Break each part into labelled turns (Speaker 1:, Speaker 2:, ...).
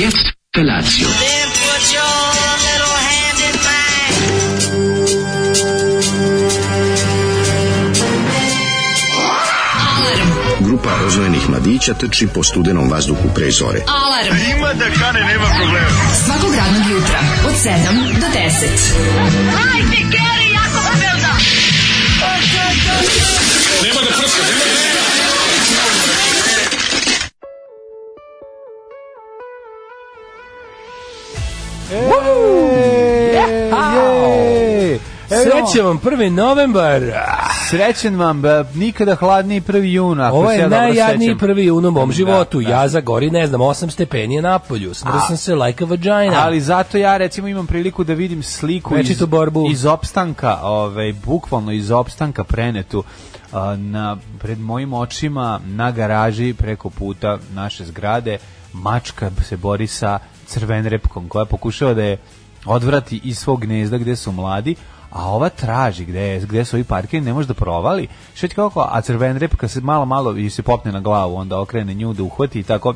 Speaker 1: Jetzt Felatio.
Speaker 2: Then put your little hand in mine.
Speaker 3: Grupa rozvojenih mladića trči po studenom vazduhu pre zore.
Speaker 4: Alarm. Ima da kane, nema problema. Svakog radnog jutra, od 7 do 10.
Speaker 5: Jej! Evo,
Speaker 6: Srećan vam 1. novembar. Ah,
Speaker 5: srećen vam, b- nikada hladniji prvi jun, ako
Speaker 6: Ovo
Speaker 5: se
Speaker 6: je
Speaker 5: ja dobro
Speaker 6: najjadniji
Speaker 5: sećam.
Speaker 6: prvi un u mom životu.
Speaker 5: da.
Speaker 6: Ja zagori, ne znam, 8 stepeni je napolju. Smrao sam se like a vagina.
Speaker 5: Ali zato ja recimo imam priliku da vidim sliku iz,
Speaker 6: Večitu borbu.
Speaker 5: iz opstanka, ovaj, bukvalno iz opstanka prenetu a, na, pred mojim očima na garaži preko puta naše zgrade. Mačka se bori sa crvenrepkom koja pokušava da je odvrati iz svog gnezda gde su mladi, a ova traži gde, je- gde su ovi parkiri, ne može da provali. Šeć kako, a crvenrepka se malo malo i se popne na glavu, onda okrene nju da uhvati i tako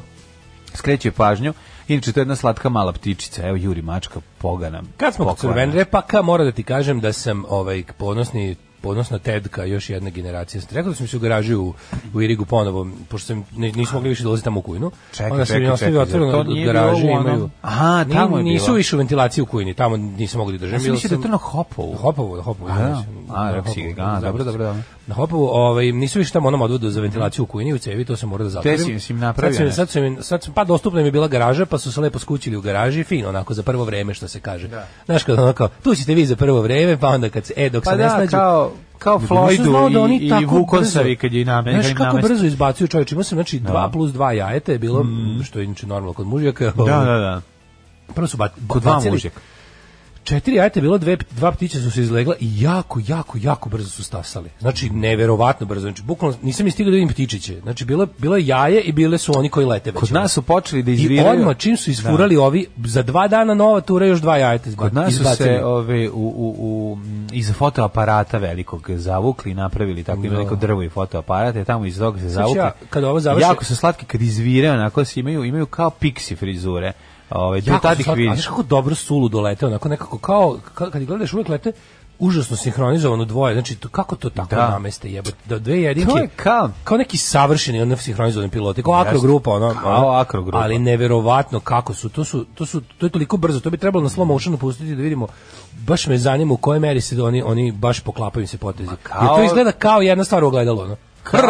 Speaker 5: skreće pažnju. Inače, to je jedna slatka mala ptičica. Evo, Juri Mačka, pogana.
Speaker 6: Kad smo kod
Speaker 5: pokvarna.
Speaker 6: crven repaka, moram da ti kažem da sam ovaj ponosni ponosna tedka još jedna generacija. Sam ti Rekao da sam se u garaži u, u Irigu ponovo, pošto sam, ne, nismo mogli više dolaziti tamo u kujnu.
Speaker 5: Čekaj,
Speaker 6: Onda sam
Speaker 5: čekaj,
Speaker 6: je ostavio
Speaker 5: čekaj, zar
Speaker 6: otvoreno
Speaker 5: to
Speaker 6: od
Speaker 5: nije
Speaker 6: garaže
Speaker 5: bilo u onom-
Speaker 6: imaju.
Speaker 5: Aha,
Speaker 6: Ni-
Speaker 5: tamo je
Speaker 6: Nisu
Speaker 5: bilo.
Speaker 6: više u ventilaciji u kujni, tamo nisam mogli da držim.
Speaker 5: Ja sam
Speaker 6: bilo
Speaker 5: mislio da je to na Hopovu.
Speaker 6: Hopovu, na Hopovu.
Speaker 5: A,
Speaker 6: ja
Speaker 5: da.
Speaker 6: mislim.
Speaker 5: A,
Speaker 6: Na
Speaker 5: rekao si,
Speaker 6: Hopovu,
Speaker 5: a,
Speaker 6: zaboravio sam.
Speaker 5: dobro, dobro, dobro.
Speaker 6: Na Hopovu, ovaj, nisu više tamo onom odvodu za ventilaciju u kujni, u cevi, to sam morao da zatvorim.
Speaker 5: si- si im napravio
Speaker 6: Sad sam,
Speaker 5: nešto.
Speaker 6: sad sam, sad sam, pa dostupna im je bila garaža, pa su se lepo skućili u garaži, fino, onako, za prvo vreme, što se kaže. Znaš, kad ono kao, tu ćete vi za prvo vreme, pa onda kad se, e, dok
Speaker 5: Pa
Speaker 6: se
Speaker 5: da,
Speaker 6: ne snađu,
Speaker 5: kao- kao
Speaker 6: Nego,
Speaker 5: Floydu
Speaker 6: nisam znao
Speaker 5: i-
Speaker 6: oni
Speaker 5: i
Speaker 6: tako
Speaker 5: Vukosavi
Speaker 6: brzo-
Speaker 5: kad je i namen- kad
Speaker 6: Znaš
Speaker 5: im
Speaker 6: kako
Speaker 5: namesti.
Speaker 6: brzo izbacuju čovječ, imao sam znači 2
Speaker 5: Da. Mm.
Speaker 6: plus 2 jajeta je bilo, što je inače normalno kod mužjaka. ovaj,
Speaker 5: Da, da, da.
Speaker 6: Prvo su ba,
Speaker 5: Kod dva
Speaker 6: bacili-
Speaker 5: mužjaka.
Speaker 6: Četiri jajeta je bilo, dve, dva ptića su se izlegla i jako, jako, jako brzo su stasali. Znači, neverovatno brzo. Znači, bukvalno nisam ni stigao da vidim ptičiće. Znači, bilo, bilo je jaje i bile su oni koji lete već. ono.
Speaker 5: Kod nas su počeli da
Speaker 6: I
Speaker 5: izviraju.
Speaker 6: odmah čim su isfurali ovi, za dva dana nova tura još dva jajeta izba,
Speaker 5: Kod nas su
Speaker 6: izbacili.
Speaker 5: se ove, u, u, u, m, iz fotoaparata velikog zavukli i napravili tako ima neko drvo i fotoaparate, tamo iz toga se zavukli.
Speaker 6: ja, kad ovo završi-
Speaker 5: Jako su slatki kad izvire, onako se imaju, imaju kao piksi frizure. Ove, tu
Speaker 6: jako
Speaker 5: tad
Speaker 6: su slatki,
Speaker 5: ih
Speaker 6: Pa, a
Speaker 5: vidiš.
Speaker 6: znaš kako dobro sulu dolete, onako nekako kao, ka- kad ih gledaš uvek lete, užasno sinhronizovano dvoje, znači to, kako to tako
Speaker 5: Da.
Speaker 6: nameste jebote, da dve jedinke,
Speaker 5: To je kao-
Speaker 6: kao neki savršeni ono sinhronizovani piloti, kao akro grupa, ono,
Speaker 5: Kao
Speaker 6: ono,
Speaker 5: akro grupa.
Speaker 6: ali neverovatno kako su, to su, to su, to je toliko brzo, to bi trebalo na slow motionu pustiti da vidimo, baš me zanima u kojoj meri se oni, oni baš poklapaju se potezi,
Speaker 5: kao-
Speaker 6: jer to izgleda kao jedna stvar u ogledalu, ono. Prrrr,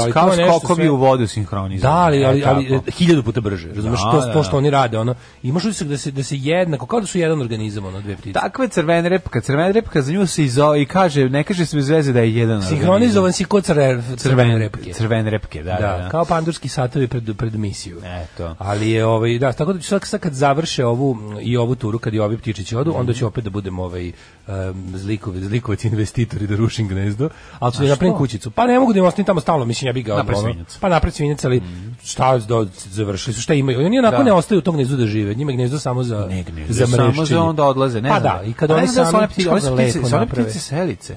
Speaker 6: ali
Speaker 5: kao
Speaker 6: to je nešto
Speaker 5: skokovi
Speaker 6: sve-
Speaker 5: u vodu
Speaker 6: da,
Speaker 5: sinhronizovani.
Speaker 6: ali,
Speaker 5: E,
Speaker 6: ali, ali
Speaker 5: tako.
Speaker 6: e, hiljadu puta brže. Razumeš
Speaker 5: Da,
Speaker 6: to,
Speaker 5: da,
Speaker 6: to što
Speaker 5: da.
Speaker 6: oni rade, ono. Imaš utisak da se da se jednako kao da su jedan organizam, ono dve ptice.
Speaker 5: Takva je crvena repka, crvena repka za nju se izo i kaže, ne kaže se bez veze da je jedan organizam.
Speaker 6: Sinhronizovan si kod crve, crvene repke.
Speaker 5: Crvene repke, da, da.
Speaker 6: Da,
Speaker 5: da.
Speaker 6: kao pandurski satovi pred, pred misiju.
Speaker 5: Eto.
Speaker 6: Ali je ovaj da, tako da ću sad, sad kad završe ovu i ovu turu kad i ovi ptičići odu,
Speaker 5: Mhm.
Speaker 6: onda će opet da budemo ovaj um, zlikovi, zlikovac investitori da rušim gnezdo, ali ću da napravim kućicu. Pa ne mogu da im ostavim tamo stalno, mislim ja bih ga
Speaker 5: Napred
Speaker 6: ono,
Speaker 5: svinjac. Mhm.
Speaker 6: Pa napred svinjac, ali šta da završili su, šta imaju? Oni onako
Speaker 5: Da.
Speaker 6: ne ostaju u tom gnezdu da žive, njima je gnezdo samo za
Speaker 5: Ne, ne,
Speaker 6: za
Speaker 5: samo
Speaker 6: mrešćenje.
Speaker 5: za onda odlaze, ne
Speaker 6: Pa
Speaker 5: znam.
Speaker 6: da, i kad
Speaker 5: A ne
Speaker 6: oni
Speaker 5: znam da su
Speaker 6: sami
Speaker 5: one ptice, one
Speaker 6: kako
Speaker 5: su
Speaker 6: da
Speaker 5: ptice-
Speaker 6: lepo
Speaker 5: su one
Speaker 6: naprave.
Speaker 5: ptice selice.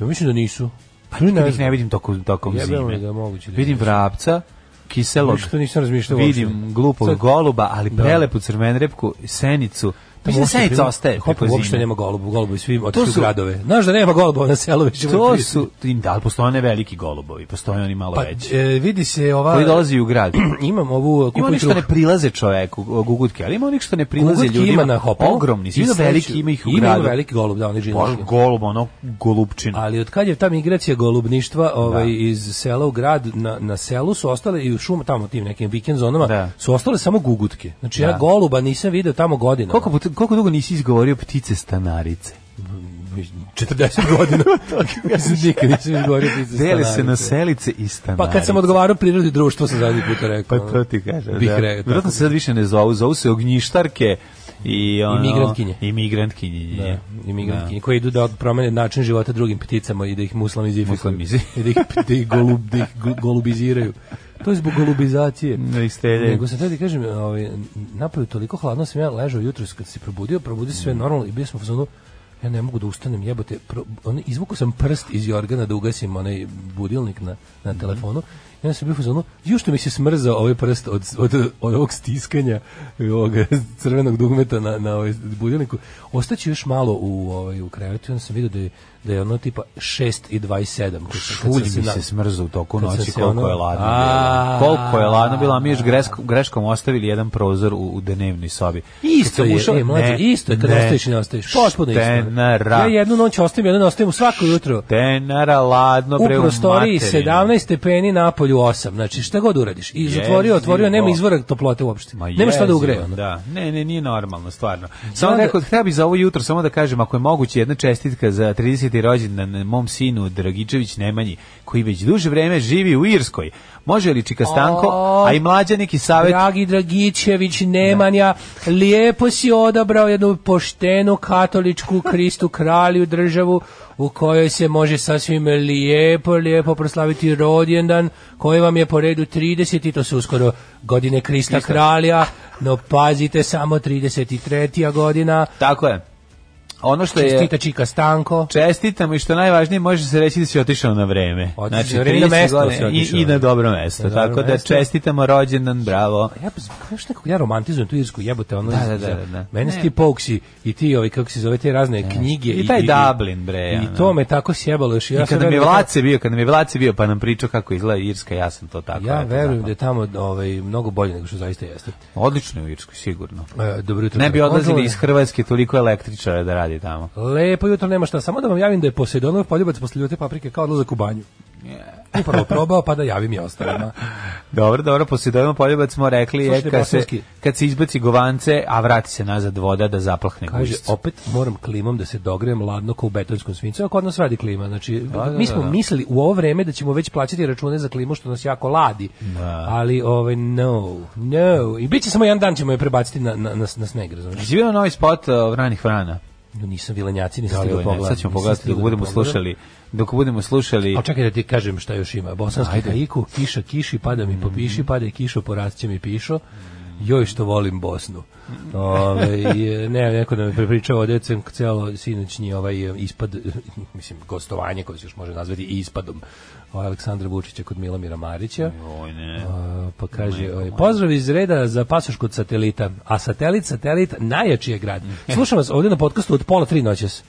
Speaker 6: Ja mislim da nisu. Pa
Speaker 5: Kad ih ne vidim tokom, tokom
Speaker 6: Jebem li
Speaker 5: zime.
Speaker 6: ga, moguće li
Speaker 5: vidim
Speaker 6: da-
Speaker 5: vrapca, kiselog,
Speaker 6: Ništa nisam razmišljao
Speaker 5: vidim
Speaker 6: uopšte.
Speaker 5: glupog
Speaker 6: Sad-
Speaker 5: goluba, ali
Speaker 6: Da.
Speaker 5: prelepu crvenrepku, senicu.
Speaker 6: Pa
Speaker 5: Mislim da senica ostaje preko
Speaker 6: Hopa uopšte
Speaker 5: zime.
Speaker 6: nema golubu, golubu svi otišli
Speaker 5: su-
Speaker 6: u gradove. Znaš da nema golubova na selu već. ima
Speaker 5: To
Speaker 6: 30.
Speaker 5: su, da, ali postoje one veliki golubovi, postoje oni malo
Speaker 6: pa
Speaker 5: veći.
Speaker 6: e, vidi se ova
Speaker 5: Koji dolazi u grad.
Speaker 6: imam ovu
Speaker 5: Ima
Speaker 6: kupuj
Speaker 5: onih što ne
Speaker 6: kruh.
Speaker 5: prilaze čoveku, o, gugutke, ali ima onih što ne prilaze
Speaker 6: Gugutke
Speaker 5: ljudima.
Speaker 6: ima na hopu.
Speaker 5: Ogromni, svi veliki ima ih u gradu.
Speaker 6: Ima veliki golub, da, oni
Speaker 5: Bože,
Speaker 6: džinoški.
Speaker 5: golub, ono, golubčina.
Speaker 6: Ali od kad je ta migracija golubništva ovaj, iz sela u grad, na, na selu su ostale i u šum tamo tim nekim vikend zonama
Speaker 5: Da.
Speaker 6: su ostale samo gugutke. Znači ja
Speaker 5: Da.
Speaker 6: goluba nisam video tamo godina.
Speaker 5: Koliko, puta, koliko dugo nisi izgovorio ptice stanarice?
Speaker 6: 40 godina. ja sam nikad nisam izgovorio pizza
Speaker 5: Deli se na
Speaker 6: stanarice.
Speaker 5: selice i stanarice.
Speaker 6: Pa kad sam odgovarao prirodi društvo sam zadnji put rekao.
Speaker 5: Pa to ti kažem,
Speaker 6: Bih
Speaker 5: da.
Speaker 6: rekao, tako
Speaker 5: Vjerojatno se sad više ne zovu, zovu se ognjištarke i ono...
Speaker 6: Imigrantkinje.
Speaker 5: Imigrantkinje.
Speaker 6: Da, imigrantkinje koji idu da promene način života drugim pticama i da ih muslamizifikuju.
Speaker 5: Muslamizi.
Speaker 6: I da ih, da ih, golub, da ih gu- golubiziraju. To je zbog golubizacije.
Speaker 5: Da ih streljaju.
Speaker 6: Nego sam tada ti kažem, ovaj, napolju toliko hladno sam ja ležao jutros kad se probudio, probudio se sve normalno i bio sam u fazonu, ja ne mogu da ustanem, ono, jebote. Pro, on, izvukao sam prst iz jorgana da ugasim onaj budilnik na, na telefonu. Ja sam bio u fazonu, ju što mi se smrzao ovaj prst od, od, od, ovog stiskanja i ovog crvenog dugmeta na, na ovaj budilniku. Ostaću još malo u, ovaj, u krevetu, onda sam vidio da je, da je ono tipa 6 i 27. Kad, sam- kad
Speaker 5: Šulj
Speaker 6: sam
Speaker 5: mi
Speaker 6: na-
Speaker 5: se smrzao u toku
Speaker 6: kad sam
Speaker 5: noći
Speaker 6: se
Speaker 5: koliko
Speaker 6: ono-
Speaker 5: je ladno
Speaker 6: A,
Speaker 5: bilo. Koliko je ladno bilo, a mi još greškom, greškom ostavili jedan prozor u, u dnevnoj sobi. Kad
Speaker 6: Isto
Speaker 5: sam
Speaker 6: je,
Speaker 5: ušao-
Speaker 6: e, mlađe,
Speaker 5: ne,
Speaker 6: isto je kad
Speaker 5: ne.
Speaker 6: ostaviš i ne ostaviš. Potpuno isto.
Speaker 5: Štenara.
Speaker 6: Ja jednu noć ostavim, jednu ostavim u svako jutro.
Speaker 5: Tenara, ladno,
Speaker 6: U
Speaker 5: bre,
Speaker 6: prostoriji
Speaker 5: materinu.
Speaker 6: 17 stepeni, na polju 8. Znači šta god uradiš. I zatvorio, otvorio, nema izvora toplote uopšte.
Speaker 5: Ma
Speaker 6: Nema šta da
Speaker 5: jezivo,
Speaker 6: ugreje. ono.
Speaker 5: Da, ne, ne, nije normalno, stvarno. Samo
Speaker 6: onda-
Speaker 5: rekao, treba bi za ovo jutro, samo da kažem, ako je moguće, jedna čestitka za 30. rođendan mom sinu Dragičević Nemanji, koji već duže vreme živi u Irskoj. Može li Čika Stanko,
Speaker 6: O,
Speaker 5: a i mlađa neki savet
Speaker 6: Dragi Dragićević, Nemanja, lijepo si odabrao jednu poštenu katoličku Kristu kralju državu u kojoj se može sasvim lijepo, lijepo proslaviti rođendan koji vam je po redu 30 i to su uskoro godine Krista kralja, no pazite samo 33. godina.
Speaker 5: Tako je. Ono što je...
Speaker 6: Čestita Čika Stanko.
Speaker 5: Čestitamo i što je najvažnije može se reći da si otišao na vreme.
Speaker 6: Otišao na vreme, na
Speaker 5: 30
Speaker 6: mesto
Speaker 5: godina
Speaker 6: si otišao.
Speaker 5: i, i na dobro mesto.
Speaker 6: Na dobro
Speaker 5: tako da
Speaker 6: mesto.
Speaker 5: čestitamo rođendan, bravo.
Speaker 6: Ja, pa, znaš nekako, ja romantizujem tu irsku jebote, ono,
Speaker 5: Da, da,
Speaker 6: iz-
Speaker 5: da, da, da.
Speaker 6: meni su
Speaker 5: Ne.
Speaker 6: ti Pouksi i ti, ovi, kako se zove, te razne knjige.
Speaker 5: I taj Dublin, bre,
Speaker 6: I
Speaker 5: ono.
Speaker 6: to me tako sjebalo još. Ja sam
Speaker 5: I kada mi je
Speaker 6: verujem da-
Speaker 5: Vlace bio, kada mi je Vlace bio, pa nam pričao kako izgleda Irska, ja sam to tako.
Speaker 6: Ja
Speaker 5: eto,
Speaker 6: verujem
Speaker 5: tako.
Speaker 6: da je tamo ovaj, mnogo bolje nego što zaista jeste.
Speaker 5: Odlično je u Irskoj, sigurno.
Speaker 6: E, dobro jutro.
Speaker 5: Ne bi
Speaker 6: Konzule.
Speaker 5: odlazili iz Hrvatske toliko električara da radi tamo.
Speaker 6: Lepo jutro, nema šta. Samo da vam javim da je Poseidonov poljubac posle ljute paprike kao odlazak u banju. Upravo probao, pa da javim i ostalima.
Speaker 5: Dobro, dobro, posljedovima poljubac smo rekli je
Speaker 6: Slušajte,
Speaker 5: kad se,
Speaker 6: bosanski.
Speaker 5: kad se izbaci govance, a vrati se nazad voda da zaplahne
Speaker 6: Kaže,
Speaker 5: gužicu.
Speaker 6: opet moram klimom da se dogrejem ladno kao u betonskom svincu, a kod nas radi klima. Znači,
Speaker 5: da,
Speaker 6: mi
Speaker 5: da,
Speaker 6: smo
Speaker 5: da.
Speaker 6: mislili u ovo vreme da ćemo već plaćati račune za klimu što nas jako ladi. Ali, ovaj, no, no. I bit će samo jedan dan ćemo je prebaciti na, na, na, na sneg, razumiješ?
Speaker 5: Jesi vidio Pa novi spot uh, Vranih Vrana?
Speaker 6: No, nisam vilenjaci, nisam
Speaker 5: Da,
Speaker 6: stigao
Speaker 5: ovaj, ne,
Speaker 6: pogledati.
Speaker 5: sad ćemo pogledati dok budemo slušali. Dok budemo slušali...
Speaker 6: A čekaj da ti kažem šta još ima. Bosanski haiku, kiša kiši, pada mi popiši, pada kišo, porast će mi pišo. Joj što volim Bosnu. Ove, i, e, ne, neko da me prepričava o decem celo sinoćnji ovaj e, ispad, mislim, gostovanje koje se još može nazvati i ispadom ovaj, Aleksandra Vučića kod Milomira Marića.
Speaker 5: Oj, ne.
Speaker 6: A, pa kaže, ovaj, pozdrav iz reda za pasoš kod satelita, a satelit, satelit, najjači je grad.
Speaker 5: Mm.
Speaker 6: Slušam vas ovdje na podcastu od pola tri noćas.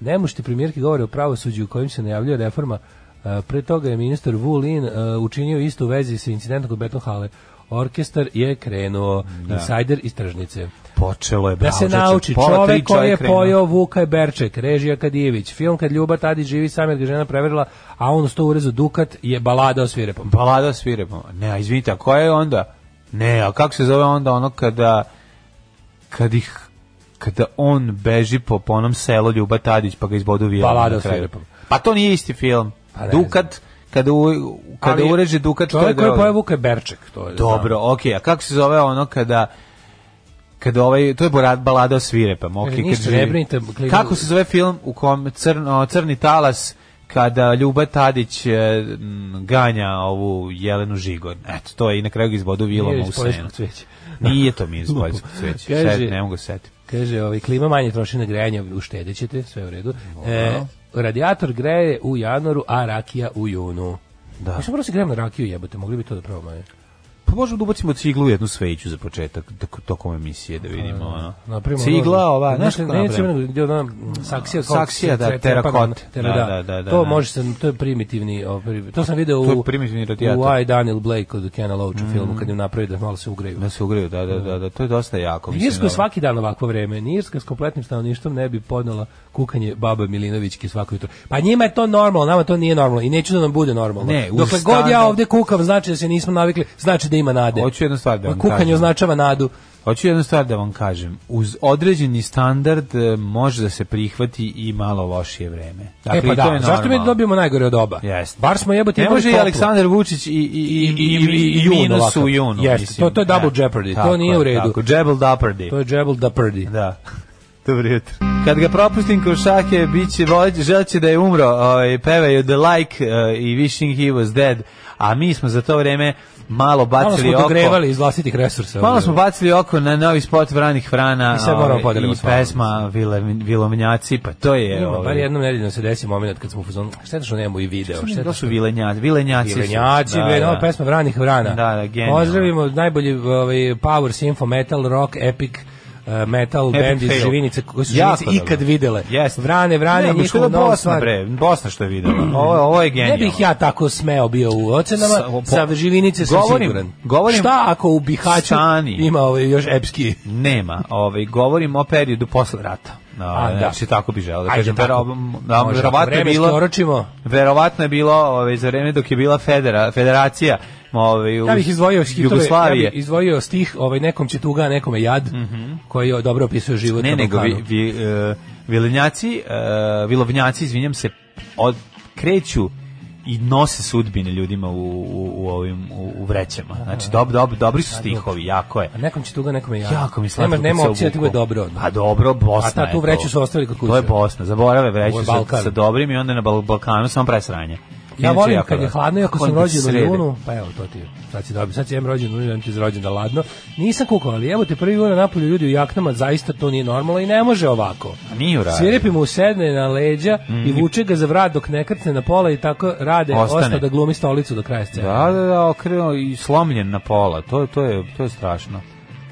Speaker 6: Nemušti primjerke govore o pravosuđu u kojim se najavljuje reforma. A, Pre toga je ministar Vulin učinio isto u vezi sa incidentom kod Beton Hale. Orkestar je krenuo, insider iz tržnice.
Speaker 5: Počelo je,
Speaker 6: Da
Speaker 5: Mm,
Speaker 6: se
Speaker 5: bravo. čoveče,
Speaker 6: nauči,
Speaker 5: pola
Speaker 6: čovek
Speaker 5: tri
Speaker 6: koji je
Speaker 5: čovjek krenuo.
Speaker 6: pojao Vuka je Berček, režija Kadijević, film kad Ljuba Tadić živi sam jer ga žena preverila, a on uz to urezu Dukat je balada o svirepom.
Speaker 5: Balada sviremo. Ne, a izvinite, a koja je onda? Ne, a kako se zove onda ono kada kad ih kada on beži po, po onom selu Ljuba Tadić pa ga izbodu vijelom.
Speaker 6: Balada
Speaker 5: na
Speaker 6: o
Speaker 5: kraju.
Speaker 6: svirepom.
Speaker 5: Pa to nije isti film.
Speaker 6: Pa ne
Speaker 5: Dukat, kada, u, kada
Speaker 6: Ali
Speaker 5: ureže Dukat, to je
Speaker 6: Čovjek koji
Speaker 5: droga.
Speaker 6: je pojeo Vuka je Berček, to je.
Speaker 5: Dobro, okej, a kako se zove ono kada kada ovaj, to je bora- balada o svirepom, okej.
Speaker 6: Kaže,
Speaker 5: kad
Speaker 6: E, ništa,
Speaker 5: živi.
Speaker 6: ne brinite, klimu-
Speaker 5: Kako se zove film u kom crno, crni talas kada Ljuba Tadić e, m, ganja ovu Jelenu Žigon. Eto, to je i na kraju ga izbodu
Speaker 6: Znam.
Speaker 5: vilom
Speaker 6: Nije
Speaker 5: u
Speaker 6: iz
Speaker 5: senu.
Speaker 6: poljskog cveća.
Speaker 5: Nije to mi iz Poljskog cveća.
Speaker 6: Kaže-
Speaker 5: Sad ne mogu se setiti.
Speaker 6: Kaže, ovaj, klima manje troši na grejanje, uštedit ćete, sve u redu. E, radijator greje u januaru, a rakija u junu. Da. Mi smo morali se grejemo na rakiju jebote, mogli bi to da probamo. je.
Speaker 5: Pa možemo da ubacimo ciglu u jednu sveću za početak tok- tokom emisije da vidimo ono.
Speaker 6: Napravimo
Speaker 5: Cigla
Speaker 6: ono-
Speaker 5: ova, znaš
Speaker 6: ne,
Speaker 5: kako
Speaker 6: ne, ne,
Speaker 5: napravimo?
Speaker 6: crveno, gdje ona saksija, kao
Speaker 5: Saksija, da,
Speaker 6: cre- crepana,
Speaker 5: terakot.
Speaker 6: tera-
Speaker 5: Da, da, da, da,
Speaker 6: to
Speaker 5: da.
Speaker 6: može se, to je primitivni, o, pri- to sam video u,
Speaker 5: To je primitivni radijator. Mm.
Speaker 6: u I, Daniel Blake od Kena Loach u filmu, kad im napravi da malo se ugreju.
Speaker 5: Da se ugreju, da, da, da, da, to je dosta jako.
Speaker 6: U
Speaker 5: mislim,
Speaker 6: Irskoj
Speaker 5: ono.
Speaker 6: svaki dan ovakvo vreme. Ni Irska s kompletnim stanovništvom ne bi podnela kukanje baba Milinovićke svako jutro. Pa njima je to normalno, nama to nije normalno i neću da nam bude normalno.
Speaker 5: Ne, uz
Speaker 6: Dokle god ja
Speaker 5: standard-
Speaker 6: ovdje kukam, znači da se nismo navikli, znači da ima nade.
Speaker 5: Hoću jednu stvar da
Speaker 6: Pa
Speaker 5: vam
Speaker 6: Kukanje
Speaker 5: kažem.
Speaker 6: označava nadu.
Speaker 5: Hoću jednu stvar da vam kažem. Uz određeni standard e, može da se prihvati i malo lošije vreme. Dakle,
Speaker 6: e pa
Speaker 5: i
Speaker 6: da,
Speaker 5: to je
Speaker 6: zašto mi
Speaker 5: normalno.
Speaker 6: dobijemo najgore od oba?
Speaker 5: Jeste.
Speaker 6: Bar smo jebote
Speaker 5: Ne
Speaker 6: imali
Speaker 5: može i
Speaker 6: toplo.
Speaker 5: Aleksandar Vučić i, i, i, i, i, i,
Speaker 6: Jun
Speaker 5: minus
Speaker 6: ovakav.
Speaker 5: u junu.
Speaker 6: Jeste,
Speaker 5: mislim.
Speaker 6: to- to je double jeopardy, to
Speaker 5: tako
Speaker 6: nije
Speaker 5: je,
Speaker 6: u redu.
Speaker 5: Tako, double jeopardy.
Speaker 6: To je Jebel da prdi.
Speaker 5: Da. Dobro jutro. Kad ga propustim kroz šake, bit će voleć- želeće da je e, umro, ovaj, pevaju The Like eh, i Wishing He Was Dead, a mi smo za to vreme malo
Speaker 6: Malo
Speaker 5: bacili
Speaker 6: smo
Speaker 5: oko.
Speaker 6: dogrevali iz vlastitih resursa. ovaj.
Speaker 5: Malo smo bacili oko na novi spot Vranih Frana
Speaker 6: I sad moramo
Speaker 5: ovaj,
Speaker 6: podelimo
Speaker 5: i
Speaker 6: s vama.
Speaker 5: pesma Vile, Vilomnjaci, pa to je...
Speaker 6: Ima,
Speaker 5: ovaj,
Speaker 6: bar jednom nedeljno se desi moment kad smo u fazonu, šteta što nemamo i video,
Speaker 5: Šta
Speaker 6: šteta
Speaker 5: to
Speaker 6: što
Speaker 5: su vilenjaci? Vilenjaci. su.
Speaker 6: Vilenjaci, da, bre, nova pesma Vranih Vrana.
Speaker 5: Da, da, genijalno.
Speaker 6: Pozdravimo najbolji ovaj, power, symfo, metal, rock, epic, eh, metal
Speaker 5: Epic
Speaker 6: band iz
Speaker 5: fail.
Speaker 6: Živinice koji su
Speaker 5: Jako
Speaker 6: Živinice
Speaker 5: dobro.
Speaker 6: ikad videle.
Speaker 5: Jeste.
Speaker 6: Vrane, Vrane,
Speaker 5: Ne,
Speaker 6: ne,
Speaker 5: pa što je
Speaker 6: njihov
Speaker 5: da
Speaker 6: nov
Speaker 5: Bosna,
Speaker 6: stvar.
Speaker 5: bre, Bosna što je videla. Ovo, ovo je
Speaker 6: Ne
Speaker 5: genijalno.
Speaker 6: bih ja tako smeo bio u ocenama,
Speaker 5: Sa- po-
Speaker 6: sa Živinice sam
Speaker 5: Govorim-
Speaker 6: siguran.
Speaker 5: govorim-
Speaker 6: Šta ako u Bihaću
Speaker 5: Stani.
Speaker 6: ima ovaj, još epski
Speaker 5: Nema, ovaj govorim o periodu posle rata. No,
Speaker 6: A, da.
Speaker 5: znači, tako bi želeo da kažem.
Speaker 6: tako.
Speaker 5: Vero, da,
Speaker 6: Može,
Speaker 5: verovatno je
Speaker 6: vremenski
Speaker 5: bilo,
Speaker 6: oročimo.
Speaker 5: verovatno je bilo ovaj, za vreme dok je bila federa, federacija ovaj,
Speaker 6: Ja bih izdvojio
Speaker 5: iz
Speaker 6: hitove, Jugoslavije. ja bih izdvojio stih, ovaj nekom će tuga, a nekome jad, koji dobro opisuje život
Speaker 5: Mhm. ne,
Speaker 6: na
Speaker 5: nego vi,
Speaker 6: Balkanu.
Speaker 5: vi, e, vilenjaci, e, vilovnjaci, izvinjam se, od, kreću i nose sudbine ljudima u, u, u ovim u, u vrećama. Znači, dob, dob, dobri su stihovi, jako je.
Speaker 6: A Pa nekom će tuga, nekome jad.
Speaker 5: Jako mi slatko.
Speaker 6: Nema,
Speaker 5: kad
Speaker 6: nema
Speaker 5: se
Speaker 6: opcije da ti bude
Speaker 5: obuku.
Speaker 6: dobro.
Speaker 5: Pa dobro, Bosna
Speaker 6: A ta
Speaker 5: je
Speaker 6: tu
Speaker 5: to.
Speaker 6: vreću su ostavili kod kuće.
Speaker 5: To je Bosna, zaborave
Speaker 6: Ovo
Speaker 5: vreću
Speaker 6: je
Speaker 5: sa,
Speaker 6: Balkan.
Speaker 5: sa dobrim i onda na Bal- Balkanu samo pravi sranje.
Speaker 6: Ja
Speaker 5: Inače,
Speaker 6: volim
Speaker 5: jako
Speaker 6: kad je
Speaker 5: dobro.
Speaker 6: hladno, iako sam
Speaker 5: Onda
Speaker 6: rođen u
Speaker 5: srede.
Speaker 6: junu, pa evo to ti je. Sad si dobio, sad si jem rođen u junu, jem ti za rođen da ladno. Nisam kukao, ali evo te prvi juna napolju ljudi u jaknama, zaista to nije normalno i ne može ovako.
Speaker 5: A Nije u raju.
Speaker 6: Svirepi mu sedne na leđa i vuče ga za vrat dok ne krcne na pola i tako rade,
Speaker 5: Ostane.
Speaker 6: osta da glumi stolicu do kraja scene.
Speaker 5: Da, da, da, okrenuo i slomljen na pola. To, to, je, to je strašno.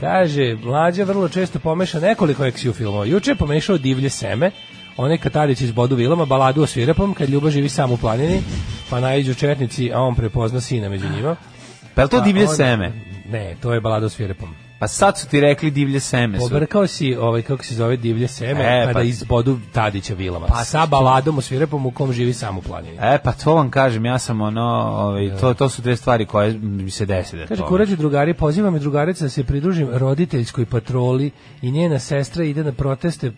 Speaker 6: Kaže, mlađa vrlo često pomeša nekoliko eksiju filmova. Juče je pomešao divlje seme, onaj Katarić iz Bodu Vilama, baladu o svirepom, kad ljubav živi sam u planini, pa najđu četnici, a on prepozna sina među njima.
Speaker 5: Pa je li to
Speaker 6: Pa
Speaker 5: divlje
Speaker 6: on-
Speaker 5: seme?
Speaker 6: Ne, to je balada o svirepom.
Speaker 5: Pa sad su ti rekli divlje seme su.
Speaker 6: Pobrkao si, ovaj, kako se zove, divlje seme,
Speaker 5: E,
Speaker 6: kada
Speaker 5: pa-
Speaker 6: iz Bodu Tadića Vilama.
Speaker 5: Pa-
Speaker 6: sa baladom o svirepom u kom živi sam u planini.
Speaker 5: E, pa to vam kažem, ja sam ono, ovaj, to, to su dve stvari koje mi se desi. Da
Speaker 6: Kaže,
Speaker 5: to-
Speaker 6: kurađu drugari, pozivam i drugarica da se pridružim roditeljskoj patroli i njena sestra ide na proteste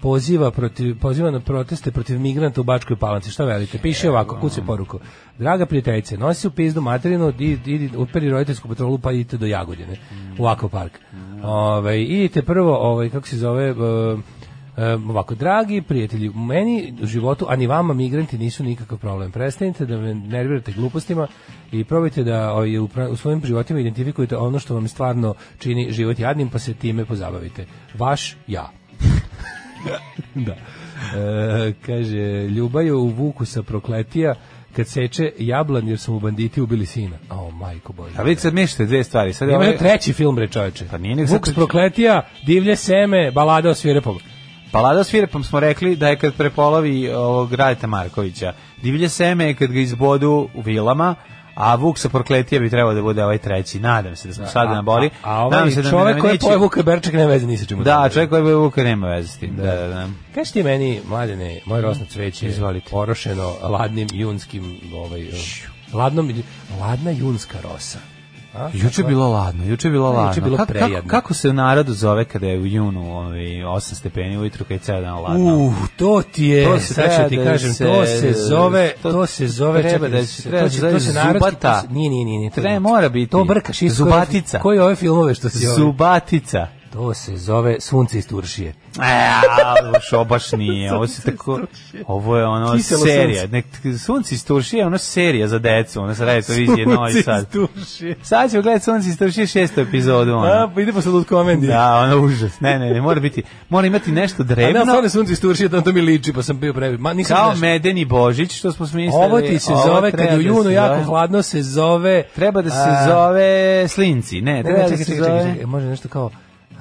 Speaker 6: poziva, protiv, poziva na proteste protiv migranta u Bačkoj Palanci. Šta velite? Piše ovako, kuće poruku. Draga prijateljice, nosi u pizdu materinu, idi, idi uperi roditeljsku patrolu pa idite do Jagodine, u akvapark. Ovaj, idite prvo, ovaj, kako se zove, e, Um, ovako, dragi prijatelji, meni u životu, a ni vama migranti nisu nikakav problem. Prestanite da me nervirate glupostima i probajte da ovaj, u, pra- u svojim životima identifikujete ono što vam stvarno čini život jadnim, pa se time pozabavite. Vaš ja. da. E, kaže, ljubaju u vuku sa prokletija kad seče jablan jer su mu banditi ubili sina. O, majko bože.
Speaker 5: A vidite, sad mešate dve stvari. Sad
Speaker 6: Ima
Speaker 5: ovaj-
Speaker 6: je treći film, bre čoveče.
Speaker 5: Pa nije nego
Speaker 6: Vuk
Speaker 5: sad-
Speaker 6: s prokletija, divlje seme, balada o svirepom.
Speaker 5: Palada Pa s Firepom smo rekli da je kad prepolovi ovog Radeta Markovića. Divlje seme je kad ga izbodu u vilama, a Vuk sa prokletija bi trebao da bude ovaj treći. Nadam se da smo sada na bori.
Speaker 6: A, a ovaj čovek koji je pojeo Vuka Berček nema veze ni sa čim.
Speaker 5: Da, čovjek koji je pojeo Vuka nema veze s tim. Da, da, da.
Speaker 6: Kaži ti meni, mladene, moje rosno cveće,
Speaker 5: Izvolite.
Speaker 6: orošeno ladnim junskim, ovaj, ladnom, ladna junska rosa. A?
Speaker 5: Juče je bilo ladno, juče je bilo
Speaker 6: Juče je
Speaker 5: ladno.
Speaker 6: bilo
Speaker 5: kako, kako,
Speaker 6: prejedno.
Speaker 5: kako se u narodu zove kada je u junu ovaj, 8 stepeni ujutru kada je ceo dan ladno?
Speaker 6: Uh, to ti je,
Speaker 5: To
Speaker 6: to
Speaker 5: se
Speaker 6: se, sad ću ti
Speaker 5: treba da
Speaker 6: kažem,
Speaker 5: se-
Speaker 6: to se zove, to, se zove,
Speaker 5: treba
Speaker 6: čekaj,
Speaker 5: da se- treba da se zove zubata.
Speaker 6: to se- nije, nije, nije, nije, to
Speaker 5: Treba,
Speaker 6: nije.
Speaker 5: mora biti.
Speaker 6: to brkaš, isto koje-
Speaker 5: Zubatica.
Speaker 6: koje ove filmove što se zove,
Speaker 5: Zubatica.
Speaker 6: to se zove Sunce iz Turšije,
Speaker 5: E, ovo što baš nije, ovo se tako, ovo je ono
Speaker 6: Kiselo
Speaker 5: serija,
Speaker 6: sunce.
Speaker 5: nek, sunci iz Turšije je ono serija za decu, ono se radi televizije Novi
Speaker 6: Sunce iz
Speaker 5: Sad.
Speaker 6: Turšije.
Speaker 5: Sad ćemo gledati Sunci iz Turšije šestu epizodu,
Speaker 6: a,
Speaker 5: ono.
Speaker 6: pa ide posle Lud Komendije,
Speaker 5: Da, ono užas, ne, ne, ne, mora biti, mora imati nešto
Speaker 6: A ne, ali
Speaker 5: drevno,
Speaker 6: stvarno sunce iz Turšije, to, to mi liči, pa sam bio previ. Ma, nisam
Speaker 5: kao
Speaker 6: znaš.
Speaker 5: medeni Božić, što smo smislili.
Speaker 6: Ovo ti se
Speaker 5: ovo
Speaker 6: zove, kad
Speaker 5: treba
Speaker 6: je u
Speaker 5: da
Speaker 6: junu
Speaker 5: se
Speaker 6: jako
Speaker 5: zove-
Speaker 6: hladno, se zove...
Speaker 5: Treba da se
Speaker 6: A,
Speaker 5: zove Slinci, ne,
Speaker 6: Ne, ne,
Speaker 5: treba da
Speaker 6: čekaj,
Speaker 5: se
Speaker 6: čekaj, čekaj,
Speaker 5: zove
Speaker 6: čekaj, može nešto kao...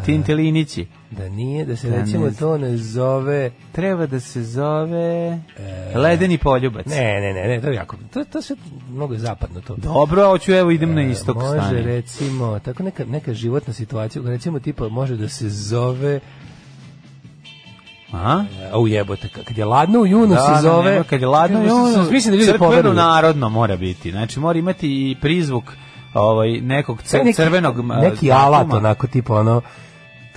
Speaker 5: Tintelinići.
Speaker 6: Da nije, da se
Speaker 5: Da,
Speaker 6: recimo
Speaker 5: ne znam.
Speaker 6: to ne zove...
Speaker 5: Treba da se zove Ledeni poljubac.
Speaker 6: E. Ne, ne, ne, ne, to je jako... To, to se mnogo je zapadno to.
Speaker 5: Dobro, hoću, evo idem na istok.
Speaker 6: E, Može
Speaker 5: stani.
Speaker 6: recimo, tako neka, neka životna situacija, recimo tipa može da se zove,
Speaker 5: A?
Speaker 6: au jebote, kad je ladno u junu
Speaker 5: Da,
Speaker 6: se zove,
Speaker 5: nema, kad je ladno i
Speaker 6: Mislim,
Speaker 5: ono,
Speaker 6: mislim da ljudi
Speaker 5: crkveno
Speaker 6: poveruju.
Speaker 5: narodno mora biti. Znači mora imati i prizvuk ovaj nekog cr,
Speaker 6: neki,
Speaker 5: crvenog ma,
Speaker 6: neki
Speaker 5: datuma.
Speaker 6: alat onako tipa ono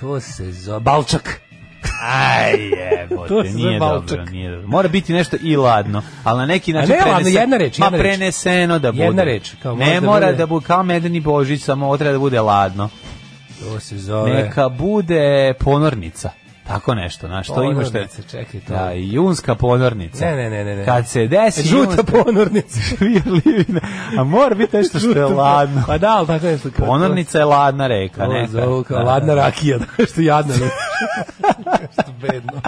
Speaker 6: to se zove balčak
Speaker 5: Aj jebote,
Speaker 6: To se zove
Speaker 5: nije dobro,
Speaker 6: balčak.
Speaker 5: nije dobro. Mora biti nešto i ladno, ali na neki način
Speaker 6: ne ladno, jedna reč, jedna
Speaker 5: ma
Speaker 6: reč.
Speaker 5: preneseno da bude.
Speaker 6: Jedna reč, kao
Speaker 5: ne
Speaker 6: možda
Speaker 5: mora
Speaker 6: bude-
Speaker 5: da bude kao medeni božić, samo ovo treba da bude ladno.
Speaker 6: to se zove
Speaker 5: Neka bude ponornica. Tako nešto, znaš, to imaš
Speaker 6: Ponornice,
Speaker 5: te...
Speaker 6: čekaj, to-
Speaker 5: Da, junska ponornica.
Speaker 6: Ne, ne, ne, ne, ne.
Speaker 5: Kad se desi...
Speaker 6: Žuta
Speaker 5: junska-
Speaker 6: ponornica.
Speaker 5: Virlivina. A mora biti nešto što je ladno.
Speaker 6: Pa da, ali tako nešto. kao-
Speaker 5: Ponornica je ladna reka,
Speaker 6: Ovo
Speaker 5: ne?
Speaker 6: zovu kao ladna rakija, tako što jadno. ne? što bedno.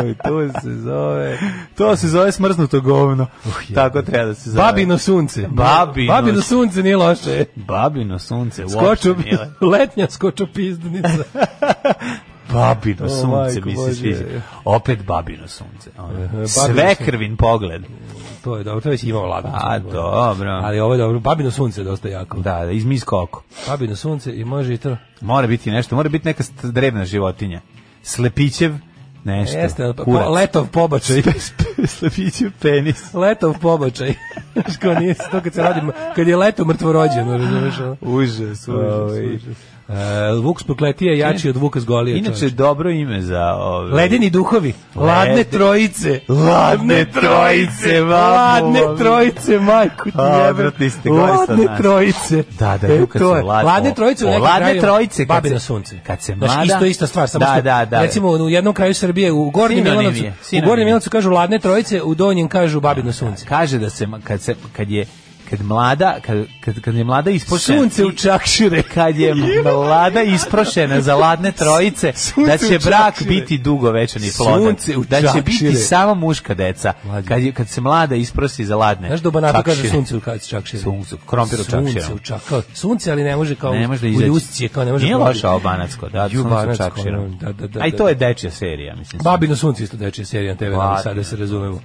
Speaker 5: Oj, to se zove... To se zove smrznuto govno. Tako treba da se zove.
Speaker 6: Uh, Babino sunce.
Speaker 5: Babino-
Speaker 6: Babino sunce nije loše.
Speaker 5: Babino sunce. uopšte
Speaker 6: Skoču,
Speaker 5: nije le-
Speaker 6: letnja skoču pizdunica.
Speaker 5: Babino
Speaker 6: O,
Speaker 5: sunce
Speaker 6: majko
Speaker 5: mi se
Speaker 6: Božja.
Speaker 5: sviđa. Opet babino sunce. ono.
Speaker 6: babino
Speaker 5: Svekrvin pogled.
Speaker 6: to je dobro, to je već imao ladno.
Speaker 5: A, Pa, dobro.
Speaker 6: Ali ovo je dobro, babino sunce je dosta jako.
Speaker 5: Da, da, iz miska oko.
Speaker 6: Babino sunce i može i to.
Speaker 5: Mora biti nešto, mora biti neka st- drevna životinja. Slepićev, nešto.
Speaker 6: Pa Jeste, ali po-
Speaker 5: kurac.
Speaker 6: po- letov pobačaj.
Speaker 5: Slepićev penis.
Speaker 6: letov pobačaj. Znaš, kao nije to kad se radi, kad je leto mrtvorođeno, razumeš? ono?
Speaker 5: Užas,
Speaker 6: Ovaj, e, Vuk Spokletija je jači od Vuka Zgolija.
Speaker 5: Inače,
Speaker 6: čoveče.
Speaker 5: dobro ime za... ovaj- Ove...
Speaker 6: Ledeni duhovi, ladne
Speaker 5: Lede-
Speaker 6: trojice.
Speaker 5: Ladne trojice, mamu.
Speaker 6: Ladne trojice, majku ti
Speaker 5: A,
Speaker 6: jebe.
Speaker 5: odvratni ste, gori sad
Speaker 6: Ladne
Speaker 5: nas.
Speaker 6: trojice.
Speaker 5: Da, da,
Speaker 6: E,
Speaker 5: Luka
Speaker 6: to
Speaker 5: se
Speaker 6: je.
Speaker 5: lad-
Speaker 6: Ladne
Speaker 5: o-
Speaker 6: trojice u
Speaker 5: o,
Speaker 6: nekim
Speaker 5: ladne
Speaker 6: kraju.
Speaker 5: trojice kad
Speaker 6: Babino
Speaker 5: se-
Speaker 6: sunce.
Speaker 5: kad se
Speaker 6: Znaš,
Speaker 5: mlada-
Speaker 6: isto ista stvar, samo
Speaker 5: Da,
Speaker 6: što,
Speaker 5: da, da.
Speaker 6: recimo u jednom kraju Srbije u Gornjem
Speaker 5: Sinonim
Speaker 6: Milanovcu,
Speaker 5: je,
Speaker 6: u
Speaker 5: sinonim je.
Speaker 6: Gornjem Milanovcu kažu ladne trojice, u Donjem kažu Babino sunce.
Speaker 5: Kaže da se, ma- kad, se, kad je kad mlada, kad, kad, kad je mlada ispošena...
Speaker 6: Sunce u
Speaker 5: čakšire. Kad je mlada isprošena za ladne trojice,
Speaker 6: Sunce
Speaker 5: da će
Speaker 6: u
Speaker 5: brak
Speaker 6: čakšire.
Speaker 5: biti dugo večan i plodan.
Speaker 6: Sunce u
Speaker 5: da će biti
Speaker 6: čakšire.
Speaker 5: samo muška deca.
Speaker 6: Mlađe.
Speaker 5: Kad, je, kad se mlada isprosi za ladne
Speaker 6: Znaš da u Banatu kaže
Speaker 5: čakšire.
Speaker 6: sunce u ka- čakširu.
Speaker 5: Sunce, krompir u
Speaker 6: Sunce
Speaker 5: čakširu.
Speaker 6: u čakširu. Sunce, ali ne može kao
Speaker 5: Ne može da
Speaker 6: u
Speaker 5: izađe.
Speaker 6: ljusci je kao ne može.
Speaker 5: Nije
Speaker 6: proći.
Speaker 5: loša obanacko, da,
Speaker 6: Ju,
Speaker 5: sunce u
Speaker 6: Banatsko, ono,
Speaker 5: čakširu.
Speaker 6: Da, da, da,
Speaker 5: A i
Speaker 6: da.
Speaker 5: to je dečja serija, mislim.
Speaker 6: Babino sunce isto dečija serija na TV, ali
Speaker 5: Babino
Speaker 6: sad da se razumemo.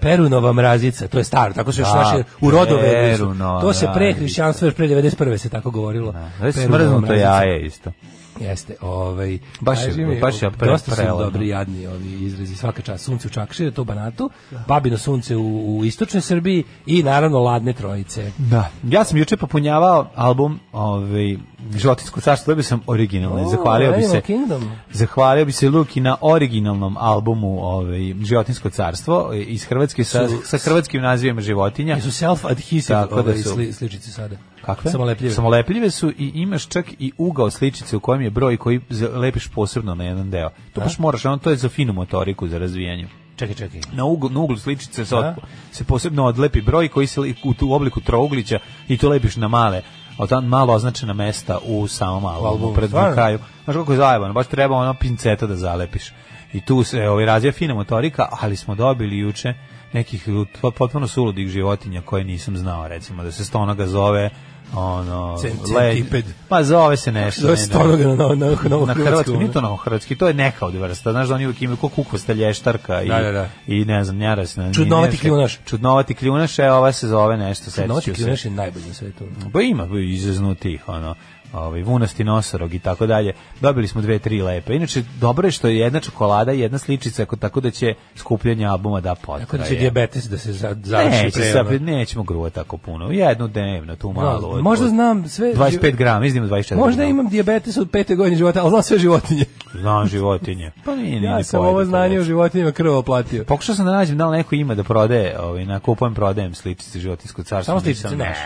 Speaker 6: Perunova mrazica, to je staro, tako se još naše u rodove.
Speaker 5: Perunova
Speaker 6: To se pre
Speaker 5: mrazica.
Speaker 6: hrišćanstva, još pre 91. se tako govorilo.
Speaker 5: Da,
Speaker 6: Perunova
Speaker 5: smrznuto
Speaker 6: mrazica.
Speaker 5: jaje isto.
Speaker 6: Jeste, ovaj
Speaker 5: Baš je-
Speaker 6: kaži mi,
Speaker 5: baš je pre-
Speaker 6: dosta su
Speaker 5: prelepo.
Speaker 6: dobri jadni ovi izrazi svaka čast. Sunce u Čakširu, to u Banatu, Babino sunce u, u istočnoj Srbiji i naravno Ladne trojice.
Speaker 5: Da. Ja sam juče popunjavao album ovaj, Životinsko carstvo, dobio sam originalni.
Speaker 6: O,
Speaker 5: zahvalio bi
Speaker 6: Animal
Speaker 5: se...
Speaker 6: Kingdom.
Speaker 5: Zahvalio bi se Luki na originalnom albumu ovaj, Životinsko carstvo e, iz Hrvatske sa, sa hrvatskim nazivima životinja.
Speaker 6: Jesu self adhesive
Speaker 5: Tako da
Speaker 6: ovaj,
Speaker 5: su-
Speaker 6: sli, sličice sada.
Speaker 5: Kakve?
Speaker 6: Samolepljive.
Speaker 5: Samolepljive su i imaš čak i ugao sličice u kojem je broj koji z- lepiš posebno na jedan deo. To baš moraš, ono to je za finu motoriku, za razvijanje.
Speaker 6: Čekaj, čekaj.
Speaker 5: Na uglu, na uglu sličice se, otpo- se posebno odlepi broj koji se li- u, u obliku trouglića i to lepiš na male a tam malo označena mesta u samom albumu,
Speaker 6: albumu,
Speaker 5: pred
Speaker 6: stvarno?
Speaker 5: kraju. Znaš kako je zajebano, baš treba ono pinceta da zalepiš. I tu se ovaj, razvija fina motorika, ali smo dobili juče nekih pot- potpuno suludih životinja koje nisam znao, recimo, da se stonoga zove ono...
Speaker 6: Cen-
Speaker 5: le-
Speaker 6: centiped.
Speaker 5: Pa zove se nešto.
Speaker 6: Zove
Speaker 5: ne, ne.
Speaker 6: stonoga na, na, na, na,
Speaker 5: Na hrvatskom, nije to na hrvatski, to je neka od vrsta. Znaš da oni uvijek imaju ko kukvasta lještarka i,
Speaker 6: Da, da, da.
Speaker 5: i ne znam, njaras. ne-
Speaker 6: Čudnovati
Speaker 5: nije-
Speaker 6: kljunaš.
Speaker 5: Čudnovati kljunaš, e, ova se zove nešto. setit ću se.
Speaker 6: Notik je najbolji na svetu.
Speaker 5: Pa ima izaznutih, ono, ovaj, vunasti nosorog i tako dalje. Dobili smo dve, tri lepe. Inače, dobro je što je jedna čokolada i jedna sličica, ako- tako da će skupljanje albuma da potraje.
Speaker 6: Tako da će dijabetes da se za- završi
Speaker 5: Neće,
Speaker 6: pre.
Speaker 5: sad,
Speaker 6: ono.
Speaker 5: nećemo gruva tako puno. Jednu dnevno, tu malo.
Speaker 6: Da,
Speaker 5: od-
Speaker 6: možda
Speaker 5: od-
Speaker 6: znam sve...
Speaker 5: 25 grama, izdimo 24
Speaker 6: Možda
Speaker 5: grama.
Speaker 6: imam dijabetes od pete godine života, ali znam sve životinje.
Speaker 5: Znam životinje. Pa nije, nije
Speaker 6: Ja
Speaker 5: ne
Speaker 6: sam
Speaker 5: pojede
Speaker 6: ovo
Speaker 5: to
Speaker 6: znanje
Speaker 5: već.
Speaker 6: o životinjima krvo oplatio.
Speaker 5: Pokušao sam da nađem da li neko ima da prodaje, ovaj, na kupujem, prodajem sličice životinjskog carstva.
Speaker 6: Samo sličice
Speaker 5: Nisam
Speaker 6: naš.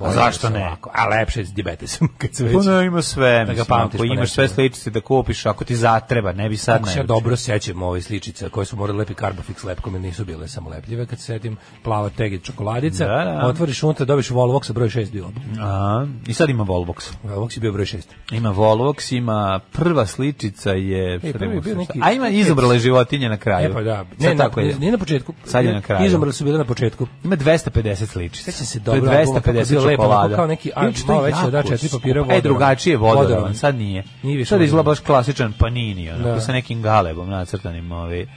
Speaker 5: A zašto ne?
Speaker 6: A lepše je s dijabetesom, kad se već...
Speaker 5: Pa ne, ima sve,
Speaker 6: ga
Speaker 5: mislim,
Speaker 6: pamtiš
Speaker 5: ako
Speaker 6: po
Speaker 5: imaš
Speaker 6: nečemu.
Speaker 5: sve sličice da kupiš, ako ti zatreba, ne bi sad
Speaker 6: Ako se ja
Speaker 5: najučio.
Speaker 6: dobro sećam ove sličice koje su morali lepi Carbafix lepkom jer nisu bile samo lepljive, kad se setim plava tegel čokoladica,
Speaker 5: Da, da.
Speaker 6: otvoriš unutra, dobiš Volvox broj 6 bio.
Speaker 5: A, I sad ima Volvox.
Speaker 6: Volvox je bio broj 6.
Speaker 5: Ima Volvox, ima prva sličica je...
Speaker 6: E, prvi je bio neki-
Speaker 5: A ima izobrale životinje na kraju.
Speaker 6: E pa da,
Speaker 5: Sad
Speaker 6: ne, na,
Speaker 5: tako je.
Speaker 6: nije na početku.
Speaker 5: Sad je na kraju.
Speaker 6: Izobrali su bile na početku.
Speaker 5: Ima 250 sličica.
Speaker 6: Sećam se
Speaker 5: To je
Speaker 6: dobro albuma, kako je
Speaker 5: 250
Speaker 6: bio lepo,
Speaker 5: čokolada.
Speaker 6: onako kao neki, a,
Speaker 5: Inače, to je
Speaker 6: malo veći
Speaker 5: jako
Speaker 6: od A4
Speaker 5: skupo.
Speaker 6: papira
Speaker 5: E,
Speaker 6: vodoravan.
Speaker 5: drugačije je vodoravan,
Speaker 6: Vodoravan.
Speaker 5: sad nije.
Speaker 6: Nije više
Speaker 5: sad izgleda
Speaker 6: vodoravan.
Speaker 5: baš klasičan panini, onako,
Speaker 6: Da.
Speaker 5: sa nekim galebom nacrtanim, ovaj, uh,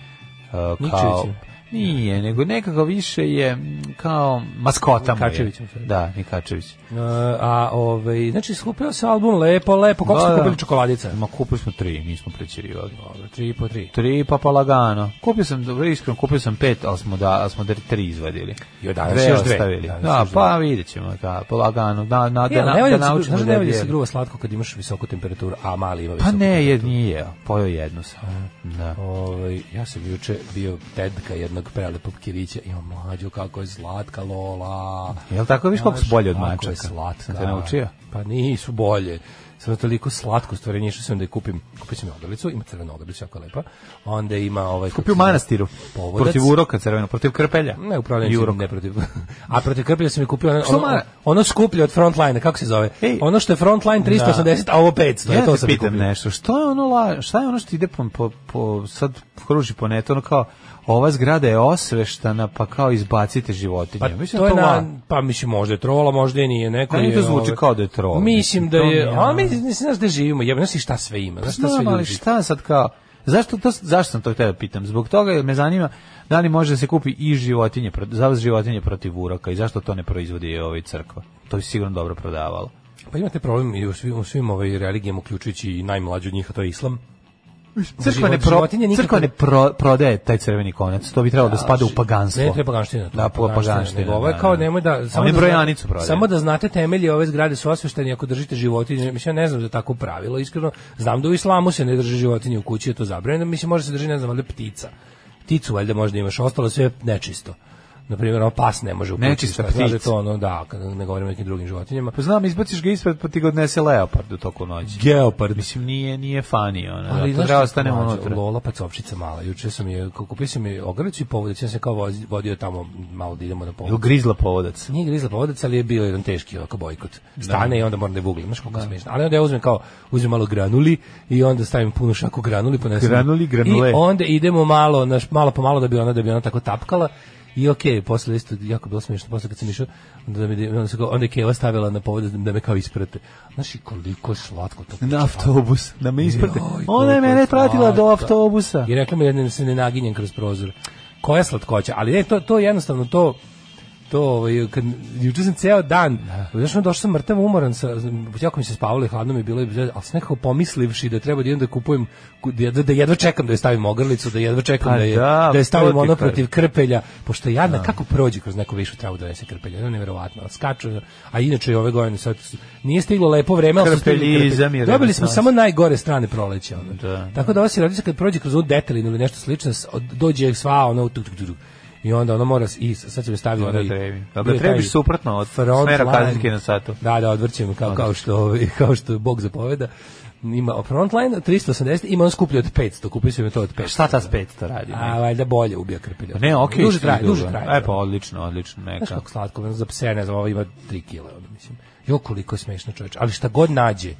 Speaker 5: kao...
Speaker 6: Nikčevićem.
Speaker 5: Nije, nego nekako više je mm, kao maskota mu je.
Speaker 6: Nikačevićem, sorry.
Speaker 5: Da, Nikačević.
Speaker 6: Uh, a ovaj, znači skupio se album lepo, lepo. Koliko
Speaker 5: Da,
Speaker 6: ste
Speaker 5: da.
Speaker 6: kupili čokoladica?
Speaker 5: Ma kupili smo tri, nismo prećerivali.
Speaker 6: Dobro, 3 po 3.
Speaker 5: Tri pa pa lagano. Kupio sam, dobro, iskreno, kupio sam pet, ali smo, da, ali smo da tri izvadili.
Speaker 6: Jo, danas još dve.
Speaker 5: ostavili.
Speaker 6: Danas
Speaker 5: Da,
Speaker 6: još
Speaker 5: pa vidjet ćemo, da, pa lagano. Da, na, da,
Speaker 6: Ja,
Speaker 5: na,
Speaker 6: ne valja
Speaker 5: da
Speaker 6: da se gru-
Speaker 5: naučimo
Speaker 6: znaš da
Speaker 5: da
Speaker 6: ne valja
Speaker 5: je
Speaker 6: se
Speaker 5: bijelo.
Speaker 6: gruva slatko kad imaš visoku temperaturu, a mali ima
Speaker 5: Pa
Speaker 6: visoku
Speaker 5: ne, jed nije jeo. Pojeo jednu sam. Da.
Speaker 6: Ovaj, ja sam juče bio tetka jednog prelepog kirića i on mlađo kako je slatka Lola.
Speaker 5: Jel tako? Viš koliko su bolje od
Speaker 6: Kako je
Speaker 5: mačaka?
Speaker 6: slatka.
Speaker 5: Sam te naučio?
Speaker 6: Pa nisu bolje. sam toliko slatko stvorenje, išao sam da je kupim, kupio sam odrlicu, ima crvenu odrlicu, jako je lepa. Onda ima ovaj...
Speaker 5: Kupio u manastiru. Povodac. Protiv uroka crveno, protiv krpelja.
Speaker 6: Ne, upravljam Jurok. ne protiv. A protiv krplja sam je kupio ono, ono, ono skuplje od frontline, kako se zove?
Speaker 5: Ej.
Speaker 6: ono što je frontline 380, a ovo 500.
Speaker 5: Ja
Speaker 6: to
Speaker 5: te
Speaker 6: sam
Speaker 5: pitam
Speaker 6: kupio.
Speaker 5: nešto, što je ono, la, šta je ono što ide po, po, po sad kruži po netu, ono kao, ova zgrada je osveštana, pa kao izbacite životinje.
Speaker 6: Pa,
Speaker 5: Mislim
Speaker 6: to
Speaker 5: da
Speaker 6: je
Speaker 5: la-
Speaker 6: na, pa mislim možda je trola, možda i nije neko.
Speaker 5: Meni
Speaker 6: je,
Speaker 5: Pa, to zvuči
Speaker 6: ovaj,
Speaker 5: kao da je trola,
Speaker 6: Mislim da
Speaker 5: mislim, to
Speaker 6: je,
Speaker 5: mi je,
Speaker 6: a
Speaker 5: ono- Pa
Speaker 6: mi mislim znaš da živimo, jebeno si šta sve ima, znaš šta sve
Speaker 5: Znam,
Speaker 6: ljudi.
Speaker 5: ali šta sad kao, zašto, to, zašto sam to htio da pitam? Zbog toga jer me zanima da li može da se kupi i životinje, pro- za životinje protiv uroka i zašto to ne proizvodi i ovaj crkva. To bi sigurno dobro prodavalo.
Speaker 6: Pa imate problem i u svim, u svim ovaj religijama, uključujući i najmlađu od njih, a to je islam.
Speaker 5: Crkva ne,
Speaker 6: Život-
Speaker 5: pro,
Speaker 6: životinje nikako-
Speaker 5: crkva ne pro, prodaje taj crveni konac, to bi trebalo da spada u paganstvo.
Speaker 6: Ne, to je paganština. To
Speaker 5: Da,
Speaker 6: je
Speaker 5: paganština.
Speaker 6: nego Ovo je kao nemoj da...
Speaker 5: Oni
Speaker 6: da zna-
Speaker 5: brojanicu prodaju.
Speaker 6: Samo da znate temelji ove zgrade su osvešteni ako držite životinje. Mislim, ja ne znam da je tako pravilo, iskreno. Znam da u islamu se ne drže životinje u kući, je to zabranjeno. Mislim, može se drži, ne znam, valjda ptica. Pticu valjda možda imaš, ostalo sve je nečisto. Naprimjer, ono pas ne može u kući.
Speaker 5: Nečista
Speaker 6: šta, znaš da je
Speaker 5: ptica.
Speaker 6: To ono, da, kad ne govorimo o nekim drugim životinjama.
Speaker 5: Pa znam, izbaciš ga ispred, pa ti ga odnese leopard u toku noći.
Speaker 6: Geopard.
Speaker 5: Mislim, nije, nije funny, ono, ali,
Speaker 6: znaš
Speaker 5: zato treba
Speaker 6: šta,
Speaker 5: ostanemo
Speaker 6: mlađo,
Speaker 5: unutra.
Speaker 6: Lola pacovčica mala. Juče sam je kupio sam je ogrlicu i povodeći sam se kao vozi- vodio tamo malo da idemo na povod.
Speaker 5: Ili grizla povodac.
Speaker 6: Nije grizla povodac, ali je bio jedan teški ovako bojkot. Stane i onda moram da je vuglim, znaš kako smiješno. Ali onda ja uzmem kao, uzmem malo granuli i onda stavim punu šaku granuli, ponesem.
Speaker 5: Granuli, granule.
Speaker 6: I onda idemo malo, naš, malo po malo da bi ona, da bi ona tako tapkala. I okej, posle isto jako je bilo smiješno, posle kad sam išao, onda, mi, onda, se kao, onda je Keva stavila na povod da me kao isprate. Znaš i koliko je slatko to.
Speaker 5: Na autobus, da me isprate.
Speaker 6: Joj,
Speaker 5: Ona je
Speaker 6: koliko
Speaker 5: mene pratila do
Speaker 6: slatka.
Speaker 5: autobusa.
Speaker 6: I rekla mi je da se ne naginjem kroz prozor. Koja slatkoća, ali ne, to, to jednostavno to to ovaj kad juče sam ceo dan znaš ono, došao sam mrtav umoran sa jako mi se spavalo i hladno mi je bilo al sam nekako pomislivši da treba da idem da kupujem ku- da jedva, da jedva čekam da je stavim ogrlicu da jedva čekam
Speaker 5: Pa
Speaker 6: da je
Speaker 5: da,
Speaker 6: da, je stavim
Speaker 5: protiv
Speaker 6: ono
Speaker 5: krv.
Speaker 6: protiv krpelja pošto jadna kako prođe kroz neku višu travu da donese krpelja ono je neverovatno skaču a inače i ove godine sad su- nije stiglo lepo vreme ali su stigli
Speaker 5: Krpeljizam je
Speaker 6: krpelji. dobili smo
Speaker 5: renesans.
Speaker 6: samo najgore strane proleća. Ono.
Speaker 5: Da.
Speaker 6: Tako da ova sirotica kad prođe kroz ovu detelinu ili nešto slično, s- od- dođe sva ono tuk, tuk, tuk, tuk. I onda ono mora, s- i s- sad sam je stavio...
Speaker 5: Voda
Speaker 6: onaj-
Speaker 5: trebi.
Speaker 6: bio
Speaker 5: Dobro,
Speaker 6: je
Speaker 5: trebiš
Speaker 6: taj
Speaker 5: suprotno od
Speaker 6: front
Speaker 5: smera
Speaker 6: line.
Speaker 5: kazaljke na satu.
Speaker 6: Da, da, odvrćem kao, kao, što, ovaj, kao što Bog zapoveda. Ima frontline 380, ima on skuplje od 500, kupio sam je to od 500.
Speaker 5: Šta ta spet to radi? ne?
Speaker 6: A, valjda bolje ubija krpilja.
Speaker 5: Ne, okej.
Speaker 6: Duže
Speaker 5: što
Speaker 6: traje,
Speaker 5: je
Speaker 6: duže
Speaker 5: dugo.
Speaker 6: traje.
Speaker 5: E pa, odlično, odlično,
Speaker 6: Znaš
Speaker 5: neka.
Speaker 6: kako slatko, ono, za pse, ne znam, ovo ima 3 kila, ono, mislim. Jo, koliko je smešno čoveč. Ali šta god nađe,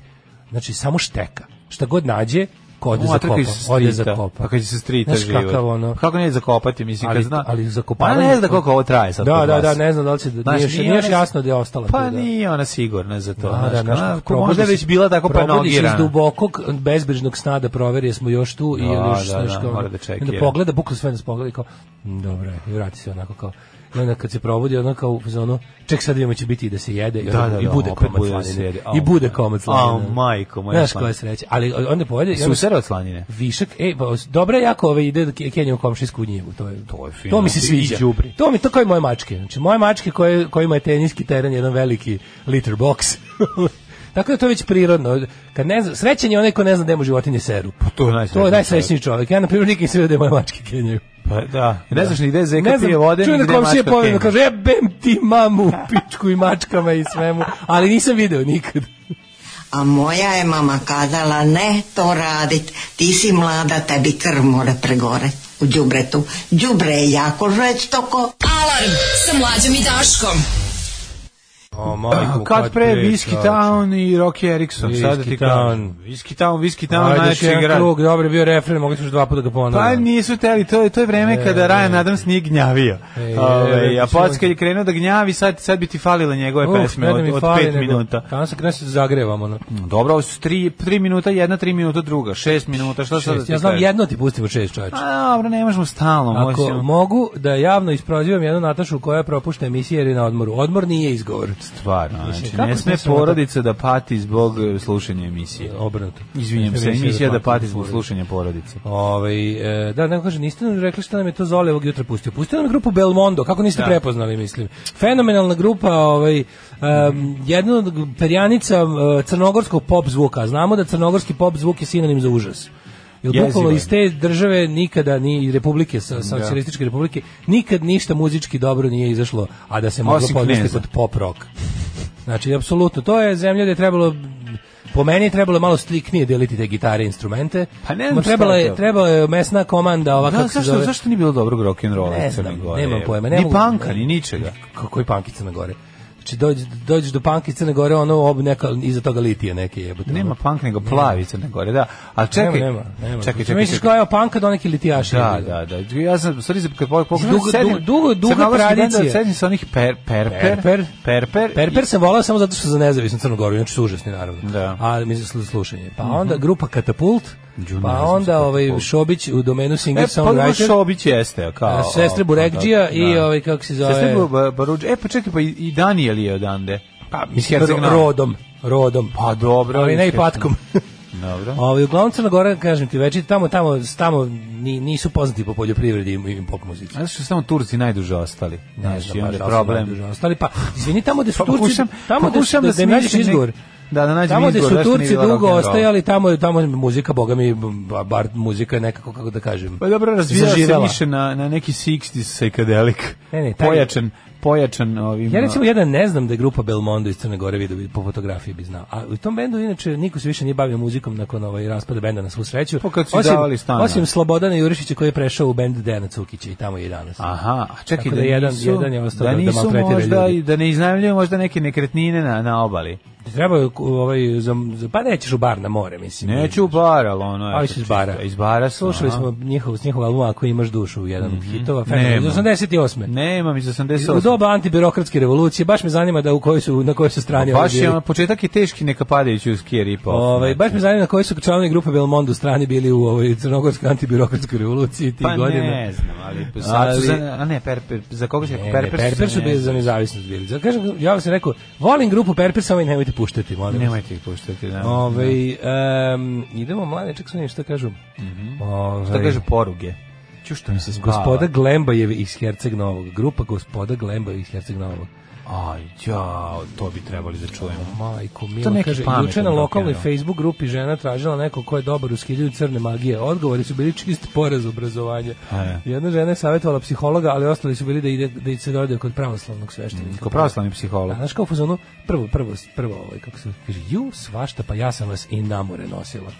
Speaker 6: znači samo šteka. Šta god nađe, ko ode
Speaker 5: Moja
Speaker 6: za
Speaker 5: trka
Speaker 6: kopa.
Speaker 5: iz strita.
Speaker 6: Ode za kopa.
Speaker 5: Pa kad će se strita
Speaker 6: Znaš
Speaker 5: život.
Speaker 6: kakav ono-
Speaker 5: Kako ne zakopati, mislim,
Speaker 6: Ali,
Speaker 5: kad zna.
Speaker 6: ali
Speaker 5: Ona
Speaker 6: zakopavanje...
Speaker 5: ne zna koliko ovo traje sad
Speaker 6: Da,
Speaker 5: kod
Speaker 6: da,
Speaker 5: vas.
Speaker 6: da, ne znam da li će... Da,
Speaker 5: Znaš,
Speaker 6: nije, još-
Speaker 5: nije
Speaker 6: nije još
Speaker 5: ona-
Speaker 6: jasno da je ostala tu,
Speaker 5: Pa
Speaker 6: da.
Speaker 5: nije ona sigurna za to.
Speaker 6: Da, da,
Speaker 5: znaš,
Speaker 6: znaš,
Speaker 5: ona-
Speaker 6: kako
Speaker 5: možda je
Speaker 6: probudiš-
Speaker 5: već bila tako pa
Speaker 6: probudiš iz
Speaker 5: nogirana.
Speaker 6: dubokog, bezbrižnog sna da proveri jesmo još tu i
Speaker 5: Da,
Speaker 6: onda još
Speaker 5: da,
Speaker 6: znaš
Speaker 5: da,
Speaker 6: kao, ono,
Speaker 5: mora da čekira.
Speaker 6: onda pogleda, bukla sve nas pogleda i kao, "Mm, dobro je, i vrati se onako kao, I onda kad se probudi, ono kao u fazonu, ček sad vidimo će biti i da se jede, i,
Speaker 5: Da,
Speaker 6: onda-
Speaker 5: da,
Speaker 6: i
Speaker 5: da,
Speaker 6: bude
Speaker 5: opet
Speaker 6: komad
Speaker 5: bude da se
Speaker 6: slanine.
Speaker 5: jede.
Speaker 6: I
Speaker 5: Au,
Speaker 6: bude
Speaker 5: da.
Speaker 6: komad slanine.
Speaker 5: Au, majko moja
Speaker 6: Znaš
Speaker 5: slanina.
Speaker 6: koja sreća. Ali onda povede... i onda-
Speaker 5: Susere od slanine.
Speaker 6: Višak, e, pa, dobro je jako ovaj ide Kenja u komšinsku njivu, to je,
Speaker 5: To je fino.
Speaker 6: to mi se
Speaker 5: I
Speaker 6: sviđa.
Speaker 5: đubri.
Speaker 6: To mi to kao i moje mačke. Znači moje mačke koje kojima je teniski teren jedan veliki litter box. Tako da to je već prirodno. Kad ne zna, srećan je onaj ko ne zna da mu životinje seru.
Speaker 5: to je
Speaker 6: Pa To je
Speaker 5: najsrećniji
Speaker 6: najsrećniji čovjek. Ja na primjer nikad nisam vidio da je moje mačke kenjaju.
Speaker 5: Pa da, ne znaš ni gde zeka
Speaker 6: Ne
Speaker 5: pije vode,
Speaker 6: čujem
Speaker 5: ni
Speaker 6: da
Speaker 5: gde
Speaker 6: komšije
Speaker 5: mačka
Speaker 6: povedu,
Speaker 5: kenja.
Speaker 6: kaže, jebem ti mamu, pičku i mačkama i svemu, ali nisam video nikad.
Speaker 4: A moja je mama kazala, ne to radit, ti si mlada, tebi krv mora pregore u džubretu. Džubre je jako žestoko.
Speaker 1: Alarm sa mlađom i Daškom.
Speaker 6: O, majko,
Speaker 5: Pa Kad pre Whiskey Town i Rocky Erickson,
Speaker 6: Whiskey
Speaker 5: sad da ti
Speaker 6: Town.
Speaker 5: kažem. Whiskey Town, Whiskey Town,
Speaker 6: Ajde, još
Speaker 5: najjači
Speaker 6: jedan
Speaker 5: igrač.
Speaker 6: krug, dobro je bio refren, mogli su još dva puta ga
Speaker 5: Pa
Speaker 6: ponavljati.
Speaker 5: nisu teli, to je to je vreme
Speaker 6: E,
Speaker 5: kada Ryan Adams nije gnjavio.
Speaker 6: Ej,
Speaker 5: Ovaj
Speaker 6: ej,
Speaker 5: a posle
Speaker 6: E, mislim-
Speaker 5: kad je krenuo da gnjavi, sad sad bi ti falile njegove pesme od, od 5 minuta.
Speaker 6: Kada se krene se zagrevamo. ono. No.
Speaker 5: Dobro, ovo su 3 3 minuta, jedna 3 minuta, druga 6 minuta, šta sad? da ti
Speaker 6: ja znam
Speaker 5: kažem?
Speaker 6: jedno ti pustimo šest čoveče.
Speaker 5: A dobro, ne možemo stalno,
Speaker 6: Ako
Speaker 5: možemo.
Speaker 6: mogu da javno isprozivam jednu Natašu koja propušta emisije jer je na odmoru. Odmor nije izgovor.
Speaker 5: Stvarno, znači,
Speaker 6: kako
Speaker 5: ne sme
Speaker 6: smislimo to?
Speaker 5: porodica da pati zbog e, slušanja emisije.
Speaker 6: Obrnuto.
Speaker 5: Izvinjam se, emisija da pati zbog slušanja porodice.
Speaker 6: Ovaj e, da, neko kaže, niste nam rekli šta nam je to Zoli ovog jutra pustio. Pustio nam grupu Belmondo, kako niste prepoznali, mislim. Fenomenalna grupa, ovaj, em, jedna od perjanica e, crnogorskog pop zvuka. Znamo da crnogorski pop zvuk je sinonim za užas. Jer
Speaker 5: Jezivo
Speaker 6: bukvalno
Speaker 5: je.
Speaker 6: iz te države nikada, ni republike, sa, sa socijalističke republike, nikad ništa muzički dobro nije izašlo, a da se moglo
Speaker 5: Osim
Speaker 6: podvesti
Speaker 5: Kneza.
Speaker 6: pod pop rock. Znači, apsolutno, to je zemlja gde je trebalo Po meni je trebalo malo striknije deliti te gitare i instrumente.
Speaker 5: Pa ne znam
Speaker 6: Ma
Speaker 5: šta
Speaker 6: trebala
Speaker 5: je
Speaker 6: je,
Speaker 5: to.
Speaker 6: trebala je mesna komanda, ova
Speaker 5: Da,
Speaker 6: Pa kako se
Speaker 5: zašto,
Speaker 6: zove.
Speaker 5: zašto nije bilo dobrog rock and rolla
Speaker 6: Ne
Speaker 5: u Crnoj
Speaker 6: znam,
Speaker 5: Gori?
Speaker 6: nemam pojma, ne
Speaker 5: ni
Speaker 6: mogu-
Speaker 5: panka, ni ničega.
Speaker 6: Kako koji punk iz Crne Gore? Znači dođeš dođeš do punk iz Crne Gore, ono ob neka iza toga litije neke jebote.
Speaker 5: Nema
Speaker 6: ono.
Speaker 5: punk, nego plavi Crne Gore, da. Ali
Speaker 6: Nema,
Speaker 5: čekaj,
Speaker 6: nema, nema.
Speaker 5: čekaj,
Speaker 6: Mislim,
Speaker 5: čekaj.
Speaker 6: Misliš
Speaker 5: čekaj.
Speaker 6: kao je panka do neki litijaši.
Speaker 5: Da, da, da. Ja sam, sorry, kad pogledam, pogledam,
Speaker 6: Dugo- dugo- dugo- duga tradicija.
Speaker 5: Sedim se onih per, perper, E,
Speaker 6: Perper.
Speaker 5: perper,
Speaker 6: Perper sam volao samo zato što za nezavisnu Crnu Goru, inače su užasni naravno.
Speaker 5: Da.
Speaker 6: A mislim slu- slušanje. Pa onda grupa Katapult,
Speaker 5: Đu, ne
Speaker 6: pa
Speaker 5: znam za
Speaker 6: onda ovaj
Speaker 5: Katapult.
Speaker 6: Šobić u domenu
Speaker 5: E,
Speaker 6: Singer
Speaker 5: pa
Speaker 6: Songwriter.
Speaker 5: Šobić jeste, kao... ono,
Speaker 6: A, sestre Burekđija i
Speaker 5: Da.
Speaker 6: ovaj, kako se zove-
Speaker 5: Sestre Bu- Baruđ... E, pa čekaj, pa i- i Daniel je odande. Pa,
Speaker 6: Mislim, ro- rodom, rodom.
Speaker 5: Pa dobro.
Speaker 6: ali ne i
Speaker 5: mislim.
Speaker 6: patkom.
Speaker 5: Dobro.
Speaker 6: Ovaj uglavnom Crna Gora, kažem ti, već tamo tamo tamo ni, nisu poznati po poljoprivredi i, i pop muzici.
Speaker 5: Znaš što su samo Turci najduže ostali.
Speaker 6: Ne
Speaker 5: Znači,
Speaker 6: znam, baš,
Speaker 5: onda
Speaker 6: ali
Speaker 5: je
Speaker 6: su najduže
Speaker 5: problem.
Speaker 6: ostali pa izvini tamo gde su
Speaker 5: Pa
Speaker 6: Turci,
Speaker 5: pokušam-
Speaker 6: tamo gde su
Speaker 5: pokušam
Speaker 6: da,
Speaker 5: da
Speaker 6: da mi nađeš
Speaker 5: smislim nek-
Speaker 6: izgovor.
Speaker 5: Da, da nađem
Speaker 6: tamo gde
Speaker 5: izgovor,
Speaker 6: su
Speaker 5: zašto nije
Speaker 6: Turci
Speaker 5: bila rock
Speaker 6: dugo
Speaker 5: and roll.
Speaker 6: ostajali, tamo je tamo je muzika, boga mi, ba- bar muzika je nekako kako da kažem.
Speaker 5: Pa dobro, razvijao se
Speaker 6: zaživela.
Speaker 5: više na, na neki 60s psychedelic.
Speaker 6: Ne, ne, taj-
Speaker 5: Pojačan, pojačan ovim...
Speaker 6: Ja recimo jedan ne znam da je grupa Belmondo iz Crne Gore vidio bi po fotografiji bi znao. A u tom bendu inače niko se više nije bavio muzikom nakon ovaj raspada benda na svu sreću.
Speaker 5: Pa kad su davali stana.
Speaker 6: osim Slobodana Jurišića koji je prešao u bend Dejana Cukića i tamo je i danas.
Speaker 5: Aha, a čekaj
Speaker 6: Tako
Speaker 5: da,
Speaker 6: da jedan-
Speaker 5: nisu,
Speaker 6: jedan je ostao
Speaker 5: da
Speaker 6: da- da
Speaker 5: nisu
Speaker 6: maltretira
Speaker 5: možda
Speaker 6: ljudi.
Speaker 5: i da ne iznajmljuju možda neke nekretnine na, na obali.
Speaker 6: Treba je, ovaj za, za pa nećeš u bar na more mislim.
Speaker 5: Neću u bar, ali ono...
Speaker 6: Ali
Speaker 5: eto,
Speaker 6: iz bara.
Speaker 5: čisto, ono. Iz bara su,
Speaker 6: Slušali
Speaker 5: aha.
Speaker 6: smo njihov s njihovog albuma Ako imaš dušu, jedan od hitova,
Speaker 5: Nema.
Speaker 6: fenomen, iz 88.
Speaker 5: Nemam iz 88.
Speaker 6: U doba antibirokratske revolucije baš me zanima da u kojoj su na kojoj su strani
Speaker 5: Baš
Speaker 6: ovi bili.
Speaker 5: je, ono, početak je teški, neka padajući uz Kier i pa.
Speaker 6: Ovaj baš me zanima na kojoj su članovi grupe Belmondo strani bili u ovoj crnogorskoj antibirokratskoj revoluciji tih
Speaker 5: pa
Speaker 6: godina.
Speaker 5: ne znam, ali... Sad su
Speaker 6: Ali-
Speaker 5: za, a ne, Perper, za koga se...
Speaker 6: Ne, Perper, Perper su
Speaker 5: ne-
Speaker 6: bili za nezavisnost bili. Zato kažem, ja sam rekao, volim grupu Perper, samo i nemojte puštati, molim. vas.
Speaker 5: Nemojte ih puštati, da.
Speaker 6: Ovaj, em, idemo mlade, čak sam šta kažu. Ovaj,
Speaker 5: Mhm. Šta kaže poruge? Ću što mi se spava.
Speaker 6: Gospoda Glembajevi iz Herceg Novog. Grupa gospoda Glembajevi iz Herceg Novog.
Speaker 5: Aj, ja, to bi trebali da čujemo.
Speaker 6: Majko,
Speaker 5: To
Speaker 6: mila,
Speaker 5: neki
Speaker 6: kaže,
Speaker 5: pametan
Speaker 6: juče na lokalnoj
Speaker 5: rokenrol.
Speaker 6: Facebook grupi žena tražila neko ko je dobar u skiljanju crne magije. Odgovori su bili čist poraz obrazovanja.
Speaker 5: E.
Speaker 6: Jedna žena je savjetovala psihologa, ali ostali su bili da ide da se dode kod pravoslavnog sveštenika.
Speaker 5: Mm, Ko pravoslavni psiholog.
Speaker 6: A znaš kao u fazonu, prvo, prvo, prvo, ovaj, kako se kaže, ju, svašta, pa ja sam vas i na more nosila.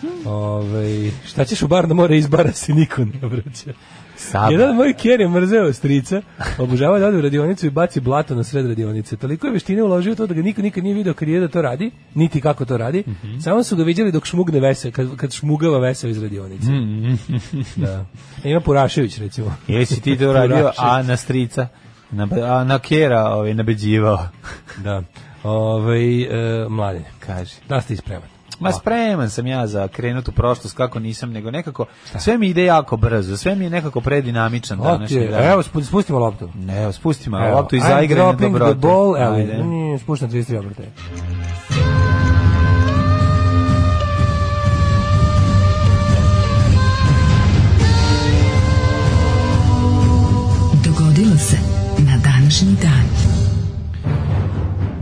Speaker 5: Hmm.
Speaker 6: Ove, šta ćeš u bar na more, iz bara se niko ne vraća.
Speaker 5: Saba.
Speaker 6: Jedan moj ker je mrzeo strica, obožava da ode u radionicu i baci blato na sred radionice. Toliko je veštine uložio u to da ga niko nikad nije video kad je da to radi, niti kako to radi.
Speaker 5: Mhm.
Speaker 6: Samo su ga viđali dok šmugne veseo, kad, kad šmugava veseo iz radionice. da. E, Ima Purašević, recimo.
Speaker 5: Mhm. Jesi ti to radio,
Speaker 6: Purašević.
Speaker 5: a na strica? Na, a na kjera ovaj, nabeđivao.
Speaker 6: Da. Ove, e, mladen,
Speaker 5: Kaže.
Speaker 6: da ste ispreman.
Speaker 5: Ma spreman sam ja za krenut u prošlost, kako nisam, nego nekako, sve mi ide jako brzo, sve mi je nekako predinamičan
Speaker 6: Ok,
Speaker 5: današnji dan.
Speaker 6: evo, spu- spustimo loptu.
Speaker 5: Ne, evo, spustimo
Speaker 6: Evo,
Speaker 5: loptu i
Speaker 6: I'm
Speaker 5: zaigrajmo
Speaker 6: dropping
Speaker 5: dobro.
Speaker 6: the ball, evo, mm, spuštam 33 obrtaje.
Speaker 1: Dogodilo se na današnji dan.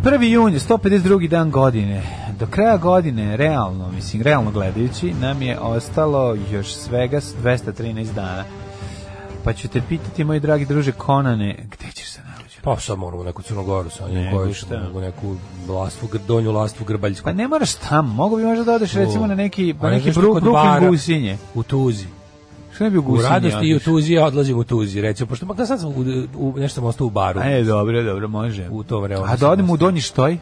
Speaker 5: 1. jun je 152. dan godine. Do kraja godine, realno, mislim, realno gledajući, nam je ostalo još svega 213 dana. Pa ću te pitati, moj dragi druže Konane, gde ćeš se narođen?
Speaker 6: Pa sad moramo u neku Crnogoru, sa njim
Speaker 5: Nego
Speaker 6: koju
Speaker 5: šta?
Speaker 6: ćemo, u neku lastvu, Gr- donju lastvu Grbaljsku.
Speaker 5: Pa ne moraš tam, mogu bi možda da odeš recimo na neki,
Speaker 6: Pa
Speaker 5: na
Speaker 6: ne
Speaker 5: neki
Speaker 6: znaš
Speaker 5: bru,
Speaker 6: kod
Speaker 5: Brooklyn
Speaker 6: bara.
Speaker 5: Gusinje.
Speaker 6: U Tuzi.
Speaker 5: Što ne bi u
Speaker 6: U
Speaker 5: Gusinje?
Speaker 6: radosti i u
Speaker 5: odeš?
Speaker 6: Tuzi, ja odlazim u Tuzi, recimo, pošto makar sad sam u, u, nešto sam ostao u baru.
Speaker 5: E, dobro, dobro, može.
Speaker 6: U to vreme.
Speaker 5: A da odem u Donji Štoj?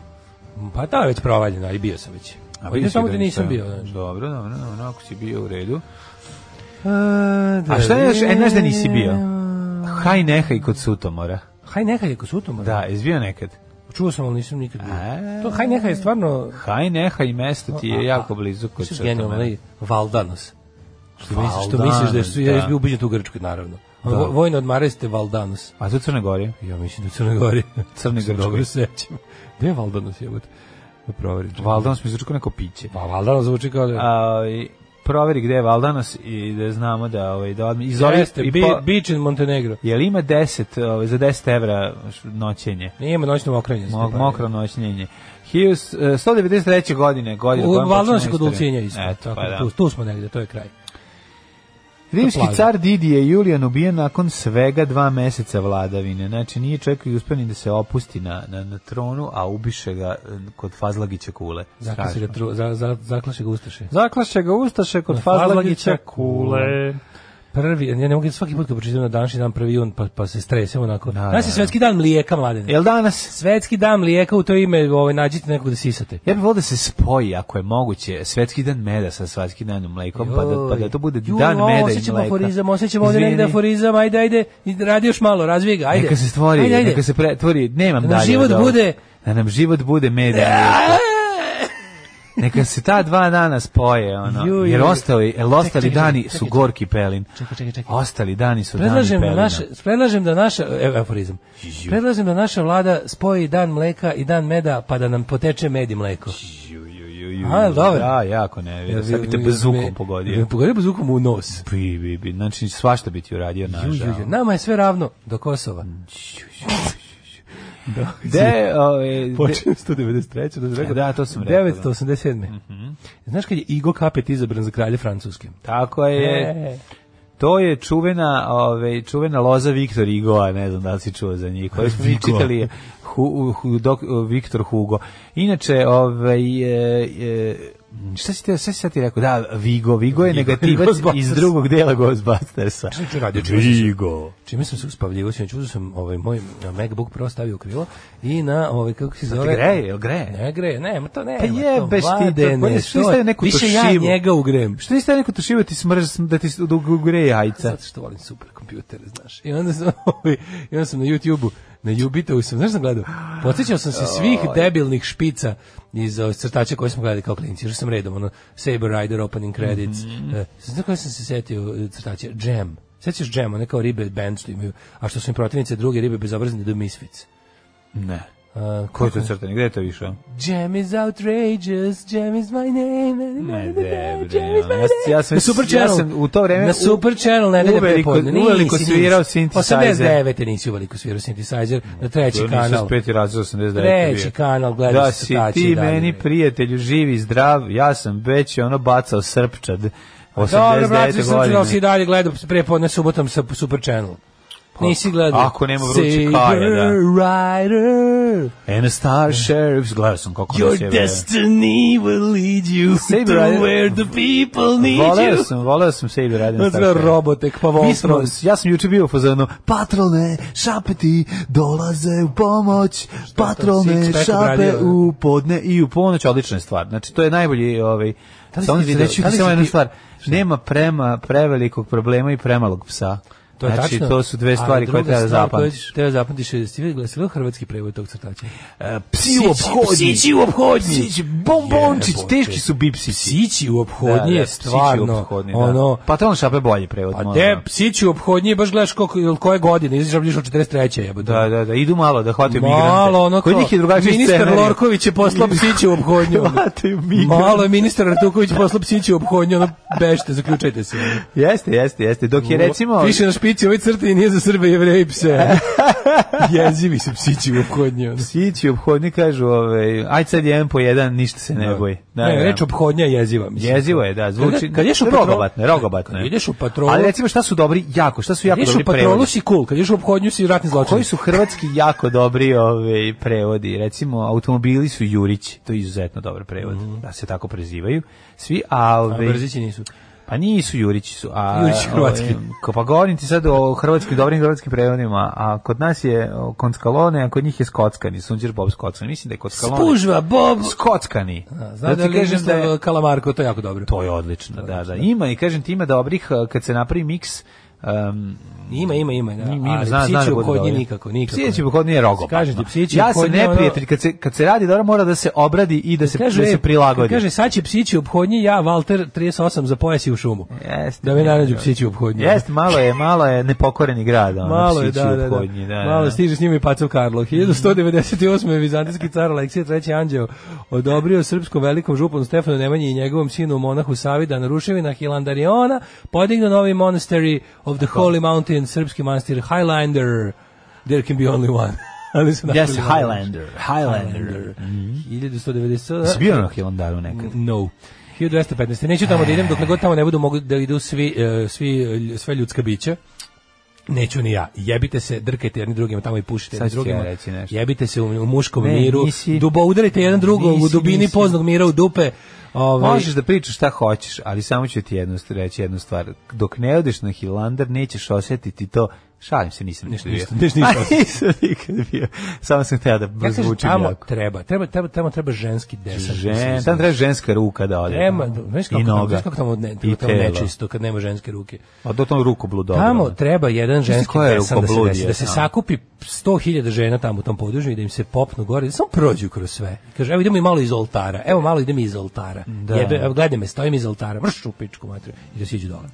Speaker 6: Pa da, već provaljeno, ali bio sam već.
Speaker 5: A
Speaker 6: Pa idem
Speaker 5: vidiš
Speaker 6: samo
Speaker 5: da
Speaker 6: da nisam
Speaker 5: nisi-
Speaker 6: bio. znaš.
Speaker 5: Dobro, dobro, dobro, ako si bio u redu.
Speaker 6: A
Speaker 5: A šta je još, e, znaš da nisi bio? Haj nehaj kod Sutomora.
Speaker 6: Haj nehaj je Sutomor.
Speaker 5: Da, izbio nekad.
Speaker 6: Čuo sam, ali nisam nikad bio.
Speaker 5: A.
Speaker 6: To haj nehaj je stvarno...
Speaker 5: Haj nehaj mesto ti
Speaker 6: A,
Speaker 5: je
Speaker 6: a,
Speaker 5: jako blizu kod
Speaker 6: Što je genijalno,
Speaker 5: Sutomora.
Speaker 6: onaj Valdanos. Što misliš, što
Speaker 5: Valdanos,
Speaker 6: misliš da su, ja
Speaker 5: da.
Speaker 6: još bio ubiđen tu u Grčkoj, naravno.
Speaker 5: Da.
Speaker 6: Vo- Vojno odmaraju ste Valdanos.
Speaker 5: A to Crne Gore?
Speaker 6: Ja mislim da u Crnoj Gori.
Speaker 5: Crne
Speaker 6: Se
Speaker 5: Grčkoj.
Speaker 6: Dobro sećam. Gde je Valdanos jebote? Da proverim.
Speaker 5: Valdanos mi zvuči kao neko piće.
Speaker 6: Pa Valdanos zvuči kao da je...
Speaker 5: A, i proveri gde je Valdanos i da znamo da ovaj da odmi iz pa- ovih
Speaker 6: Jeste,
Speaker 5: i
Speaker 6: bi,
Speaker 5: po-
Speaker 6: Bičin Montenegro.
Speaker 5: Jel ima 10 ovaj za 10 evra š- noćenje?
Speaker 6: Nije ima noćno okrenje.
Speaker 5: Mo, mokro noćenje. Hiljus, e, 193. godine, godine
Speaker 6: U
Speaker 5: kojom
Speaker 6: Valdanos
Speaker 5: počinje pa
Speaker 6: je kod
Speaker 5: istorija.
Speaker 6: Ulcinja isto.
Speaker 5: Eto,
Speaker 6: tako
Speaker 5: pa
Speaker 6: da
Speaker 5: da.
Speaker 6: tu, tu smo negde, to je kraj.
Speaker 5: Rimski
Speaker 6: plaža.
Speaker 5: car Didije je Julijan ubijen nakon svega dva meseca vladavine. Znači, nije čekao i uspio ni da se opusti na, na, na tronu, a ubiše ga e, kod Fazlagića kule.
Speaker 6: Zaklasi ga,
Speaker 5: Strašno.
Speaker 6: tru, za, za, zaklaše ga Ustaše.
Speaker 5: Zaklaše ga Ustaše kod
Speaker 6: Na
Speaker 5: Fazlagića
Speaker 6: Fazlagića
Speaker 5: kule.
Speaker 6: kule. Prvi, ja ne mogu svaki put kad pročitam na današnji dan prvi jun, pa, pa se stresem onako. Da,
Speaker 5: da,
Speaker 6: Danas je
Speaker 5: da.
Speaker 6: svetski dan mlijeka, mladene.
Speaker 5: Jel danas?
Speaker 6: Svetski dan mlijeka, u to ime ovaj, nađite nekog da sisate.
Speaker 5: Ja bih volio da se spoji, ako je moguće, svetski dan meda sa svetski danom mlekom, pa da, pa da to bude
Speaker 6: Joj,
Speaker 5: dan
Speaker 6: o,
Speaker 5: meda i
Speaker 6: osjećam
Speaker 5: mleka.
Speaker 6: aforizam, osjećamo ovdje negde
Speaker 5: Izvini.
Speaker 6: aforizam, ajde, ajde, i radi još malo, razvij ga, ajde.
Speaker 5: Neka se stvori,
Speaker 6: Ajde, ajde.
Speaker 5: neka se pretvori, nemam
Speaker 6: Da nam
Speaker 5: dalje.
Speaker 6: život
Speaker 5: od ovog.
Speaker 6: bude-
Speaker 5: Da nam život bude med i mlijeko. Neka se ta dva dana spoje, ono.
Speaker 6: Juj,
Speaker 5: jer
Speaker 6: juj.
Speaker 5: ostali, el
Speaker 6: Čekaj,
Speaker 5: ostali
Speaker 6: čekaj,
Speaker 5: dani
Speaker 6: čekaj,
Speaker 5: su
Speaker 6: čekaj.
Speaker 5: gorki pelin.
Speaker 6: Čekaj, čekaj, čekaj.
Speaker 5: Ostali dani su
Speaker 6: Predlažem da,
Speaker 5: dani pelina.
Speaker 6: naše, predlažem da naša, evo aforizam, predlažem da naša vlada spoji dan mleka i dan meda pa da nam poteče med i mleko.
Speaker 5: Ju, ju, ju, ju.
Speaker 6: A, dobro.
Speaker 5: Da, jako ne, vidim. Sad bi te bezukom pogodio.
Speaker 6: Pogodio bezukom u nos.
Speaker 5: Bi, bi, bi. Znači, svašta bi ti uradio,
Speaker 6: Ju, ju,
Speaker 5: nažal.
Speaker 6: ju, Nama je sve ravno do Kosova.
Speaker 5: Mm, De, ove, de,
Speaker 6: Počinje 193. Da, si rekao,
Speaker 5: Da, to sam rekao, da. Mhm.
Speaker 6: 987. Znaš kad je Igo Kapet izabran za kralja Francuske?
Speaker 5: tako je.
Speaker 6: E,
Speaker 5: To je čuvena, ovaj čuvena loza Viktor Igoa, ne znam da li si čuo za njih. Koju smo mi
Speaker 6: Viktor.
Speaker 5: čitali je Hu, Hu- dok, Viktor Hugo. Inače, ovaj e, e, šta si te, šta si sad ti rekao? Da, Vigo, Vigo je
Speaker 6: Vigo,
Speaker 5: negativac
Speaker 6: Ghostbusters.
Speaker 5: iz drugog dela Ghostbustersa.
Speaker 6: Čuče radio, čuče se.
Speaker 5: Vigo.
Speaker 6: Čime sam se uspavljivo, sinoć uzeo sam ovaj moj MacBook Pro stavio u krilo i na ovaj kako se zove.
Speaker 5: Ti greje, jel greje?
Speaker 6: Ne greje, ne, ma to ne.
Speaker 5: Pa jebeš ti, to- pa jesi li stavio neku
Speaker 6: Više ja
Speaker 5: Toshibu?
Speaker 6: njega ugrem.
Speaker 5: Što niste neko tušivo ti smrž, da ti s- da ugreje jajca?
Speaker 6: Zato što volim super kompjutere, znaš. I onda sam, ovaj, i onda sam na YouTube-u, na Jubitovu sam, znaš šta sam gledao? Podsjećao sam se svih debilnih špica iz ovih crtača koje smo gledali kao klinici. Još sam redom, ono, Saber Rider, Opening Credits.
Speaker 5: Mhm.
Speaker 6: eh, znaš koje sam se setio eh, crtača? Jam. Sećaš Jam, one kao ribe band što imaju, a što su im protivnice druge ribe bezobrazne do Misfits.
Speaker 5: Ne.
Speaker 6: Uh,
Speaker 5: Koji to crtani? Gde je to išao?
Speaker 6: Jam is outrageous, Jam is my name.
Speaker 5: Ne,
Speaker 6: Jam
Speaker 5: ne,
Speaker 6: is
Speaker 5: ne.
Speaker 6: my
Speaker 5: Ja, s- ja sam,
Speaker 6: na Super
Speaker 5: ja
Speaker 6: Channel.
Speaker 5: sam u to vreme
Speaker 6: na Super Channel nedelje
Speaker 5: uveliko-
Speaker 6: prepodne. Nisi,
Speaker 5: uveliko
Speaker 6: nisi.
Speaker 5: svirao synthesizer.
Speaker 6: 89. nisi uveliko svirao synthesizer na treći
Speaker 5: Ja nisam
Speaker 6: kanal.
Speaker 5: s peti razred 89.
Speaker 6: Treći
Speaker 5: bio.
Speaker 6: kanal, gledao
Speaker 5: da
Speaker 6: si
Speaker 5: si
Speaker 6: Tači
Speaker 5: ti
Speaker 6: i dalje,
Speaker 5: meni
Speaker 6: bre.
Speaker 5: prijatelju živi zdrav, ja sam već ono bacao srpčad 89.
Speaker 6: Pa Dobro, brate, sam
Speaker 5: godine.
Speaker 6: čuo si i dalje gledao prepodne subotom sa Super Channel. Nisi gledao.
Speaker 5: Pa, ako nema vruće kaje, da.
Speaker 6: Rider,
Speaker 5: And a star sheriff's gledao sam kako nas je
Speaker 6: your
Speaker 5: bre.
Speaker 6: destiny will lead you
Speaker 5: Saber
Speaker 6: to
Speaker 5: Rider.
Speaker 6: where the people need
Speaker 5: Voleo
Speaker 6: you.
Speaker 5: sam, voleo sam se i radim.
Speaker 6: Nazvao robotek, pa
Speaker 5: Mi smo,
Speaker 6: Voltron.
Speaker 5: ja sam juče bio u fazonu, patrolne šapeti dolaze u pomoć, patrolne
Speaker 6: Six Pack
Speaker 5: šape
Speaker 6: obradio,
Speaker 5: u podne i u ponoć, odlična je stvar. Znači, to je najbolji, ovaj,
Speaker 6: Da li
Speaker 5: samo
Speaker 6: si
Speaker 5: ti
Speaker 6: video-
Speaker 5: reći
Speaker 6: da li si
Speaker 5: samo jednu
Speaker 6: ti-
Speaker 5: stvar, nema prema prevelikog problema i premalog psa.
Speaker 6: To je
Speaker 5: znači,
Speaker 6: tačno.
Speaker 5: to su dve stvari
Speaker 6: ali
Speaker 5: koje
Speaker 6: druga
Speaker 5: treba
Speaker 6: stvar koju
Speaker 5: zapamtiš.
Speaker 6: Treba zapamtiš, je- jesi vidio- jesi vidio hrvatski prevod tog crtača?
Speaker 5: E, Psi u obhodnji.
Speaker 6: psići u obhodnji.
Speaker 5: Psići, bombončić,
Speaker 6: Jebote.
Speaker 5: teški su bipsici.
Speaker 6: Psići u
Speaker 5: Da,
Speaker 6: obhodnji
Speaker 5: da,
Speaker 6: je
Speaker 5: psići u
Speaker 6: stvarno,
Speaker 5: ophodnji, da. Ono,
Speaker 6: ono,
Speaker 5: Patron šape bolje prevod.
Speaker 6: a
Speaker 5: možda.
Speaker 6: de, psići u obhodnji, baš gledaš koliko, ili koje godine, izraš bližu 43. jebote.
Speaker 5: Da, da, da, idu malo da hvataju migrante.
Speaker 6: Malo ono
Speaker 5: Kod
Speaker 6: kao,
Speaker 5: njih je drugačiji
Speaker 6: ministar
Speaker 5: scenarij.
Speaker 6: Lorković je poslao psići u obhodnju. ono.
Speaker 5: Hvataju migrante.
Speaker 6: Malo je ministar Artuković poslao psići u obhodnju, ono, bešte, zaključajte se. ono.
Speaker 5: Jeste, jeste, jeste. Dok je recimo...
Speaker 6: Piše na špici, ovoj crti nije za Srbe, jevreje i pse. Jezivi su psići u obhodnju. ono.
Speaker 5: Psići obhodni kažu, ovaj, aj sad jedan po jedan, ništa se ne boji. Da,
Speaker 6: ne,
Speaker 5: da.
Speaker 6: reč obhodnja je jeziva. Mislim.
Speaker 5: Jezivo je, da, zvuči.
Speaker 6: Kad, kad ješ u patrolu-
Speaker 5: rogobatne, rogobatne.
Speaker 6: Kad ideš u patrolu-
Speaker 5: Ali recimo šta su dobri, jako, šta su
Speaker 6: Kad
Speaker 5: jako
Speaker 6: ješ u
Speaker 5: dobri
Speaker 6: patrolu
Speaker 5: prevodi?
Speaker 6: si cool, kad ješ u obhodnju si ratni zločin.
Speaker 5: Koji su hrvatski jako dobri ovaj, prevodi? Recimo, automobili su Jurić, to je izuzetno dobar prevod,
Speaker 6: Mhm.
Speaker 5: da se tako prezivaju. Svi, a... Ovaj,
Speaker 6: Brzići nisu.
Speaker 5: Pa nisu Jurići su, a
Speaker 6: Jurići hrvatski.
Speaker 5: ovaj, ko pa govorim ti sad o hrvatski dobrim hrvatskim prevodima, a kod nas je o, konckalone, a kod njih je skockani, Sunđer Bob skockani. Mislim da je konckalone.
Speaker 6: Spužva, Bob.
Speaker 5: skockani.
Speaker 6: Znam da
Speaker 5: ti
Speaker 6: li kažem da je Kalamarko, to je jako dobro.
Speaker 5: to je odlično, da, da. Ima i kažem ti ima dobrih eh, kad se napravi miks um,
Speaker 6: Ima, ima, ima. Da.
Speaker 5: Ima, ima,
Speaker 6: Ali
Speaker 5: zna, zna
Speaker 6: psići
Speaker 5: da
Speaker 6: u
Speaker 5: bude
Speaker 6: obhodnji
Speaker 5: dobro.
Speaker 6: nikako, nikako.
Speaker 5: Psići u hodnji je rogobatno.
Speaker 6: Kažem ti, psići u
Speaker 5: ja sam
Speaker 6: hodnji, ono-
Speaker 5: neprijatelj, kad se, kad se radi dobro mora da se obradi i da se, da
Speaker 6: e,
Speaker 5: se prilagodi.
Speaker 6: Kaže, sad će psići u obhodnji, ja, Walter, 38, za pojas i u šumu.
Speaker 5: Jeste.
Speaker 6: Da me narađu psići u obhodnji.
Speaker 5: Jeste, malo je, malo je nepokoreni grad, ono,
Speaker 6: Malo je,
Speaker 5: psići
Speaker 6: da, da, da.
Speaker 5: ophodnji, da,
Speaker 6: Malo
Speaker 5: da.
Speaker 6: stiže s njima i Pacov Karlo. 1198. je vizantijski car Aleksije III. Anđeo odobrio srpskom velikom županu Stefanu Nemanji i njegovom sinu monahu Savida na ruševina Hilandariona podignu novi monastery of the Holy Mountain, srpski manastir Highlander. There can be only one. Ali su
Speaker 5: Yes,
Speaker 6: napravili novi.
Speaker 5: Highlander, Mhm.
Speaker 6: Highlander.
Speaker 5: Highlander.
Speaker 6: 1197.
Speaker 5: Si bio na Hilandaru nekad?
Speaker 6: No. 1215. Neću tamo da idem dok ne god tamo ne budu mogli da idu svi, e, svi, e, lj- sve ljudska bića. Neću ni ja. Jebite se, drkajte jedni drugima tamo i pušite
Speaker 5: Sad
Speaker 6: jedni
Speaker 5: ću ti ja
Speaker 6: drugima.
Speaker 5: reći nešto.
Speaker 6: Jebite se u, u muškom
Speaker 5: Ne,
Speaker 6: miru.
Speaker 5: nisi-
Speaker 6: Dubo udarite jedan drugog u
Speaker 5: nisi,
Speaker 6: dubini
Speaker 5: nisi.
Speaker 6: poznog mira u dupe. Ovaj,
Speaker 5: Možeš da pričaš šta hoćeš, ali samo ću ti jednu, st- reći jednu stvar. Dok ne odeš na Hilandar, nećeš osjetiti to. Šalim se, nisam ništa bio.
Speaker 6: ništa, ništa, ništa.
Speaker 5: A, nisam nikad bio. Samo sam htio da
Speaker 6: Ja kažem,
Speaker 5: zvučim
Speaker 6: tamo
Speaker 5: jako.
Speaker 6: treba, treba, treba, tamo treba ženski desak.
Speaker 5: Žen, tamo treba ženska ruka da ode.
Speaker 6: Treba, znaš kako,
Speaker 5: I
Speaker 6: tamo,
Speaker 5: noga.
Speaker 6: znaš kako tamo, ne, tamo
Speaker 5: I telo.
Speaker 6: nečisto kad nema ženske ruke.
Speaker 5: A do tom ruku bludo.
Speaker 6: Tamo treba jedan
Speaker 5: Znaš
Speaker 6: ženski
Speaker 5: koja je
Speaker 6: desan da se,
Speaker 5: rukoblud
Speaker 6: desi,
Speaker 5: je
Speaker 6: da se
Speaker 5: tamo?
Speaker 6: sakupi 100.000 žena tamo u tom području i da im se popnu gore, da samo prođu kroz sve. Kaže, evo idemo i malo iz oltara, evo malo idem iz oltara. Jebe, evo gledaj me, stojim iz oltara, vršu u pičku matru i da siđu dole.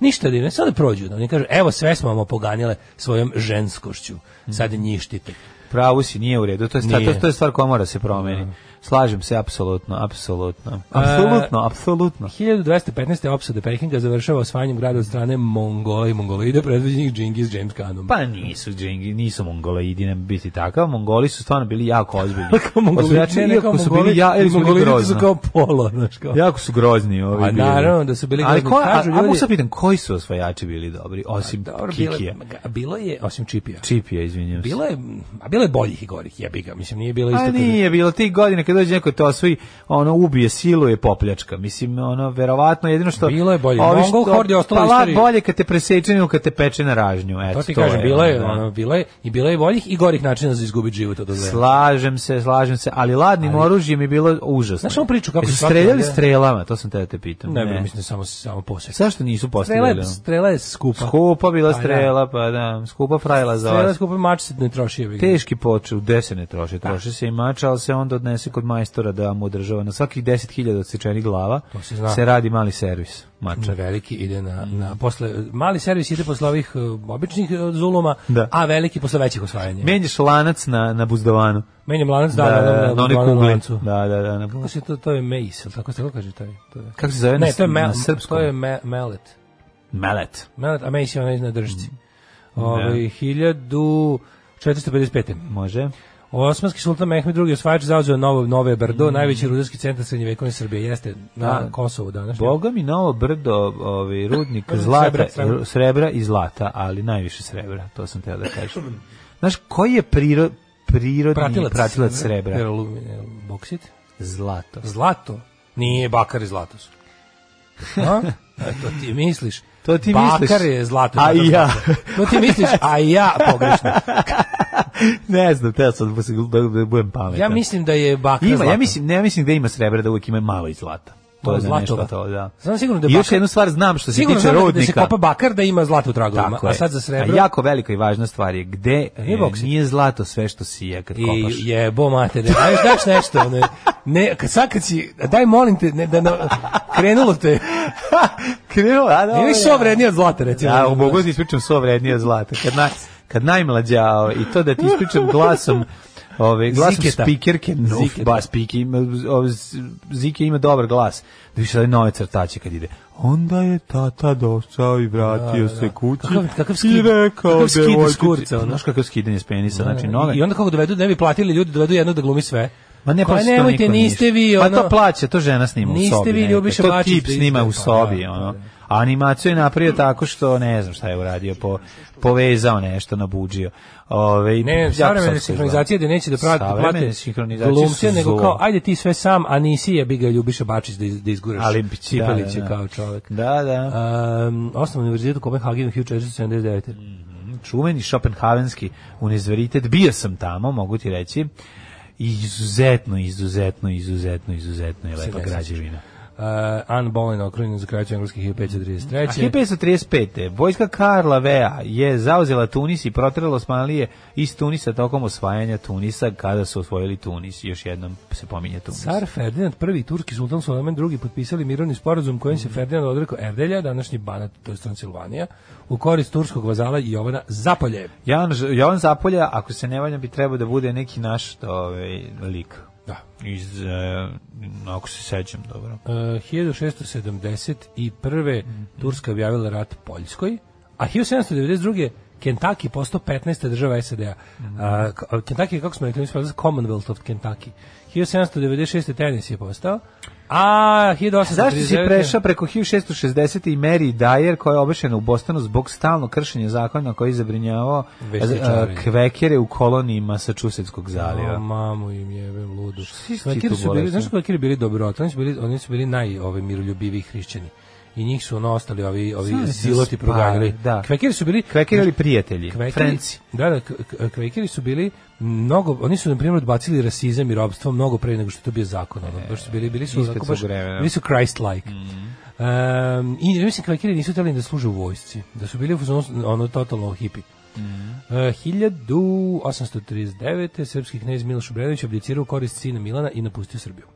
Speaker 6: Ništa da im ne, sad da prođu. Da oni kažu, evo sve smo vam opoganile svojom ženskošću. Sad
Speaker 5: Mhm.
Speaker 6: njih štite.
Speaker 5: Pravo si, nije u redu. To je stvar,
Speaker 6: Nije.
Speaker 5: to je stvar koja mora se promeni. Slažem se, apsolutno,
Speaker 6: E,
Speaker 5: apsolutno. Apsolutno, apsolutno.
Speaker 6: 1215. opsada Pekinga završava osvajanjem grada od strane Mongola i Mongolida predviđenih Džingis James Khanom.
Speaker 5: Pa nisu džingi, nisu mongoloidi, ne bi biti takav. Mongoli su stvarno bili jako ozbiljni.
Speaker 6: kao Mongoli,
Speaker 5: Osvajači,
Speaker 6: ne, ne, kao
Speaker 5: Pa znači, iako su
Speaker 6: znači, Mongoli,
Speaker 5: bili ja, ili su bili
Speaker 6: Mongolidi su
Speaker 5: grozni.
Speaker 6: kao polo, znaš kao.
Speaker 5: Jako su grozni ovi
Speaker 6: A
Speaker 5: bili.
Speaker 6: naravno da su bili
Speaker 5: Ali
Speaker 6: grozni.
Speaker 5: ko, a,
Speaker 6: Kažu
Speaker 5: a mogu
Speaker 6: ljudi- Pa
Speaker 5: sad pitam, koji su osvajači bili dobri, osim
Speaker 6: Dobro, bilo,
Speaker 5: Kikija?
Speaker 6: ga- bilo je, osim Čipija.
Speaker 5: Čipija, izvinjam se.
Speaker 6: Bilo je, a bilo je boljih i gorih, jebi ga. Mislim, nije bilo Pa isto.
Speaker 5: A
Speaker 6: kad-
Speaker 5: nije bilo tih godina kad dođe neko to osvoji, ono ubije silu je popljačka. Mislim ono verovatno jedino što
Speaker 6: Bilo je bolje.
Speaker 5: ovi što-
Speaker 6: Mongol horde je ostalo u
Speaker 5: pa, la-
Speaker 6: istoriji.
Speaker 5: bolje kad te preseče nego kad te peče na ražnju. Eto,
Speaker 6: To ti kažem,
Speaker 5: je,
Speaker 6: bilo je,
Speaker 5: ono,
Speaker 6: ono, bilo je, i bilo je boljih i gorih načina za izgubiti život od ozleda.
Speaker 5: Slažem se, slažem se, ali ladnim oružjem je bilo užasno.
Speaker 6: Znaš onu priču kako
Speaker 5: Jesu
Speaker 6: je svaki
Speaker 5: streljali
Speaker 6: ovdje-
Speaker 5: strelama, to sam te da te pitam.
Speaker 6: Ne, ne. mislim, samo, samo posjed.
Speaker 5: Zašto nisu
Speaker 6: Strela je,
Speaker 5: postavljali? ono?
Speaker 6: strela je skupa.
Speaker 5: Skupa bila
Speaker 6: Pa, da.
Speaker 5: strela, pa da, skupa frajla za
Speaker 6: Strela je
Speaker 5: vas.
Speaker 6: skupa, mač se ne troši, jebi ga.
Speaker 5: Teški poče, u gde se ne troše, troše se i mač, ali se onda odnese kod majstora da mu održava. Na svakih 10.000 odsečenih glava
Speaker 6: se zna.
Speaker 5: radi mali servis
Speaker 6: Na
Speaker 5: mača.
Speaker 6: veliki ide na, na posle mali servis ide posle ovih uh, običnih uh, zuluma,
Speaker 5: Da.
Speaker 6: a veliki posle većih osvajanja.
Speaker 5: Menjaš lanac na, na buzdovanu.
Speaker 6: Menjam lanac Mm. da, da, da, da,
Speaker 5: na
Speaker 6: da,
Speaker 5: one
Speaker 6: da,
Speaker 5: kugle.
Speaker 6: lancu.
Speaker 5: Da, da, da. Na,
Speaker 6: Kako se to to je mace, al tako se to kaže taj. To je.
Speaker 5: kako se zove
Speaker 6: Ne,
Speaker 5: na,
Speaker 6: to je mel,
Speaker 5: na srpskom?
Speaker 6: to je me, melet.
Speaker 5: Melet.
Speaker 6: Melet, a mace je onaj na držci.
Speaker 5: Mhm.
Speaker 6: Ovaj 1455.
Speaker 5: Može.
Speaker 6: Osmanski sultan Mehmed II osvajač zauzeo Novo Nove Brdo, najveći rudarski centar srednjevekovne Srbije, jeste na
Speaker 5: Mhm. Da.
Speaker 6: Kosovu danas.
Speaker 5: Boga mi novo brdo, ovaj rudnik zlata,
Speaker 6: Srebra,
Speaker 5: srebra,
Speaker 6: srebra.
Speaker 5: i zlata, ali najviše srebra, to sam teo da kažem. Znaš, koji je priro, prirodni pratilac, srebra?
Speaker 6: Boksit.
Speaker 5: Zlato.
Speaker 6: Zlato? Nije, bakar i zlato su. A? E, to ti misliš.
Speaker 5: To ti
Speaker 6: bakar
Speaker 5: misliš.
Speaker 6: je zlato.
Speaker 5: A
Speaker 6: zato
Speaker 5: i ja.
Speaker 6: zlato. To ti misliš, a i ja pogrešno.
Speaker 5: ne znam, teo sam da, se- da, da budem pametan.
Speaker 6: Ja mislim da je bakar
Speaker 5: ima,
Speaker 6: zlato.
Speaker 5: ja mislim, ne, ja mislim da ima srebra, da uvijek ima malo i zlata. To
Speaker 6: Malo
Speaker 5: je zlato,
Speaker 6: zlatova.
Speaker 5: nešto to, da.
Speaker 6: Znam sigurno da
Speaker 5: I
Speaker 6: je
Speaker 5: još
Speaker 6: bakar-
Speaker 5: jednu stvar znam što se
Speaker 6: Sigurno
Speaker 5: tiče
Speaker 6: znam da- da se
Speaker 5: rudnika.
Speaker 6: kopa bakar da ima zlato u tragovima,
Speaker 5: Tako
Speaker 6: a
Speaker 5: je.
Speaker 6: sad za srebro.
Speaker 5: A jako velika i važna stvar je gde
Speaker 6: Nije
Speaker 5: e,
Speaker 6: boksit.
Speaker 5: nije zlato sve što sija kad
Speaker 6: I
Speaker 5: kopaš.
Speaker 6: jebo mater, a još daš nešto, ne, ne, kad sad kad si, daj molim te, ne, da na, krenulo te,
Speaker 5: Krenuo, a da.
Speaker 6: nije više
Speaker 5: ovo je-
Speaker 6: vrednije od zlata, recimo.
Speaker 5: Ja mogu da ti ispričam svo vrednije od zlata. Kad, na, kad najmlađa ovaj, i to da ti ispričam glasom Ove, glasom
Speaker 6: Ziketa.
Speaker 5: spikerke, no,
Speaker 6: Ziketa.
Speaker 5: bas piki, ima, ove, z- Zike ima dobar glas, da više ove nove crtače kad ide. Onda je tata došao i vratio se kući
Speaker 6: Kakav- kakav
Speaker 5: i
Speaker 6: skid-
Speaker 5: rekao
Speaker 6: kakav skid iz
Speaker 5: devojčici-
Speaker 6: kurca, ono.
Speaker 5: Znaš kakav skidanje s penisa, znači noga.
Speaker 6: I onda kako dovedu, ne bi platili ljudi, dovedu jednog da glumi sve.
Speaker 5: Ma ne,
Speaker 6: Pa
Speaker 5: pa
Speaker 6: nemojte, niste vi, ono-
Speaker 5: Pa to plaća, to žena snima u
Speaker 6: Niste
Speaker 5: sobi.
Speaker 6: vi
Speaker 5: nekad.
Speaker 6: Ljubiša
Speaker 5: To
Speaker 6: Bačić
Speaker 5: tip
Speaker 6: da
Speaker 5: snima u
Speaker 6: izdajte, pa
Speaker 5: sobi,
Speaker 6: da,
Speaker 5: ono.
Speaker 6: da, da.
Speaker 5: A animaciju je napravio tako što, ne znam šta je uradio, po, povezao nešto, nabuđio. Ove, i
Speaker 6: Ne,
Speaker 5: jako
Speaker 6: savremene
Speaker 5: slatko
Speaker 6: sinhronizacije gde
Speaker 5: izgleda.
Speaker 6: neće da prate
Speaker 5: Savremene
Speaker 6: plate
Speaker 5: sinhronizacije
Speaker 6: glumce,
Speaker 5: su
Speaker 6: nego
Speaker 5: zlo.
Speaker 6: kao, ajde ti sve sam, a nisi jebi ga Ljubiša Bačić da, iz, da izguraš
Speaker 5: Ali, da,
Speaker 6: Cipelića
Speaker 5: da, da.
Speaker 6: kao čovek.
Speaker 5: Da, da.
Speaker 6: Um, osnovni univerzitet u Kopenhagenu 1479.
Speaker 5: Mm. Čuveni šopenhavenski univerzitet, bio sam tamo, mogu ti reći. Izuzetno, izuzetno, izuzetno, izuzetno je lepa
Speaker 6: Sedamdeset.
Speaker 5: građevina.
Speaker 6: Uh, Anne Boleyn okrunjena za kraću engleskih 1533.
Speaker 5: A 1535. Vojska Karla Vea je zauzela Tunis i protrela Osmanlije iz Tunisa tokom osvajanja Tunisa kada su osvojili Tunis. Još jednom se pominje Tunis.
Speaker 6: Car Ferdinand I, turski sultan Sulejman II potpisali mirovni sporazum kojim
Speaker 5: Mhm.
Speaker 6: se Ferdinand odrekao Erdelja, današnji Banat, to je Transilvanija, u korist turskog vazala Jovana Zapolje.
Speaker 5: Jovan, Jovan Zapolja, ako se ne valjam, bi trebao da bude neki naš ovaj, lik.
Speaker 6: Da.
Speaker 5: Iz, e, ako se sećam dobro.
Speaker 6: Uh,
Speaker 5: Mhm.
Speaker 6: 1671. Turska objavila rat Poljskoj, a 1792. Kentucky postao 15. država SAD-a. A,
Speaker 5: Mhm.
Speaker 6: k- a, Kentucky, je, kako smo rekli, mi smo rekli Commonwealth of Kentucky. 1796. tenis je postao. A, 1839.
Speaker 5: Zašto si prešao preko 1660 i Mary Dyer koja je obešena u Bostonu zbog stalnog kršenja zakona koji je zabrinjavao
Speaker 6: Vesničari.
Speaker 5: eh, kvekere u koloniji Masačusetskog
Speaker 6: O,
Speaker 5: zaljeva?
Speaker 6: mamu im jebem ludu.
Speaker 5: si ti
Speaker 6: Kvekiri
Speaker 5: tu
Speaker 6: su bili,
Speaker 5: bolestan?
Speaker 6: znaš kako Kvekiri bili dobrota? Oni su bili, oni su bili naj ove, miroljubiviji hrišćani. I njih su ono ostali ovi, ovi
Speaker 5: Znaš,
Speaker 6: ziloti
Speaker 5: spa-
Speaker 6: proganjali.
Speaker 5: da.
Speaker 6: Kvekiri su bili...
Speaker 5: Kvekeri ili prijatelji? Frenci.
Speaker 6: Da, da, k- k- kvekeri su bili mnogo, oni su na primjer odbacili rasizam i robstvo mnogo pre nego što je to bio zakon, ono, baš su bili, bili su
Speaker 5: E, ispred
Speaker 6: onako
Speaker 5: svog
Speaker 6: baš,
Speaker 5: vremena. Mhm.
Speaker 6: bili su Christ-like. Um, I mislim, kvekeri nisu htjeli da služe u vojsci, da su bili u fazonu, ono, totalno hipi.
Speaker 5: Mhm.
Speaker 6: Uh, 1839. srpski knez Miloš Obrenović abdicirao u korist sina Milana i napustio Srbiju.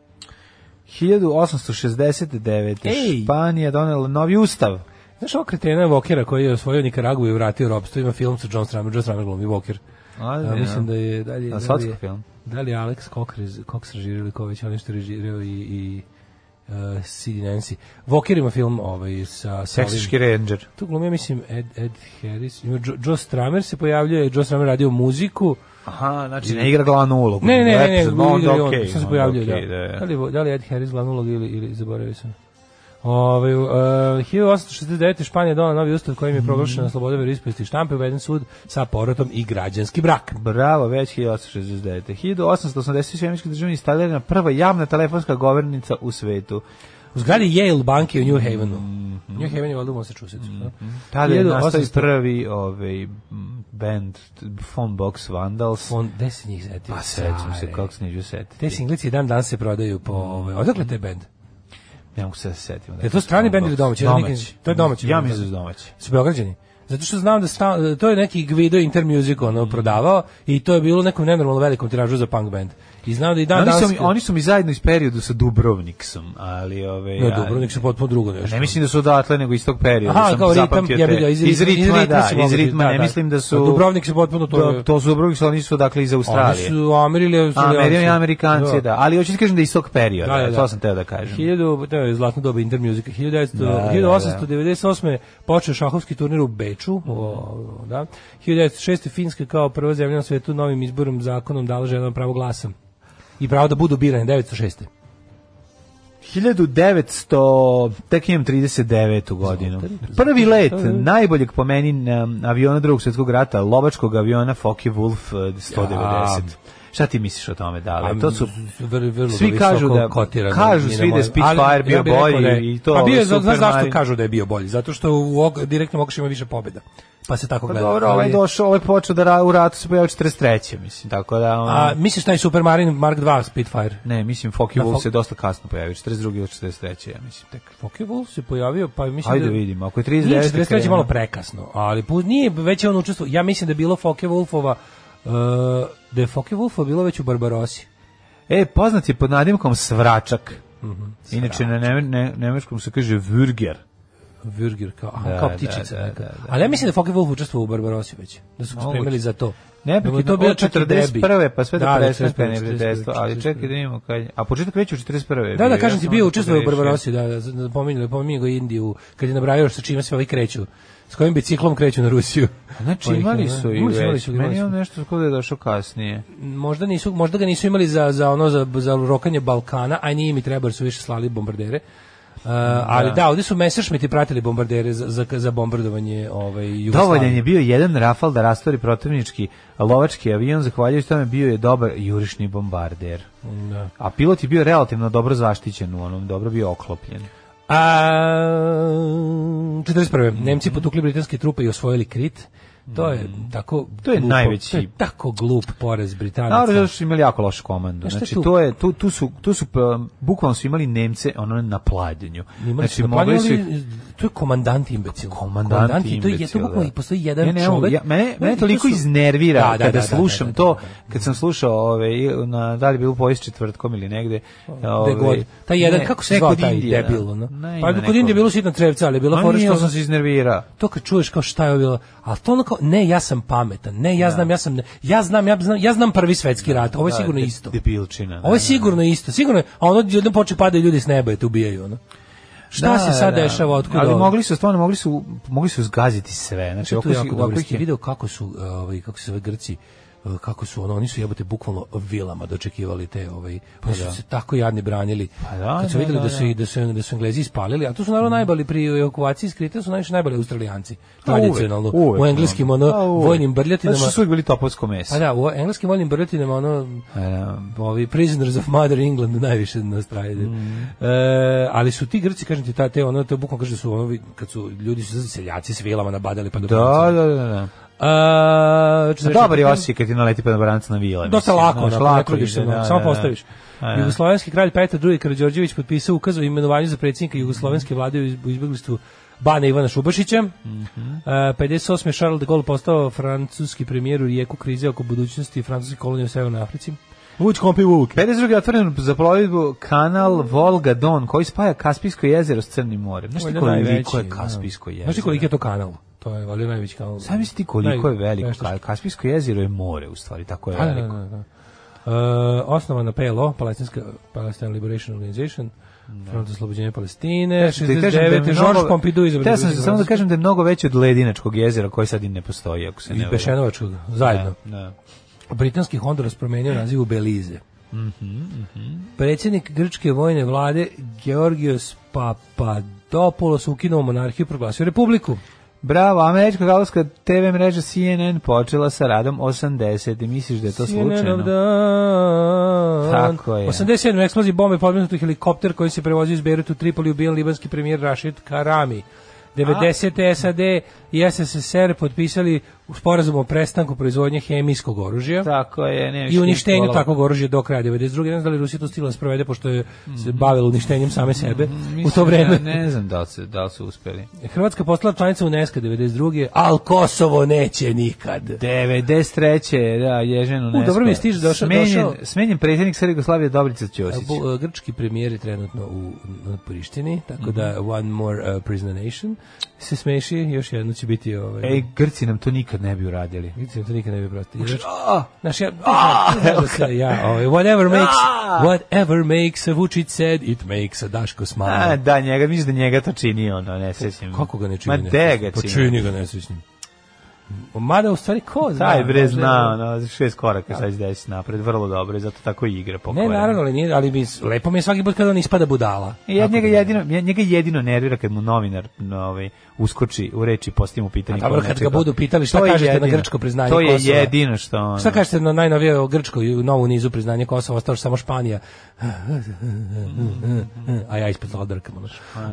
Speaker 5: 1869.
Speaker 6: Ej!
Speaker 5: Španija donela novi ustav.
Speaker 6: Znaš ovo kretena Vokera koji je osvojio Nikaragu i vratio robstvo, ima film sa John Stramer, John Stramer glumi Voker.
Speaker 5: A,
Speaker 6: A,
Speaker 5: ne,
Speaker 6: mislim
Speaker 5: ne.
Speaker 6: da je dalje
Speaker 5: A,
Speaker 6: dalje-
Speaker 5: svatski film.
Speaker 6: Da li je Alex Cox, rez- Cox režirao ili ko već on nešto režirao i, i uh, Sid Nancy. Walker ima film ovaj, sa... sa ovim-
Speaker 5: Seksiški ranger.
Speaker 6: Tu glumi, ja mislim, Ed, Ed Harris. Ima Joe, Joe Stramer se pojavljuje, Joe Stramer radio muziku.
Speaker 5: Aha, znači ne igra glavnu ulogu.
Speaker 6: Ne, ne, ne, ne,
Speaker 5: Epizod,
Speaker 6: ne,
Speaker 5: onda
Speaker 6: on,
Speaker 5: okej,
Speaker 6: okay, se
Speaker 5: onda
Speaker 6: pojavljuje,
Speaker 5: okej,
Speaker 6: da.
Speaker 5: da,
Speaker 6: Da li, da li je Ed Harris glavnu ulogu ili, ili zaboravio sam? Ove, uh, 1869. Španija donala novi ustav kojim
Speaker 5: Mhm.
Speaker 6: je proglašena sloboda veroispovesti i štampe, uveden sud sa porotom i građanski brak.
Speaker 5: Bravo, već 1869. 1880. Sjemička država instalirana prva javna telefonska govornica u svetu.
Speaker 6: U zgradi Yale banke u New Havenu.
Speaker 5: Mhm.
Speaker 6: New Haven je valjda u Massachusettsu. da?
Speaker 5: Tada je nastao i
Speaker 6: 1800
Speaker 5: prvi ovaj, m, band t- Phone Box Vandals.
Speaker 6: On, gde si njih zetio?
Speaker 5: Pa sećam se, kako se neću setiti.
Speaker 6: Te singlici i dan dan se prodaju po... Ove, odakle te bend?
Speaker 5: Ne mogu se da se setim.
Speaker 6: Je to strani bend ili domaći? Ja
Speaker 5: Domaći.
Speaker 6: nikad- to je domaći
Speaker 5: Ja
Speaker 6: bend,
Speaker 5: mislim da su
Speaker 6: da.
Speaker 5: domaći.
Speaker 6: Su Beograđani? Zato što znam da sta, to je neki Gvido Intermusic ono prodavao i to je bilo u nekom nenormalno velikom tiražu za punk band. I znam da i dan
Speaker 5: Oni
Speaker 6: danas...
Speaker 5: su, mi, oni su mi zajedno iz periodu sa Dubrovniksom, ali ove...
Speaker 6: Ne, dobro, nek se potpuno drugo nešto.
Speaker 5: Ne mislim da su odatle, nego iz tog perioda.
Speaker 6: Aha,
Speaker 5: sam
Speaker 6: kao ritam,
Speaker 5: zapamtio
Speaker 6: jebi
Speaker 5: te-
Speaker 6: ga, iz- iz
Speaker 5: iz ritma,
Speaker 6: ritma
Speaker 5: da,
Speaker 6: su
Speaker 5: iz
Speaker 6: mogli biti,
Speaker 5: ritma,
Speaker 6: da,
Speaker 5: ne
Speaker 6: da.
Speaker 5: mislim da su...
Speaker 6: Dubrovnik se potpuno to-
Speaker 5: Da, To su Dubrovnik, oni su odatle iz Australije.
Speaker 6: Oni su Amerili,
Speaker 5: Amerikanci, Amerikanci, da. Ali hoću ti kažem da je iz tog perioda,
Speaker 6: Da, da, da.
Speaker 5: to sam teo da kažem.
Speaker 6: 1000, to je zlatno doba intermuzika. 1900
Speaker 5: Da, da, da.
Speaker 6: 1898. počeo šahovski turnir u Beču. O, o, da. 1906. Finska kao prva zemlja na svetu novim izborom zakonom dala ženama pravo glasa. I pravo da budu birane 906.
Speaker 5: 1900, tek imam 39. godinu. Prvi let najboljeg po meni um, aviona drugog svjetskog rata, lovačkog aviona Focke Wolf uh, 190. Šta ti misliš o tome, dale? Pa To su
Speaker 6: Pa vrlo, vrlo
Speaker 5: svi
Speaker 6: visoko
Speaker 5: kažu da-
Speaker 6: kotirano,
Speaker 5: kažu
Speaker 6: ni na
Speaker 5: svi da je
Speaker 6: moje-
Speaker 5: Spitfire
Speaker 6: Ali
Speaker 5: bio
Speaker 6: bih rekao
Speaker 5: bolji
Speaker 6: da je-
Speaker 5: i to,
Speaker 6: Pa bio je,
Speaker 5: ovaj
Speaker 6: znaš
Speaker 5: Super
Speaker 6: zašto
Speaker 5: Mario.
Speaker 6: kažu da je bio bolji? Zato što u og, direktnom okušu ima više pobjeda. Pa se tako
Speaker 5: Pa
Speaker 6: gleda.
Speaker 5: dobro,
Speaker 6: Ali
Speaker 5: ovaj
Speaker 6: je-
Speaker 5: došao, ovaj počeo da ra- u ratu se pojavio 43. mislim, tako da... ono-
Speaker 6: A, misliš taj Super Marin Mark II Spitfire?
Speaker 5: ne, mislim, Focke
Speaker 6: Da,
Speaker 5: Wolf
Speaker 6: Fo-
Speaker 5: se dosta kasno pojavio, 42. ili 43. ja mislim, tek.
Speaker 6: Poke Wolf se pojavio, pa mislim
Speaker 5: Ajde
Speaker 6: da...
Speaker 5: vidimo, ako je
Speaker 6: Nije
Speaker 5: 39.
Speaker 6: 43
Speaker 5: krenuo.
Speaker 6: malo prekasno, ali pu, nije već je on učestvo. Ja mislim da je bilo Foke Wolfova uh, da je Foke Wolfova bilo već u Barbarosi.
Speaker 5: E, poznat je pod nadimkom Svračak.
Speaker 6: Mhm,
Speaker 5: Inače, na neme- ne- nemačkom se kaže Würger.
Speaker 6: Würger kao, aha,
Speaker 5: Da,
Speaker 6: kao
Speaker 5: da,
Speaker 6: ptičica
Speaker 5: da,
Speaker 6: neka.
Speaker 5: da, da.
Speaker 6: Ali ja mislim da je Foke Wolf učestvovao u Barbarosi već. Da su ga
Speaker 5: Moguće.
Speaker 6: spremili za to.
Speaker 5: Ne,
Speaker 6: Da mu
Speaker 5: pa
Speaker 6: je bio
Speaker 5: to bilo
Speaker 6: čak i debi.
Speaker 5: 41. pa sve do
Speaker 6: Da, da,
Speaker 5: 55.
Speaker 6: 41.,
Speaker 5: neprijateljstvo, ali čekaj da vidimo kad je. A početak već u 41.
Speaker 6: Da, da,
Speaker 5: bio,
Speaker 6: kažem
Speaker 5: ja
Speaker 6: ti,
Speaker 5: sam
Speaker 6: bio
Speaker 5: onda
Speaker 6: učestvovao u
Speaker 5: pogrešio.
Speaker 6: Barbarosi, da, da, da pominjali, pominjali ga Indiju, kad je nabrajao sa čime se ovi kreću, s kojim biciklom kreću na Rusiju.
Speaker 5: Znači,
Speaker 6: Oni
Speaker 5: imali
Speaker 6: kao,
Speaker 5: su i
Speaker 6: imali su, imali
Speaker 5: već.
Speaker 6: su, imali
Speaker 5: Meni je
Speaker 6: su.
Speaker 5: on nešto kod je došao kasnije.
Speaker 6: možda nisu možda ga nisu imali za za ono za za rokanje Balkana, a nije mi trebalo jer su više slali bombardere. Uh, ali da, ovdje su Messerschmitti pratili bombardere za, za, za bombardovanje ovaj, Jugoslavije.
Speaker 5: Dovoljan je bio jedan Rafal da rastvori protivnički lovački avion, zahvaljujući tome bio je dobar jurišni bombarder.
Speaker 6: Da.
Speaker 5: A pilot je bio relativno dobro zaštićen u onom, dobro bio oklopljen.
Speaker 6: A, 41.
Speaker 5: Mhm.
Speaker 6: Nemci potukli britanske trupe i osvojili Krit. To je tako
Speaker 5: Mhm. To je
Speaker 6: glupo-
Speaker 5: najveći-
Speaker 6: to je tako glup poraz Britanaca.
Speaker 5: Pa Naravno da su imali jako lošu komandu.
Speaker 6: Znaš šta je
Speaker 5: Znači
Speaker 6: tu?
Speaker 5: to je tu, tu su tu su pa, bukvalno su imali Nemce ono na pladenju.
Speaker 6: Imali
Speaker 5: Znači
Speaker 6: su na
Speaker 5: mogli su
Speaker 6: planju,
Speaker 5: ih-
Speaker 6: ali to je komandant imbecil.
Speaker 5: Komandanti
Speaker 6: to je to
Speaker 5: imbecil,
Speaker 6: bukvalno
Speaker 5: da.
Speaker 6: i postoji jedan
Speaker 5: Ja ne mogu,
Speaker 6: čovek.
Speaker 5: ja- mene, mene
Speaker 6: I to
Speaker 5: toliko
Speaker 6: su-
Speaker 5: iznervira
Speaker 6: Da, da,
Speaker 5: kada
Speaker 6: da, da,
Speaker 5: slušam
Speaker 6: da, da,
Speaker 5: to,
Speaker 6: da, da.
Speaker 5: kad sam slušao ove, i- na, da li je bilo povijest četvrtkom ili negde. Ove,
Speaker 6: gde god. Taj jedan, kako se
Speaker 5: neko
Speaker 6: zvao
Speaker 5: od
Speaker 6: taj
Speaker 5: Indije,
Speaker 6: debil, ono?
Speaker 5: Ne, ima
Speaker 6: Pa kod
Speaker 5: neko-
Speaker 6: Indije je bilo sitna trevca, ali je bila
Speaker 5: Ma
Speaker 6: fora
Speaker 5: nije,
Speaker 6: što
Speaker 5: ali sam se iznervirao.
Speaker 6: to kad čuješ kao šta je ovo bilo, a to ono kao, ne, ja sam pametan, ne, ja znam, ja sam, ja znam, ja znam, ja znam prvi svetski rat, ovo je
Speaker 5: Da,
Speaker 6: sigurno
Speaker 5: de-
Speaker 6: isto.
Speaker 5: Debilčina.
Speaker 6: Ovo je
Speaker 5: da.
Speaker 6: sigurno isto, sigurno je, a ono jedno počne padaju ljudi s neba i te ubijaju, ono. Šta se sad dešava, otkud
Speaker 5: Ali
Speaker 6: ovo?
Speaker 5: mogli su stvarno mogli su mogli su zgaziti sve. Znači,
Speaker 6: Znači,
Speaker 5: ovako
Speaker 6: to je
Speaker 5: su
Speaker 6: jako dobro.
Speaker 5: ovako
Speaker 6: Jeste
Speaker 5: ih je-
Speaker 6: video kako su, e, ovaj, kako se zove Grci, e, kako su ono, oni su jebote bukvalno vilama dočekivali te ovaj pa su se tako jadni branili
Speaker 5: Pa da,
Speaker 6: kad su
Speaker 5: da,
Speaker 6: videli
Speaker 5: da, Mm.
Speaker 6: da, su i- da su da su Englezi ispalili a tu su naravno najbali pri evakuaciji skrite su najviše najbali Australijanci tradicionalno
Speaker 5: Pa Uvek, uvek,
Speaker 6: u engleskim ono
Speaker 5: a, uvek.
Speaker 6: vojnim brljatinama
Speaker 5: Znači, su uvijek bili topovsko meso. Pa
Speaker 6: Pa da, u engleskim vojnim brljotinama ono ovi Prisoners of Mother England najviše nastrajede.
Speaker 5: Mm.
Speaker 6: E, ali su ti Grci, kažem ti, ta, te ono, to bukvalno kaže da su ono, kad su ljudi su seljaci s vilama nabadali pa do
Speaker 5: Da, da, da, da.
Speaker 6: A,
Speaker 5: A dobar je osjećaj kad ti naleti pa na branca na vile.
Speaker 6: Znači, Dosta
Speaker 5: mislim,
Speaker 6: lako,
Speaker 5: znaš,
Speaker 6: onako, lako, ne
Speaker 5: lako
Speaker 6: trudiš se,
Speaker 5: ide,
Speaker 6: ono,
Speaker 5: da,
Speaker 6: samo
Speaker 5: da, da.
Speaker 6: postaviš.
Speaker 5: A, da.
Speaker 6: Jugoslovenski kralj Petar II. Karađorđević potpisao ukaz o imenovanju za predsjednika Jugoslovenske vlade u iz- u izbeglištvu Bana Ivana Šubašića.
Speaker 5: Mhm.
Speaker 6: E, 58. je Charles de Gaulle postao francuski premijer u rijeku krize oko budućnosti francuske kolonije u Severnoj Africi.
Speaker 5: Vuč kompi vuk. 52. je otvoren za plovidbu kanal Volga Don koji spaja Kaspijsko jezero s Crnim morem. Znaš ti
Speaker 6: Valjda
Speaker 5: koliko
Speaker 6: najveći,
Speaker 5: je
Speaker 6: da.
Speaker 5: Kaspijsko jezero?
Speaker 6: Znaš ti koliko je to kanal? To je valjda najveći kanal.
Speaker 5: Sad misli ti koliko je
Speaker 6: Naj-
Speaker 5: veliko.
Speaker 6: nešto što- Pa
Speaker 5: Ka- Kaspijsko jezero je more u stvari, tako je
Speaker 6: Da, da,
Speaker 5: veliko.
Speaker 6: da, da. E, osnovana PLO, Palestinska Palestine Liberation Organization, Front za oslobođenje Palestine,
Speaker 5: Da ti kažem da je
Speaker 6: 69.
Speaker 5: mnogo-
Speaker 6: Georges Pompidou izabran.
Speaker 5: Teo
Speaker 6: Ja
Speaker 5: sam samo da kažem da je mnogo veće od Ledinačkog jezera koje sad i ne postoji, ako se ne
Speaker 6: iz
Speaker 5: varam.
Speaker 6: Bešenovačkog, zajedno.
Speaker 5: Da.
Speaker 6: Britanski Honduras promenio naziv u Belize.
Speaker 5: Mhm,
Speaker 6: Predsjednik grčke vojne vlade Georgios Papadopoulos ukinuo monarhiju i proglasio republiku.
Speaker 5: Bravo, američka galovska TV mreža CNN počela sa radom 80. Misliš da je to slučajno? Tako je.
Speaker 6: 87. eksploziji bombe podmetnuti helikopter koji se prevozio iz Beiruta u Tripoli ubijen libanski premijer Rashid Karami. 90. SAD i SSSR potpisali sporazum o prestanku proizvodnje hemijskog oružja.
Speaker 5: Tako je, ne
Speaker 6: i uništenju takvog oružja do kraja 92. Ne znam da li Rusija to stila sprovede pošto je se bavila uništenjem same sebe u to vreme.
Speaker 5: ne znam Mhm. da li, se, da li su uspeli.
Speaker 6: Hrvatska postala članica UNESCO 92. Al Kosovo neće nikad.
Speaker 5: 93. da, Ježen UNESCO.
Speaker 6: dobro mi je stiže, došao-
Speaker 5: smenjen,
Speaker 6: došao-
Speaker 5: Smenjen predsjednik Srbije Jugoslavije Dobrica Ćosić.
Speaker 6: Bu- Grčki premijer eh, je trenutno u na Prištini, tako da
Speaker 5: Mhm.
Speaker 6: One More uh, Prisoner Nation se smeši, još jedno će biti ovaj...
Speaker 5: Ej, Grci nam to nikad ne bi uradili.
Speaker 6: Mislim, to nikad ne bi prostili. Znaš, znaš, ja, znaš da se ja, ovaj, whatever makes, whatever makes a Vučić said, it makes a Daško smile.
Speaker 5: A, da, njega, mislim da njega to čini, ono, ne sećam.
Speaker 6: Kako ga ne čini?
Speaker 5: Ma de ga
Speaker 6: nesrećnim? Pa čini ga nesrećnim. Mada u stvari ko zna?
Speaker 5: Taj bre
Speaker 6: možda-
Speaker 5: zna, ono, šest koraka sad desi napred, vrlo dobro, i zato tako i igra
Speaker 6: Ne,
Speaker 5: pokojena.
Speaker 6: naravno, ali, nije, ali mi, lepo mi je svaki put kada on ispada budala.
Speaker 5: I Ja
Speaker 6: Tako
Speaker 5: njega
Speaker 6: da-
Speaker 5: jedino, ja njega jedino nervira kad mu novinar no, ovaj, uskoči u reči i postavi mu pitanje.
Speaker 6: A dobro,
Speaker 5: kod
Speaker 6: kad
Speaker 5: nečega.
Speaker 6: ga budu pitali šta
Speaker 5: To je
Speaker 6: kažete na
Speaker 5: jedino.
Speaker 6: grčko priznanje
Speaker 5: To je
Speaker 6: Kosova?
Speaker 5: jedino što ono.
Speaker 6: Šta kažete na najnovije o Grčkoj, u novu nizu priznanja Kosova, ostao samo Španija. A ja ispod odrkam. ono.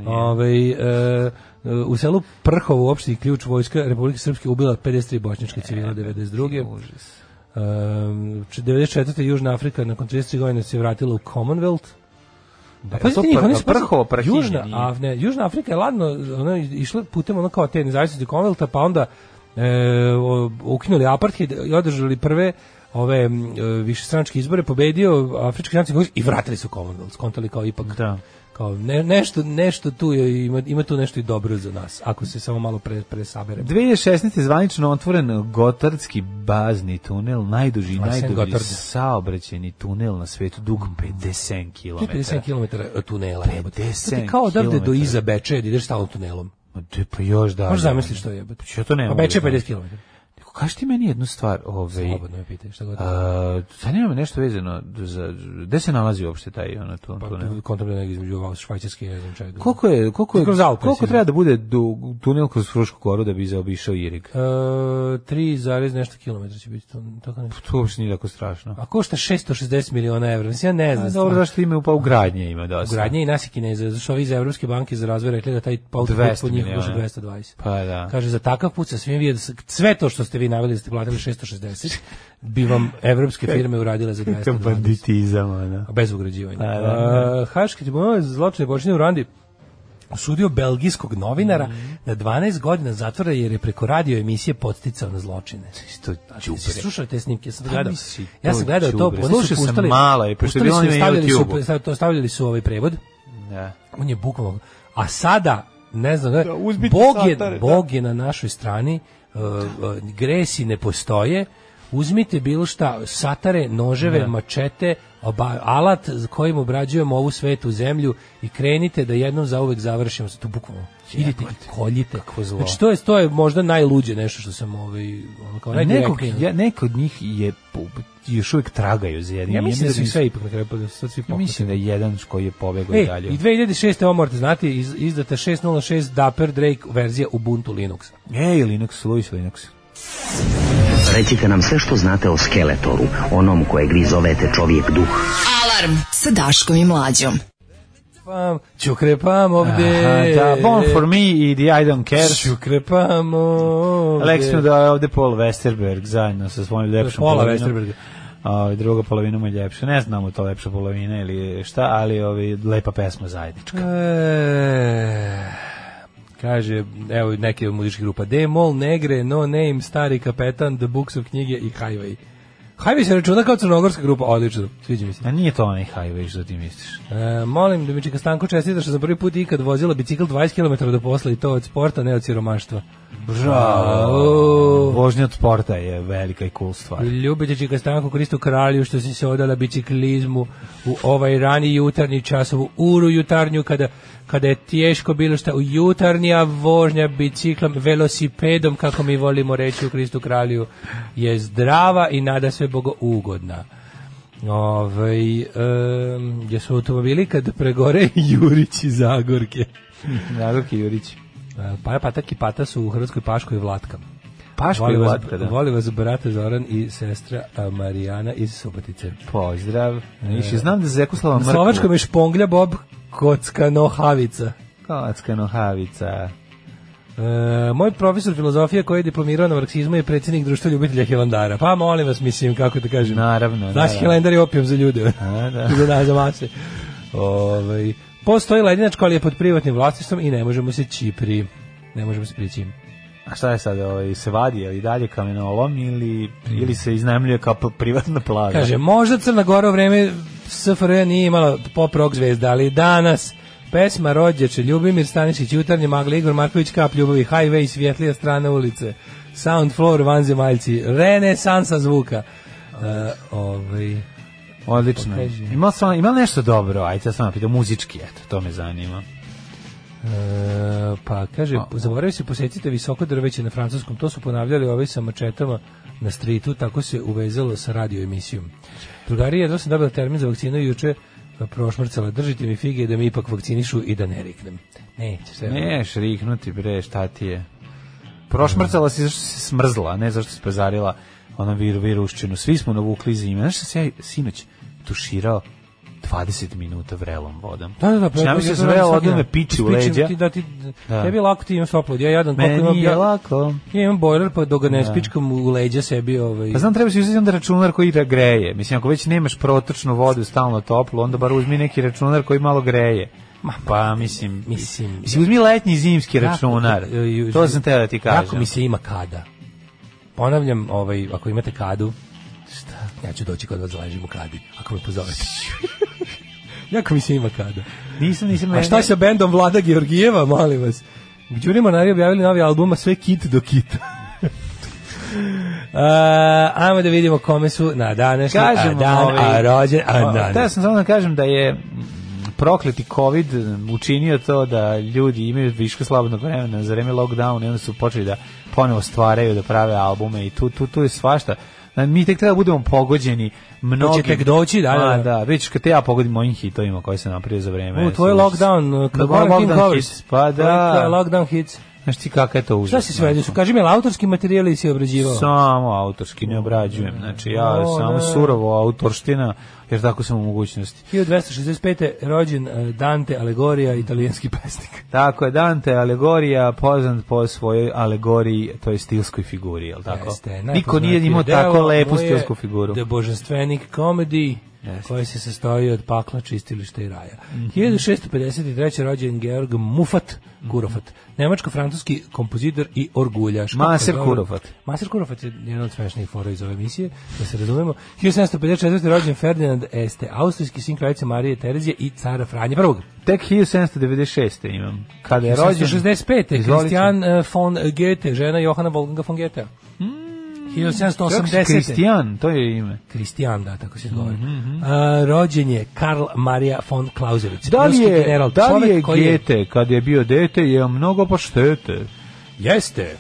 Speaker 6: Ovaj, e, e, u selu Prhovo, u opštini Ključ, vojska Republike Srpske ubila 53 bošnjačke civila 92.
Speaker 5: E, Užas.
Speaker 6: Um, 94. Južna Afrika nakon 33 godina se vratila u Commonwealth. Da,
Speaker 5: to pr- prhovo prahinje
Speaker 6: Južna,
Speaker 5: nije.
Speaker 6: a, ne, Južna Afrika je ladno ona je išla putem ono kao te nezavisnosti Commonwealtha, pa onda e, o- ukinuli apartheid i održali prve ove m, e, višestranačke izbore, pobedio Afrički nacionalni kongres i vratili su Commonwealth, skontali kao ipak
Speaker 5: Da.
Speaker 6: kao ne- nešto, nešto tu je, ima, ima tu nešto i dobro za nas, ako se samo malo pre, presabere.
Speaker 5: 2016. je zvanično otvoren Gotardski bazni tunel, najduži i
Speaker 6: Arsen
Speaker 5: najdublji
Speaker 6: Gotard.
Speaker 5: saobraćeni tunel na svetu, dug 57 km.
Speaker 6: 50 km tunela. jebote.
Speaker 5: 50
Speaker 6: To ti kao odavde do
Speaker 5: kilometara.
Speaker 6: iza Bečeja da ideš stalno tunelom.
Speaker 5: Pa još da.
Speaker 6: Možeš zamisliti što je jebote.
Speaker 5: Ja to ne
Speaker 6: A
Speaker 5: mogu
Speaker 6: Bečej
Speaker 5: da
Speaker 6: 50
Speaker 5: zamislim.
Speaker 6: km.
Speaker 5: Neko, kaži ti meni jednu stvar. Ovaj,
Speaker 6: Slobodno me pitaj šta god.
Speaker 5: a, zanima me nešto vezano. Za, gde se nalazi uopšte taj ono, tu,
Speaker 6: Pa
Speaker 5: tunel?
Speaker 6: kontam da negdje između vas švajcarske i ne znam čega.
Speaker 5: Koliko je, koliko je,
Speaker 6: Kroz Alpe,
Speaker 5: koliko
Speaker 6: sigurno.
Speaker 5: treba da bude du, tunel kroz Frušku goru da bi zaobišao Irig?
Speaker 6: E, 3, zarez nešto kilometra će biti to, tako nešto.
Speaker 5: To uopšte nije tako strašno.
Speaker 6: A košta 660 miliona evra. Mislim, ja ne znam.
Speaker 5: A, dobro,
Speaker 6: stvarno.
Speaker 5: zašto ima, pa u gradnje ima dosta.
Speaker 6: Ugradnje i nas i Kineza, zašto ovi iz Evropske banke za razvoj rekli da taj autoput
Speaker 5: 200
Speaker 6: po njih
Speaker 5: miliona.
Speaker 6: košta 220.
Speaker 5: Pa da.
Speaker 6: Kaže, za takav put sa svim vidim, sve to što ste vi naveli da ste platili 660, bi vam evropske firme uradile za 220.
Speaker 5: banditizam, ono.
Speaker 6: A Pa bez ugrađivanja.
Speaker 5: Da, da, da.
Speaker 6: E, Haški tribunal je za zločine počinje u Randi osudio belgijskog novinara
Speaker 5: Mhm.
Speaker 6: na 12 godina zatvora jer je preko radio emisije podsticao na zločine.
Speaker 5: Isto
Speaker 6: Jesi
Speaker 5: đubre.
Speaker 6: slušao te snimke, Ja sam
Speaker 5: Pa
Speaker 6: gledao.
Speaker 5: misli,
Speaker 6: Ja
Speaker 5: to
Speaker 6: sam gledao to,
Speaker 5: đubre.
Speaker 6: oni su
Speaker 5: Slušao sam
Speaker 6: pustili-
Speaker 5: malo, je, pošto je bilo
Speaker 6: pustili
Speaker 5: na
Speaker 6: su, stavili su-
Speaker 5: YouTubeu.
Speaker 6: stav- to stavljali su ovaj prevod.
Speaker 5: Da.
Speaker 6: On je bukvalno. A sada, ne znam, da,
Speaker 5: uzmite
Speaker 6: Bog, je,
Speaker 5: satare, da.
Speaker 6: e, Bog je na našoj strani, uh, uh, gresi ne e, postoje, uzmite bilo šta, satare, noževe, mačete, oba, alat s kojim obrađujemo ovu svetu zemlju i krenite da jednom zauvek završimo sa tu bukvalno. Idite i koljite.
Speaker 5: zlo.
Speaker 6: Znači, to je, to je možda najluđe nešto što sam ovaj, ono kao
Speaker 5: Nekog,
Speaker 6: najdirektnije.
Speaker 5: ja, neko od njih je po- još uvek tragaju za jednim.
Speaker 6: Ja mislim da su ih
Speaker 5: nisu-
Speaker 6: sve ipak na kraju, pa da su sad svi
Speaker 5: Ja
Speaker 6: pokupili.
Speaker 5: mislim da je jedan koji je pobegao i
Speaker 6: E,
Speaker 5: dalje.
Speaker 6: i 2006. ovo morate znati, iz, izdata 6.06 Dapper Drake verzija Ubuntu Linuxa.
Speaker 5: Ej, E, Linux, Luis Linux.
Speaker 7: Recite nam sve što znate o Skeletoru, onom kojeg vi zovete čovjek duh.
Speaker 1: Alarm sa Daškom i Mlađom.
Speaker 6: Pam, ćukrepam ovde.
Speaker 5: Aha, da, Born for me i The I Don't Care.
Speaker 6: Ćukrepam ovde.
Speaker 5: Aleksinu da je ovde Paul Westerberg zajedno sa svojim lepšom
Speaker 6: Paula
Speaker 5: polovinom.
Speaker 6: Westerberga.
Speaker 5: A, druga polovina mu je ljepša. Ne znamo to lepša polovina ili šta, ali ovi, lepa pesma zajednička.
Speaker 6: E, kaže, evo neke od muzičkih grupa. Demol, Negre, No Name, Stari kapetan, The Books of knjige i Highway. Highway se računa kao crnogorska grupa, odlično, sviđa mi se.
Speaker 5: A nije to onaj highway što ti misliš.
Speaker 6: E, molim da mi čeka Stanko čestita što sam prvi put ikad vozila bicikl 20 km do posla i to od sporta, ne od siromaštva.
Speaker 5: Bravo. Vožnja od sporta je velika i cool stvar.
Speaker 6: Ljubite čeka Stanko Kristu Kralju što si se odala biciklizmu u ovaj rani jutarnji čas, u uru jutarnju kada, kada je teško bilo šta u jutarnja vožnja biciklom, velosipedom, kako mi volimo reći u Kristu Kralju, je zdrava i nada sve bogo ugodna. Ove, um, jesu automobili kad pregore Jurić i Zagorke.
Speaker 5: Zagorki Jurić.
Speaker 6: E, Para Patak i Pata su u Hrvatskoj Paškoj i Vlatkama.
Speaker 5: Paško i
Speaker 6: Voli vas,
Speaker 5: Vlatka, da.
Speaker 6: voli vas brate Zoran i sestra a, Marijana iz Subotice.
Speaker 5: Pozdrav. Niši, znam da Zekoslava
Speaker 6: E. Na
Speaker 5: Mrkva.
Speaker 6: Slovačkom je šponglja Bob Kockano Havica.
Speaker 5: Kocka nohavica.
Speaker 6: E, moj profesor filozofije koji je diplomirao na marksizmu je predsjednik društva ljubitelja Hilandara. Pa molim vas, mislim, kako da kažem.
Speaker 5: Naravno,
Speaker 6: Znaš,
Speaker 5: naravno.
Speaker 6: Hilandar je opijom za ljude.
Speaker 5: A, da.
Speaker 6: I za nas, za mase. Ovaj, postoji ledinačka, ali je pod privatnim vlasništvom i ne možemo se čipri. Ne možemo se prići.
Speaker 5: A šta je sad, ovaj, se vadi, je li dalje kamenolom ili, ili se iznajmljuje kao p- privatna plaža?
Speaker 6: Kaže, možda Crna Gora u vreme SFRJ nije imala pop rock zvezda, ali danas pesma Rođeče, Ljubimir Stanišić, Jutarnje magle, Igor Marković, Kap ljubavi, Highway, Svjetlija strana ulice, Sound Floor, Vanzemaljci, Renesansa zvuka. Uh, ovaj,
Speaker 5: Odlično.
Speaker 6: Pokaži.
Speaker 5: Ima sam ima li nešto dobro, ajde sad sam vam pitao muzički, eto, to me zanima.
Speaker 6: E, pa kaže, zaboravio se posjetite visoko drveće na francuskom, to su ponavljali ovi sa mačetama na stritu, tako se uvezalo sa radio emisijom. Drugari, jedno sam dobila termin za vakcinu i juče e, prošmrcala, držite mi fige da me ipak vakcinišu i da ne riknem. Neće sve.
Speaker 5: Ne, šriknuti bre, šta ti je? Prošmrcala si zašto si se smrzla, a ne zašto si pezarila ono viru, viruščinu. Svi smo navukli zime. Znaš šta se ja sinoć tuširao 20 minuta vrelom vodom.
Speaker 6: Da, da, da, pa
Speaker 5: Znači, ja
Speaker 6: to-
Speaker 5: mislim
Speaker 6: to
Speaker 5: da
Speaker 6: radim
Speaker 5: vrelo
Speaker 6: svaki dan.
Speaker 5: odme me piči u
Speaker 6: Ispičem
Speaker 5: leđa.
Speaker 6: Ti, da, ti,
Speaker 5: Da.
Speaker 6: Tebi je lako, ti imam soplod. Ja jadan, koliko imam,
Speaker 5: Meni je
Speaker 6: ja,
Speaker 5: lako.
Speaker 6: ja imam bojler, pa dok ga ne spičkam u leđa sebi. Ovaj,
Speaker 5: Pa znam, treba si uzeti onda računar koji da greje. Mislim, ako već nemaš protočnu vodu stalno toplu, onda bar uzmi neki računar koji malo greje. pa, mislim,
Speaker 6: mislim-
Speaker 5: mislim uzmi letnji i zimski Znači, računar.
Speaker 6: Jako- ju-
Speaker 5: to sam teo da ti kažem.
Speaker 6: Jako mi se ima kada. Ponavljam, ovaj, ako imate kadu, ja ću doći kod vas da ležim u kadi, ako me pozovete. jako mi se ima kada.
Speaker 5: Nisam, nisam...
Speaker 6: A šta sa bendom Vlada Georgijeva, molim vas? Đuri Monari objavili novi album, a sve kit do kita. A, ajmo da vidimo kome su na današnji, a
Speaker 5: Kažemo,
Speaker 6: dan,
Speaker 5: ovaj,
Speaker 6: a rođen, a dan.
Speaker 5: Teo sam samo da kažem da je mm, prokleti COVID učinio to da ljudi imaju viška slobodnog vremena za vreme lockdowna i onda su počeli da ponovo stvaraju, da prave albume i tu, tu, tu je svašta. Na- Mi tek treba da budemo pogođeni mnogim.
Speaker 6: tek doći, da, da,
Speaker 5: A,
Speaker 6: da.
Speaker 5: da, već kad te ja pogodim mojim hitovima koji sam napravio za vreme.
Speaker 6: U, tvoj
Speaker 5: Su-
Speaker 6: lockdown,
Speaker 5: Da,
Speaker 6: kako ono
Speaker 5: moj lockdown hits, Pa
Speaker 6: Tvoj
Speaker 5: da.
Speaker 6: lockdown hits.
Speaker 5: Znaš ti kakav je to
Speaker 6: Šta
Speaker 5: užasno.
Speaker 6: si sve, kaži mi, jel autorski materijal si obrađivao?
Speaker 5: Samo autorski, ne obrađujem. Znači, ja
Speaker 6: O,
Speaker 5: samo
Speaker 6: da.
Speaker 5: surovo autorština, jer tako sam u mogućnosti.
Speaker 6: 1265. rođen eh, Dante Alegorija, italijanski pesnik.
Speaker 5: Tako je, Dante alegorija poznat po svojoj alegoriji, to je stilskoj figuri, je tako?
Speaker 6: Jeste,
Speaker 5: Niko nije imao
Speaker 6: najpoznatije
Speaker 5: tako
Speaker 6: delo
Speaker 5: lepu
Speaker 6: mu je
Speaker 5: stilsku figuru.
Speaker 6: The Božanstvenik Comedy,
Speaker 5: Jeste. Mhm.
Speaker 6: koji se sastoji od pakla, čistilišta i raja. 1653. rođen Georg Mufat
Speaker 5: Mhm.
Speaker 6: Kurofat, nemačko-francuski kompozitor i orguljaš. Kako
Speaker 5: Maser
Speaker 6: dobro-
Speaker 5: Kurofat.
Speaker 6: Maser Kurofat je jedan od smešnijih fora iz ove emisije, da se razumemo. 1754. rođen Ferdinand Este, austrijski sin kraljice Marije Terezije i cara Franje prvog.
Speaker 5: Tek 1796. imam. Kada je rođen...
Speaker 6: 1865.
Speaker 5: Izvolite.
Speaker 6: Christian eh, von Goethe, žena Johana Wolfganga von Goethe. 1780.
Speaker 5: Kristijan, to je ime.
Speaker 6: Kristijan, da, tako se
Speaker 5: Mhm,
Speaker 6: izgovara. A, rođen je Karl Marija von Clausewitz.
Speaker 5: Da li
Speaker 6: ruski
Speaker 5: je,
Speaker 6: general,
Speaker 5: da li je
Speaker 6: čovek koji je-
Speaker 5: Gete, kad je bio dete, je mnogo paštete.
Speaker 6: Jeste.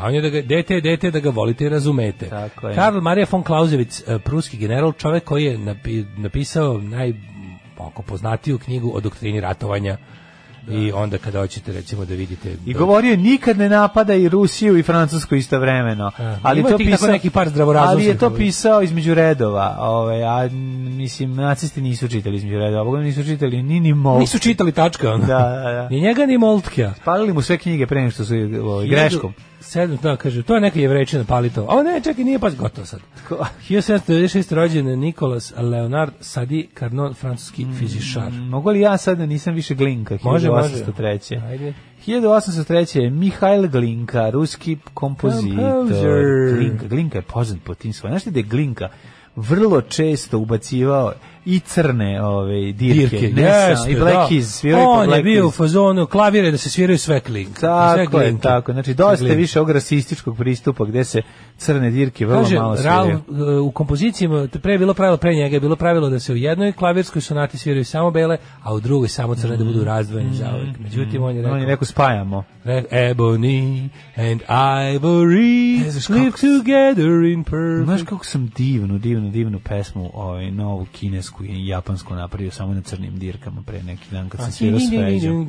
Speaker 6: A on je da ga, dete, je dete, da ga volite i razumete.
Speaker 5: Mhm. Tako je.
Speaker 6: Karl Marija von Clausewitz, e, pruski general, čovek koji je napi- napisao naj m, oko poznatiju knjigu o doktrini ratovanja i onda kada hoćete recimo da vidite
Speaker 5: I govorio je, nikad ne napada i Rusiju i Francusku istovremeno.
Speaker 6: E,
Speaker 5: ali
Speaker 6: ima
Speaker 5: to
Speaker 6: tih tako
Speaker 5: pisao
Speaker 6: neki par
Speaker 5: Ali
Speaker 6: zdravorazumskih
Speaker 5: je to
Speaker 6: ovih.
Speaker 5: pisao između redova, ovaj a n- mislim nacisti nisu čitali između redova, bogom nisu čitali ni ni mol.
Speaker 6: Nisu čitali tačka, ono.
Speaker 5: Da, da, da.
Speaker 6: Ni njega, ni Moltkja.
Speaker 5: Palili mu sve knjige pre nego što su je, ovaj, greškom.
Speaker 6: Sedam, da, kaže, to je neka jevrečina palito. A ne, čekaj, nije baš gotovo sad. 1796. rođen je Nikolas Leonard Sadi Carnot, francuski
Speaker 5: Mm.
Speaker 6: fizišar.
Speaker 5: Mogu li ja sada nisam više Glinka?
Speaker 6: Može, može.
Speaker 5: 1803.
Speaker 6: Ajde.
Speaker 5: 1803. je Mihajl Glinka, ruski kompozitor.
Speaker 6: Composer.
Speaker 5: Glinka, Glinka je poznat po tim svojim. Znaš li da je Glinka vrlo često ubacivao i crne ove dirke, ne samo- i Black Keys, svirao je po
Speaker 6: On je
Speaker 5: Black
Speaker 6: bio u
Speaker 5: Keys.
Speaker 6: fazonu klavire da se sviraju sve klink. sve
Speaker 5: Tako je,
Speaker 6: glinke.
Speaker 5: tako. Znači,
Speaker 6: Sve
Speaker 5: dosta je
Speaker 6: glinke.
Speaker 5: više ovog rasističkog pristupa gde se crne dirke vrlo
Speaker 6: Kaže,
Speaker 5: malo
Speaker 6: Raul,
Speaker 5: sviraju.
Speaker 6: e, u kompozicijama, to pre je bilo pravilo, pre njega je bilo pravilo da se u jednoj klavirskoj sonati sviraju samo bele, a u drugoj samo crne da budu razdvojeni zauvek. Međutim, on je rekao,
Speaker 5: Mm. On je rekao spajamo.
Speaker 6: Re- Ebony and ivory
Speaker 5: E, znaš
Speaker 6: live
Speaker 5: kako-
Speaker 6: together in perfect.
Speaker 5: Znaš kako sam divnu, divnu, divnu pesmu, ovaj, novu kinesku i japansku napravio samo na crnim dirkama pre neki dan kad sam svirao s Feđom.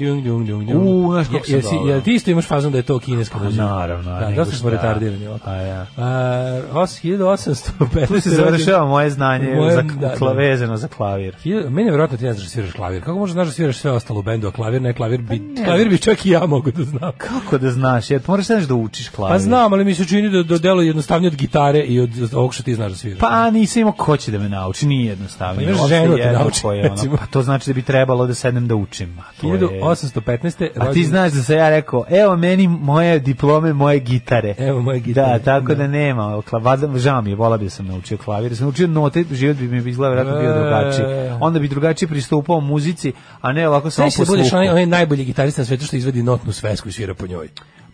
Speaker 5: U, znaš kako se
Speaker 6: Jesi-
Speaker 5: dobro.
Speaker 6: jel ti isto imaš fazon da je to kineska
Speaker 5: Pa
Speaker 6: muzika?
Speaker 5: naravno, a
Speaker 6: Da,
Speaker 5: nego
Speaker 6: dosta smo
Speaker 5: šta.
Speaker 6: retardirani ovako.
Speaker 5: A ja.
Speaker 6: A, os- 1815.
Speaker 5: Tu se završava moje znanje
Speaker 6: Moje-
Speaker 5: za
Speaker 6: da, da.
Speaker 5: kla- vezano za klavir.
Speaker 6: Hilj- Meni je vjerojatno ti ne znaš da sviraš klavir. Kako možeš znaš da sviraš sve ostalo u bendu, a klavir ne, klavir bi,
Speaker 5: Pa
Speaker 6: klavir bi čak i ja mogu da znam.
Speaker 5: Kako da znaš, jer moraš znaš da učiš klavir.
Speaker 6: Pa znam, ali mi se čini da, da delo je jednostavnije od gitare i od ovog što ti znaš da sviraš.
Speaker 5: Pa nisam imao ko će da me nauči, nije jednostavno.
Speaker 6: Pa imaš
Speaker 5: Uopšte
Speaker 6: ženu da te
Speaker 5: jedno
Speaker 6: nauči,
Speaker 5: koje je ono,
Speaker 6: recimo.
Speaker 5: Pa to znači da bi trebalo da sednem da učim. A, to je-
Speaker 6: 1815.
Speaker 5: a ti
Speaker 6: rođen-
Speaker 5: znaš da sam ja rekao, evo meni moje diplome, moje gitare.
Speaker 6: Evo moje
Speaker 5: Da,
Speaker 6: gitare.
Speaker 5: tako da nema. Klavada, žao mi je, vola bi da sam naučio klavir. Da sam naučio note, život bi mi izgleda vjerojatno bio
Speaker 6: E.
Speaker 5: drugačiji. Onda bi drugačije pristupao muzici, a ne ovako samo
Speaker 6: Znaš
Speaker 5: po
Speaker 6: da budeš
Speaker 5: sluhu.
Speaker 6: onaj, onaj najbolji gitarista na svetu što izvedi notnu svesku i svira po njoj.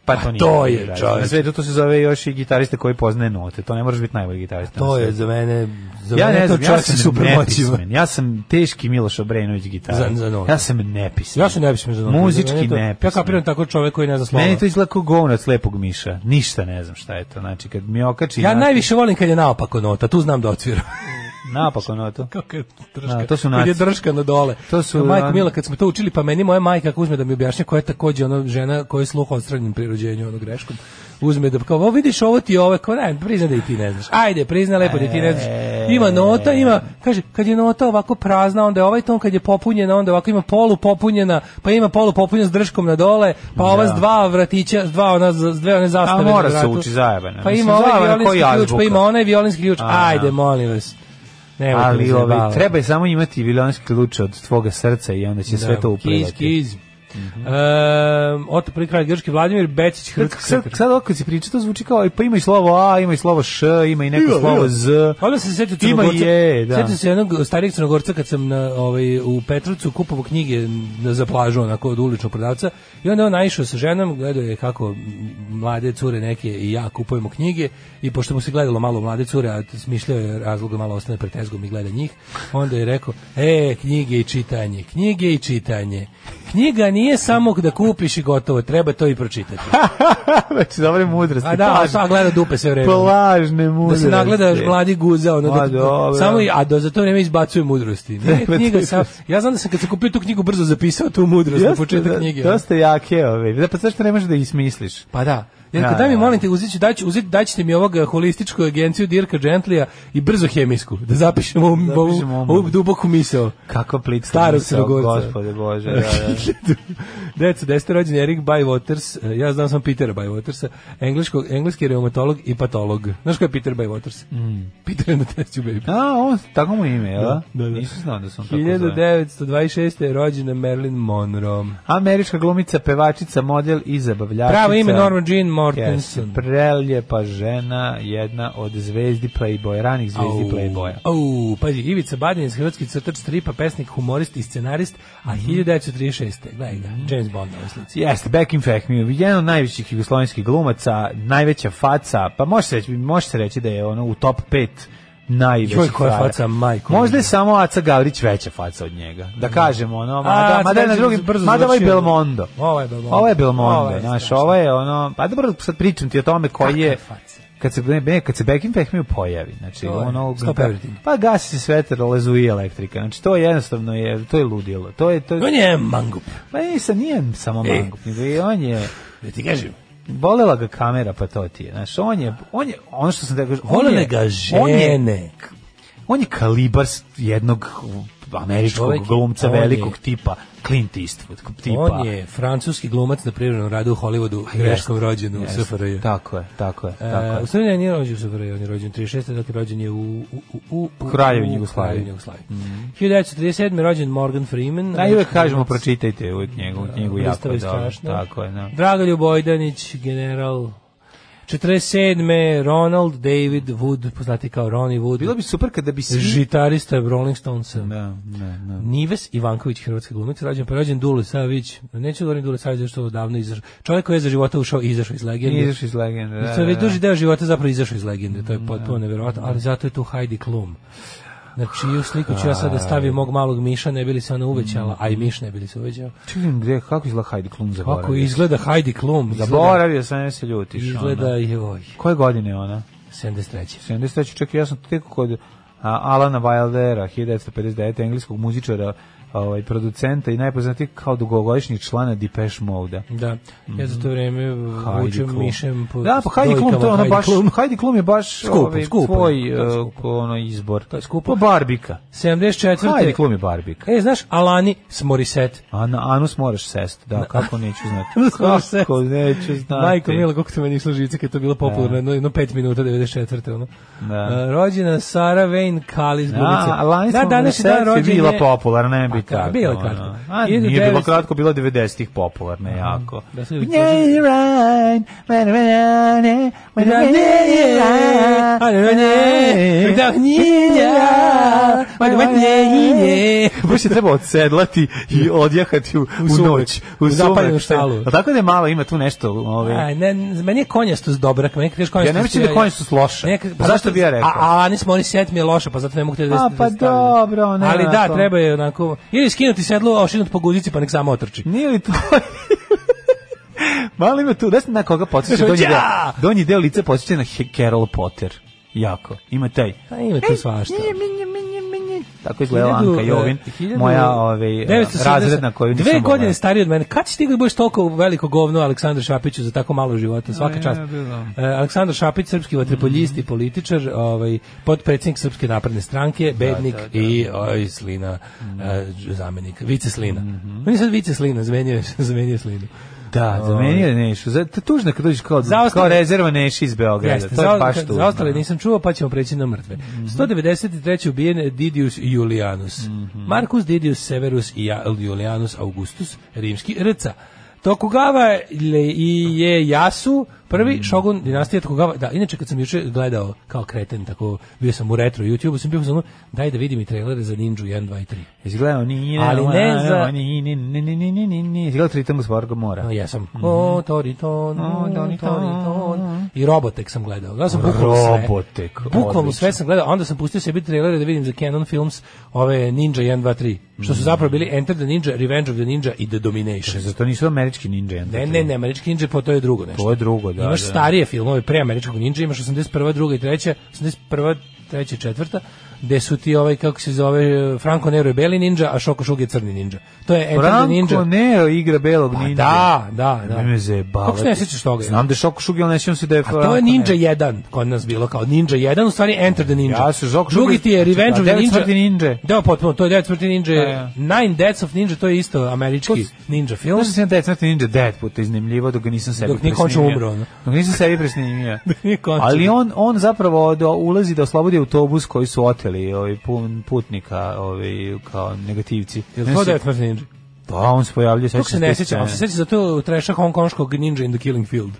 Speaker 5: Pa
Speaker 6: A
Speaker 5: to, nije
Speaker 6: to
Speaker 5: najbolji
Speaker 6: je,
Speaker 5: razlog.
Speaker 6: čovječe.
Speaker 5: Na svetu to se zove još i gitarista koji poznaje note. To ne moraš biti najbolji gitarista.
Speaker 6: To
Speaker 5: na
Speaker 6: je
Speaker 5: svetu.
Speaker 6: za mene, za
Speaker 5: Ja
Speaker 6: mene
Speaker 5: ne
Speaker 6: je to
Speaker 5: znam, ja
Speaker 6: čovjek sa
Speaker 5: sam
Speaker 6: supermoćima.
Speaker 5: nepismen. Ja sam teški Miloš Obrenović gitarista.
Speaker 6: Za- za note.
Speaker 5: ja sam nepismen.
Speaker 6: Ja se ne bismo za notu.
Speaker 5: Muzički
Speaker 6: Za mene je to- Ja
Speaker 5: nepismen.
Speaker 6: kapiram tako čovjek koji ne zna slova.
Speaker 5: Meni to izgleda kao govno od slepog miša. Ništa ne znam šta je to. Znači, kad mi okači
Speaker 6: Ja
Speaker 5: na-
Speaker 6: najviše volim kad je naopako nota, tu znam da odsviram.
Speaker 5: napako notu.
Speaker 6: Kako je drška.
Speaker 5: A, to su
Speaker 6: kad je
Speaker 5: naci.
Speaker 6: drška na dole.
Speaker 5: To su-
Speaker 6: Majko
Speaker 5: an-
Speaker 6: Mila, kad smo to učili, pa meni moja majka ako uzme da mi objašnja koja je takođe ona žena koja je sluh odstranjen pri rođenju ono greškom. Uzme da kao, "O, vidiš ovo ti je ovo, kao, ne, prizna da i ti ne znaš. Ajde, prizna lepo da i ti ne znaš.
Speaker 5: E.
Speaker 6: Ima nota, ima, kaže, kad je nota ovako prazna, onda je ovaj ton kad je popunjena, onda ovako ima polu popunjena, pa ima polu popunjena s drškom na dole, pa ova s dva vratića, s dva ona, s dve one zastave. na
Speaker 5: mora se
Speaker 6: vratu.
Speaker 5: uči zajebana.
Speaker 6: Pa
Speaker 5: Mislim,
Speaker 6: ima ovaj
Speaker 5: zajebana
Speaker 6: violinski
Speaker 5: koja
Speaker 6: ključ, pa
Speaker 5: azbuka.
Speaker 6: ima onaj violinski ključ.
Speaker 5: A,
Speaker 6: Ajde,
Speaker 5: da.
Speaker 6: molim vas. Nemojte me
Speaker 5: ali ovaj,
Speaker 6: zajebavati.
Speaker 5: treba je samo imati viljonski ključ od tvoga srca i onda će sve to Mhm.
Speaker 6: Kiz,
Speaker 5: uprelati.
Speaker 6: kiz. Ehm, Oto prvi kralj Grčki Vladimir Bečić
Speaker 5: Sad,
Speaker 6: Hrk
Speaker 5: sad, sad ovo kad se priča, to zvuči kao, pa ima i slovo A, ima i slovo Š, ima i neko slovo Z.
Speaker 6: Pa Onda sam se sjetio
Speaker 5: Ima
Speaker 6: Crnogorca.
Speaker 5: je, da.
Speaker 6: Sjetio se jednog starijeg Crnogorca kad sam na, ovaj, u Petrovcu kupovao knjige na, za plažu, onako od uličnog prodavca. I onda je on naišao sa ženom, gledao je kako m, mlade cure neke i ja kupujemo knjige. I pošto mu se gledalo malo mlade cure, a smišljao je razlog da malo ostane pretezgom i gleda njih, onda je rekao, e, knjige i čitanje, knjige i čitanje. Knjiga nije samo da kupiš i gotovo, treba to i pročitati.
Speaker 5: znači, dobre mudrosti.
Speaker 6: A da, a
Speaker 5: plažne-
Speaker 6: sad gleda dupe sve vreme.
Speaker 5: Plažne
Speaker 6: Da
Speaker 5: mudrosti.
Speaker 6: se nagledaš mladi guza, ono,
Speaker 5: Ma,
Speaker 6: da,
Speaker 5: dobro.
Speaker 6: samo, i- a do, za to vrijeme izbacuje mudrosti. Nije
Speaker 5: Treba
Speaker 6: knjiga
Speaker 5: ti-
Speaker 6: sam, ja znam da sam kad sam kupio tu knjigu brzo zapisao tu mudrost na
Speaker 5: Jeste,
Speaker 6: početak knjige. ono.
Speaker 5: Dosta jake ove. Da, pa zašto ne možeš da ismisliš?
Speaker 6: Pa da. Ja rekao,
Speaker 5: Da,
Speaker 6: daj mi
Speaker 5: da.
Speaker 6: molim te, uzet ću, daj, ću- uzet, daj ćete mi ovog eh, holističku agenciju Dirka Gentlija i brzo hemijsku, da zapišemo ovu,
Speaker 5: Zapišemo
Speaker 6: ovu,
Speaker 5: ovu-
Speaker 6: ovu duboku misao.
Speaker 5: Kako plitka
Speaker 6: Starog
Speaker 5: misao,
Speaker 6: Crnogorca.
Speaker 5: Gospode Bože, da, da.
Speaker 6: Deco, desete rođen je Erik Bywaters, eh, ja znam sam Petera Bywatersa, engleškog, engleski reumatolog i patolog. Znaš ko je Peter Bywaters?
Speaker 5: Mm.
Speaker 6: Peter and the Test Tube Baby.
Speaker 5: A, on, tako mu ime, jel? Da,
Speaker 6: da, da.
Speaker 5: Nisam znao da sam tako zove.
Speaker 6: 1926. je rođena Marilyn Monroe.
Speaker 5: Američka glumica, pevačica, model i zabavljačica.
Speaker 6: Pravo ime Norma Jean
Speaker 5: Jeste,
Speaker 6: Mortensen.
Speaker 5: preljepa žena, jedna od zvezdi Playboya, ranih zvezdi Playboya. Mhm.
Speaker 6: Au, pazi, Ivica Badin je hrvatski crtač, stripa, pesnik, humorist i scenarist, a 1936. jeste, gledaj ga, James Bond na ovoj slici.
Speaker 5: Jeste, Bekim Fehmiju, jedan od najvećih jugoslovenskih glumaca, najveća faca, pa može se reći, može se reći da je ono u top 5 najvećih
Speaker 6: Joj, koja
Speaker 5: frajera.
Speaker 6: faca, majko
Speaker 5: Možda
Speaker 6: moja.
Speaker 5: je
Speaker 6: Mm.
Speaker 5: samo Aca Gavrić veća faca od njega. Da kažemo, ono,
Speaker 6: A,
Speaker 5: mada,
Speaker 6: Aca
Speaker 5: mada je na
Speaker 6: Gavrić
Speaker 5: drugim,
Speaker 6: brzo
Speaker 5: mada ovo je
Speaker 6: završio.
Speaker 5: ovaj Belmondo.
Speaker 6: Ovo je Belmondo.
Speaker 5: Ovo je Belmondo,
Speaker 6: Ovo je
Speaker 5: znaš,
Speaker 6: strašno.
Speaker 5: ovo je ono, pa dobro, sad pričam ti o tome koji je,
Speaker 6: Kakve face.
Speaker 5: kad se ne, ne, kad se Bekim Fehmiju pojavi, znači
Speaker 6: To je
Speaker 5: ono
Speaker 6: stop everything.
Speaker 5: pa gasi se svetar, lazuje elektrika. Znači to je jednostavno je to je ludilo. To je to
Speaker 6: On je mangup,
Speaker 5: Pa nisam, nije samo
Speaker 6: E.
Speaker 5: mangup, nego i on je,
Speaker 6: da ti kažem.
Speaker 5: bolela ga kamera, pa to ti je. Znaš, on je, on je, ono što sam da kažem, on
Speaker 6: Volele
Speaker 5: je,
Speaker 6: ga
Speaker 5: on je,
Speaker 6: žene.
Speaker 5: on je kalibar s- jednog američkog
Speaker 6: Čovek je-
Speaker 5: glumca
Speaker 6: on je-
Speaker 5: velikog tipa, Clint Eastwood tipa.
Speaker 6: On je francuski glumac na privrednom radu u Hollywoodu, greškom rođen u SFRJ.
Speaker 5: Tako je, tako je, tako
Speaker 6: E,
Speaker 5: je.
Speaker 6: u stvari ne, nije rođen u SFRJ, on je rođen 36. Dakle, rođen je u, u, u, u, u
Speaker 5: Kraljevini
Speaker 6: u
Speaker 5: Jugoslaviji.
Speaker 6: Kraljevini Jugoslaviji. 1937. rođen Morgan Freeman.
Speaker 5: Mhm. Da, i uvek
Speaker 6: američki
Speaker 5: kažemo,
Speaker 6: glumac.
Speaker 5: pročitajte uvek njegovu knjigu jako
Speaker 6: Predstava je
Speaker 5: dobro.
Speaker 6: strašna.
Speaker 5: Tako je, da.
Speaker 6: Dragoljub Bojdanić, general 47. Ronald David Wood, poznati kao Ronnie Wood.
Speaker 5: Bilo bi super kada bi svi...
Speaker 6: žitarista Rolling Stonesa.
Speaker 5: Da, da, da.
Speaker 6: Nives Ivanković, hrvatski glumac, rođen pa rođen Dule Savić. Neću da govorim Dule Savić, zašto je odavno izašao. Čovjek koji je za života ušao i izašao iz legende.
Speaker 5: Izaš iz legende, da,
Speaker 6: To je
Speaker 5: da,
Speaker 6: već
Speaker 5: da.
Speaker 6: duži deo života zapravo izašao iz legende, to je potpuno neverovatno, ali zato je tu Heidi Klum. Na čiju sliku ću ja sad da stavim mog malog Miša, ne bi li se ona uvećala, a i Miš ne bi li se uvećao.
Speaker 5: Čekaj, gde, kako izgleda Heidi Klum zaboravio?
Speaker 6: Kako izgleda Heidi Klum? Izgleda-
Speaker 5: Zaboravio sam, ne se ljutiš.
Speaker 6: Izgleda,
Speaker 5: ono.
Speaker 6: joj,
Speaker 5: Koje godine je ona?
Speaker 6: 73.
Speaker 5: 73. čak i ja sam tek kod a, Alana Wildera, 1959. engleskog muzičara, ovaj, producenta i najpoznatijeg kao dugogodišnjeg člana Depeche Mode-a.
Speaker 6: Da, ja za to vreme
Speaker 5: Mhm. Heidi
Speaker 6: vučem
Speaker 5: Klum.
Speaker 6: mišem po
Speaker 5: da, pa Heidi Klum, to je ono
Speaker 6: Heidi
Speaker 5: baš,
Speaker 6: Klum.
Speaker 5: Heidi Klum je baš
Speaker 6: Skupo,
Speaker 5: ovaj,
Speaker 6: skupo je.
Speaker 5: tvoj
Speaker 6: To je
Speaker 5: eh,
Speaker 6: skupo.
Speaker 5: ono, izbor.
Speaker 6: To je skupo.
Speaker 5: Pa Barbika.
Speaker 6: 74.
Speaker 5: Heidi Klum je Barbika.
Speaker 6: E, znaš, Alani s Morissette.
Speaker 5: Ana, Anus moraš sest, da, kako neću
Speaker 6: Anus moraš
Speaker 5: znati.
Speaker 6: sest.
Speaker 5: kako neću znati.
Speaker 6: Majko Mila, koliko to meni išlo žice kad je to bilo popularno, jedno, jedno 5 minuta 94. Ono.
Speaker 5: Da.
Speaker 6: E, rođena Sara Wayne Kalis Glumice.
Speaker 5: Da, Alanis
Speaker 6: da, danas je dan rođenje.
Speaker 5: bila popularna, ne bi
Speaker 6: Pa, da,
Speaker 5: tako.
Speaker 6: bila je
Speaker 5: ono.
Speaker 6: kratko.
Speaker 5: A, nije bilo
Speaker 6: 1900
Speaker 5: kratko, bilo je 90-ih popularna jako.
Speaker 6: Da su ljudi složili.
Speaker 5: Baš je treba odsedlati i odjahati u, u
Speaker 6: sumrak.
Speaker 5: noć.
Speaker 6: U zapaljenu
Speaker 5: sumrak.
Speaker 6: štalu.
Speaker 5: A Tako da je malo, ima tu nešto. Ovaj,
Speaker 6: Aj, ne, meni je konjasto s dobrak, meni kad kažeš konjasto.
Speaker 5: ja ne mislim da konje su loše. Pa zašto bi ja rekao?
Speaker 6: A, a Anis Morissette mi je loša, pa zato ne mogu te da
Speaker 5: A, pa
Speaker 6: da stavim.
Speaker 5: dobro, ne,
Speaker 6: Ali da,
Speaker 5: onako.
Speaker 6: treba je onako... Ili skinuti sedlo, a ošinut po guzici, pa nek samo otrči.
Speaker 5: Nije li to... Malo ima tu, da se na koga podsjeća donji deo.
Speaker 6: Ja!
Speaker 5: Donji deo lica podsjeća na He- Carol Potter. Jako. Ima taj.
Speaker 6: Pa ima tu svašta.
Speaker 5: Tako izgleda Anka Jovin,
Speaker 6: E, eh,
Speaker 5: moja ove,
Speaker 6: 970.
Speaker 5: razredna koju nisam
Speaker 6: Dve
Speaker 5: voleo.
Speaker 6: godine stariji od mene. Kad si ti da budeš toliko veliko govno Aleksandru Šapiću za tako malo života? Svaka
Speaker 5: je,
Speaker 6: čast.
Speaker 5: bilo.
Speaker 6: E, Aleksandar Šapić, srpski vatrepoljist i političar, ovaj, potpredsjednik Srpske napredne stranke, bednik i oj, slina, e, dž- zamenik, vice slina. On je sad vice slina, zamenio, je- zamenio je slinu.
Speaker 5: Da, za meni je Nešu. Za, to je tužno kad dođeš kao,
Speaker 6: Ovaj. Za ostale-
Speaker 5: kao rezerva Neši iz Beograda.
Speaker 6: Jeste,
Speaker 5: to je
Speaker 6: za,
Speaker 5: baš tužno. Mhm.
Speaker 6: za ostale nisam čuo, pa ćemo preći na mrtve. 193. ubijen Didius Julianus.
Speaker 5: Mhm.
Speaker 6: Marcus Didius Severus i Ja- Julianus Augustus, rimski rca. Tokugava le- i je Jasu, prvi
Speaker 5: Mhm.
Speaker 6: šogun dinastije Tokugava. Da, inače kad sam juče gledao kao kreten, tako bio sam u retro YouTube, sam bio samo daj da vidim i trailere za Ninju 1, 2 i 3.
Speaker 5: Izgledao nije...
Speaker 6: Ali ne za-
Speaker 5: Ni, ni, ni, ni, ni, ni, ni, ni. Izgledao Tritangus Varga mora.
Speaker 6: No, jesam. O, Toriton, o,
Speaker 5: Mhm. Toriton.
Speaker 6: Toriton. I Robotek sam gledao. Gledao sam bukvalno sve.
Speaker 5: Robotek.
Speaker 6: Bukvalno
Speaker 5: odlično.
Speaker 6: sve sam gledao, a onda sam pustio sebi trailere da vidim za Canon Films ove Ninja 1, 2, 3, što
Speaker 5: Mhm.
Speaker 6: su zapravo bili Enter the Ninja, Revenge of the Ninja i The Domination.
Speaker 5: Zato Pa nisu američki ninja.
Speaker 6: Ne, ne, ne, američki ninja, po to je drugo nešto.
Speaker 5: To je drugo, da,
Speaker 6: Imaš
Speaker 5: da.
Speaker 6: starije filmove pre američkog ninja, imaš 81. druga i treća, 81. treća, četvrta, gde su ti ovaj, kako se zove, Franco Nero je beli ninja, a Shoko Shugi je crni ninja. To je Enter the Ninja.
Speaker 5: Franco Nero igra belog
Speaker 6: Pa
Speaker 5: ninja.
Speaker 6: da, da, da.
Speaker 5: Me zajebavate.
Speaker 6: Kako se ne sjećaš toga?
Speaker 5: Znam da je Šoko Šugil, ne sjećam se da je...
Speaker 6: A to je Ninja 1, kod nas bilo kao Ninja 1, u stvari Enter the Ninja.
Speaker 5: Ja se zbog-
Speaker 6: Drugi ti je Revenge
Speaker 5: A
Speaker 6: of the
Speaker 5: devet
Speaker 6: Ninja.
Speaker 5: smrti ninje.
Speaker 6: Da, potpuno, to je 9 smrti ninja.
Speaker 5: Da, ja.
Speaker 6: Nine Deaths of Ninja, to je isto američki
Speaker 5: To-
Speaker 6: ninja film.
Speaker 5: Znaš da sam ja Death Note Ninja devet puta iznimljivo dok ga nisam sebi
Speaker 6: Dok nije končno
Speaker 5: presnimio.
Speaker 6: umro, ono.
Speaker 5: Dok nisam sebi presnimio.
Speaker 6: Dok nije končno.
Speaker 5: Ali on, on zapravo do, ulazi da oslobodi autobus koji su oteli ovaj, pun- putnika ovaj, kao negativci.
Speaker 6: Jel to 9 smrti ninja?
Speaker 5: Da, on se pojavljuje.
Speaker 6: Kako se ne sjeća? Ali se sjeća za to treša hongkonškog Ninja in the Killing Field.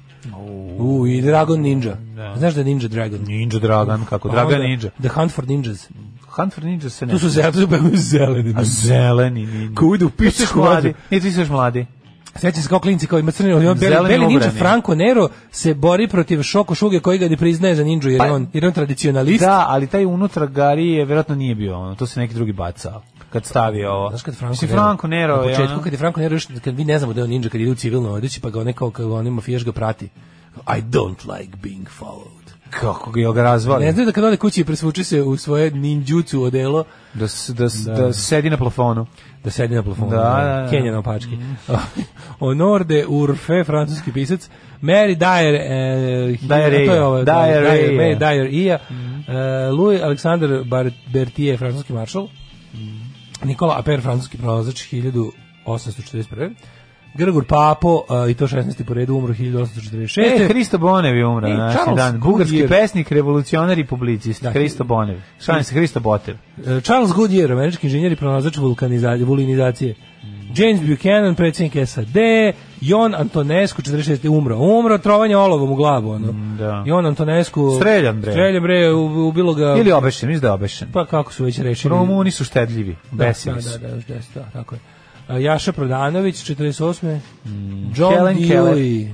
Speaker 6: U, i Dragon Ninja. Znaš da je Ninja Dragon?
Speaker 5: Ninja Dragan, kako?
Speaker 6: Pa
Speaker 5: Dragan
Speaker 6: onda
Speaker 5: Ninja.
Speaker 6: The Hunt for Ninjas.
Speaker 5: Hunt for Ninja se ne...
Speaker 6: Tu su zeleni, tu su bemo zeleni.
Speaker 5: A zeleni ninja.
Speaker 6: Ko ide u
Speaker 5: Ti si još
Speaker 6: pičku
Speaker 5: mladi.
Speaker 6: mladi.
Speaker 5: Ne, E, ti si još mladi.
Speaker 6: Sećam se kao klinci kao ima crni, ali on beli,
Speaker 5: Zeleni
Speaker 6: beli ninja
Speaker 5: obrani.
Speaker 6: Franco Nero se bori protiv Šoko Šuge koji ga ne priznaje za ninđu jer je
Speaker 5: Pa-
Speaker 6: on, jer je on tradicionalist.
Speaker 5: Da, ali taj unutra Gari je vjerojatno nije bio ono, to se neki drugi bacao. Kad stavio ovo.
Speaker 6: Znaš kad Franco
Speaker 5: Mislim,
Speaker 6: Nero,
Speaker 5: Franco Nero
Speaker 6: na
Speaker 5: je
Speaker 6: početku
Speaker 5: ono-
Speaker 6: kad je Franco Nero još, kad mi ne znamo da je on ninja, kad ide u civilno odeći, pa ga onaj kao, kao onaj mafijaš ga prati. I don't like being followed.
Speaker 5: Kako ga je ga razvali.
Speaker 6: Ne znaju da kad ode kući i presvuče se u svoje ninjutsu odelo,
Speaker 5: da, s- da, s- da sedi na plafonu.
Speaker 6: da sedi na plafonu.
Speaker 5: Da, da, da.
Speaker 6: Kenja na opački. Honor de Urfe, francuski pisac. Mary Dyer, e,
Speaker 5: Dyer
Speaker 6: to je
Speaker 5: Ia.
Speaker 6: ovo,
Speaker 5: Dyer Mhm.
Speaker 6: Dyer,
Speaker 5: Ia.
Speaker 6: Mary Dyer Ia, e, Louis Alexander Bar- Berthier, francuski maršal,
Speaker 5: Mhm.
Speaker 6: Nikola Aper, francuski pronalazač 1841. Grgur Papo, e, i to 16. po redu, umro 1846.
Speaker 5: E, Hristo Bonev je umra
Speaker 6: I
Speaker 5: na današnji
Speaker 6: e, Charles
Speaker 5: dan. Bugarski
Speaker 6: Goodyear.
Speaker 5: pesnik, revolucionar i publicist.
Speaker 6: Da,
Speaker 5: Hristo Bonev. Šalim se, Hristo Botev.
Speaker 6: E, Charles Goodyear, američki inženjer i pronalazač vulkanizacije, vulinizacije. James Buchanan, predsjednik SAD, Jon Antonescu, 46. umro. Umro, trovanje olovom u glavu, ono.
Speaker 5: Mm, da.
Speaker 6: Jon Antonescu...
Speaker 5: Streljan, bre.
Speaker 6: Streljan, bre, u- ubilo ga...
Speaker 5: Ili obešen, mislim da je obešen.
Speaker 6: Pa kako su već rešili...
Speaker 5: Romuni su štedljivi,
Speaker 6: da,
Speaker 5: besili
Speaker 6: da,
Speaker 5: su.
Speaker 6: da, da, još deset, da, tako je. E, Jaša Prodanović, 48. John
Speaker 5: Mm, Helen Keller.
Speaker 6: Dewey.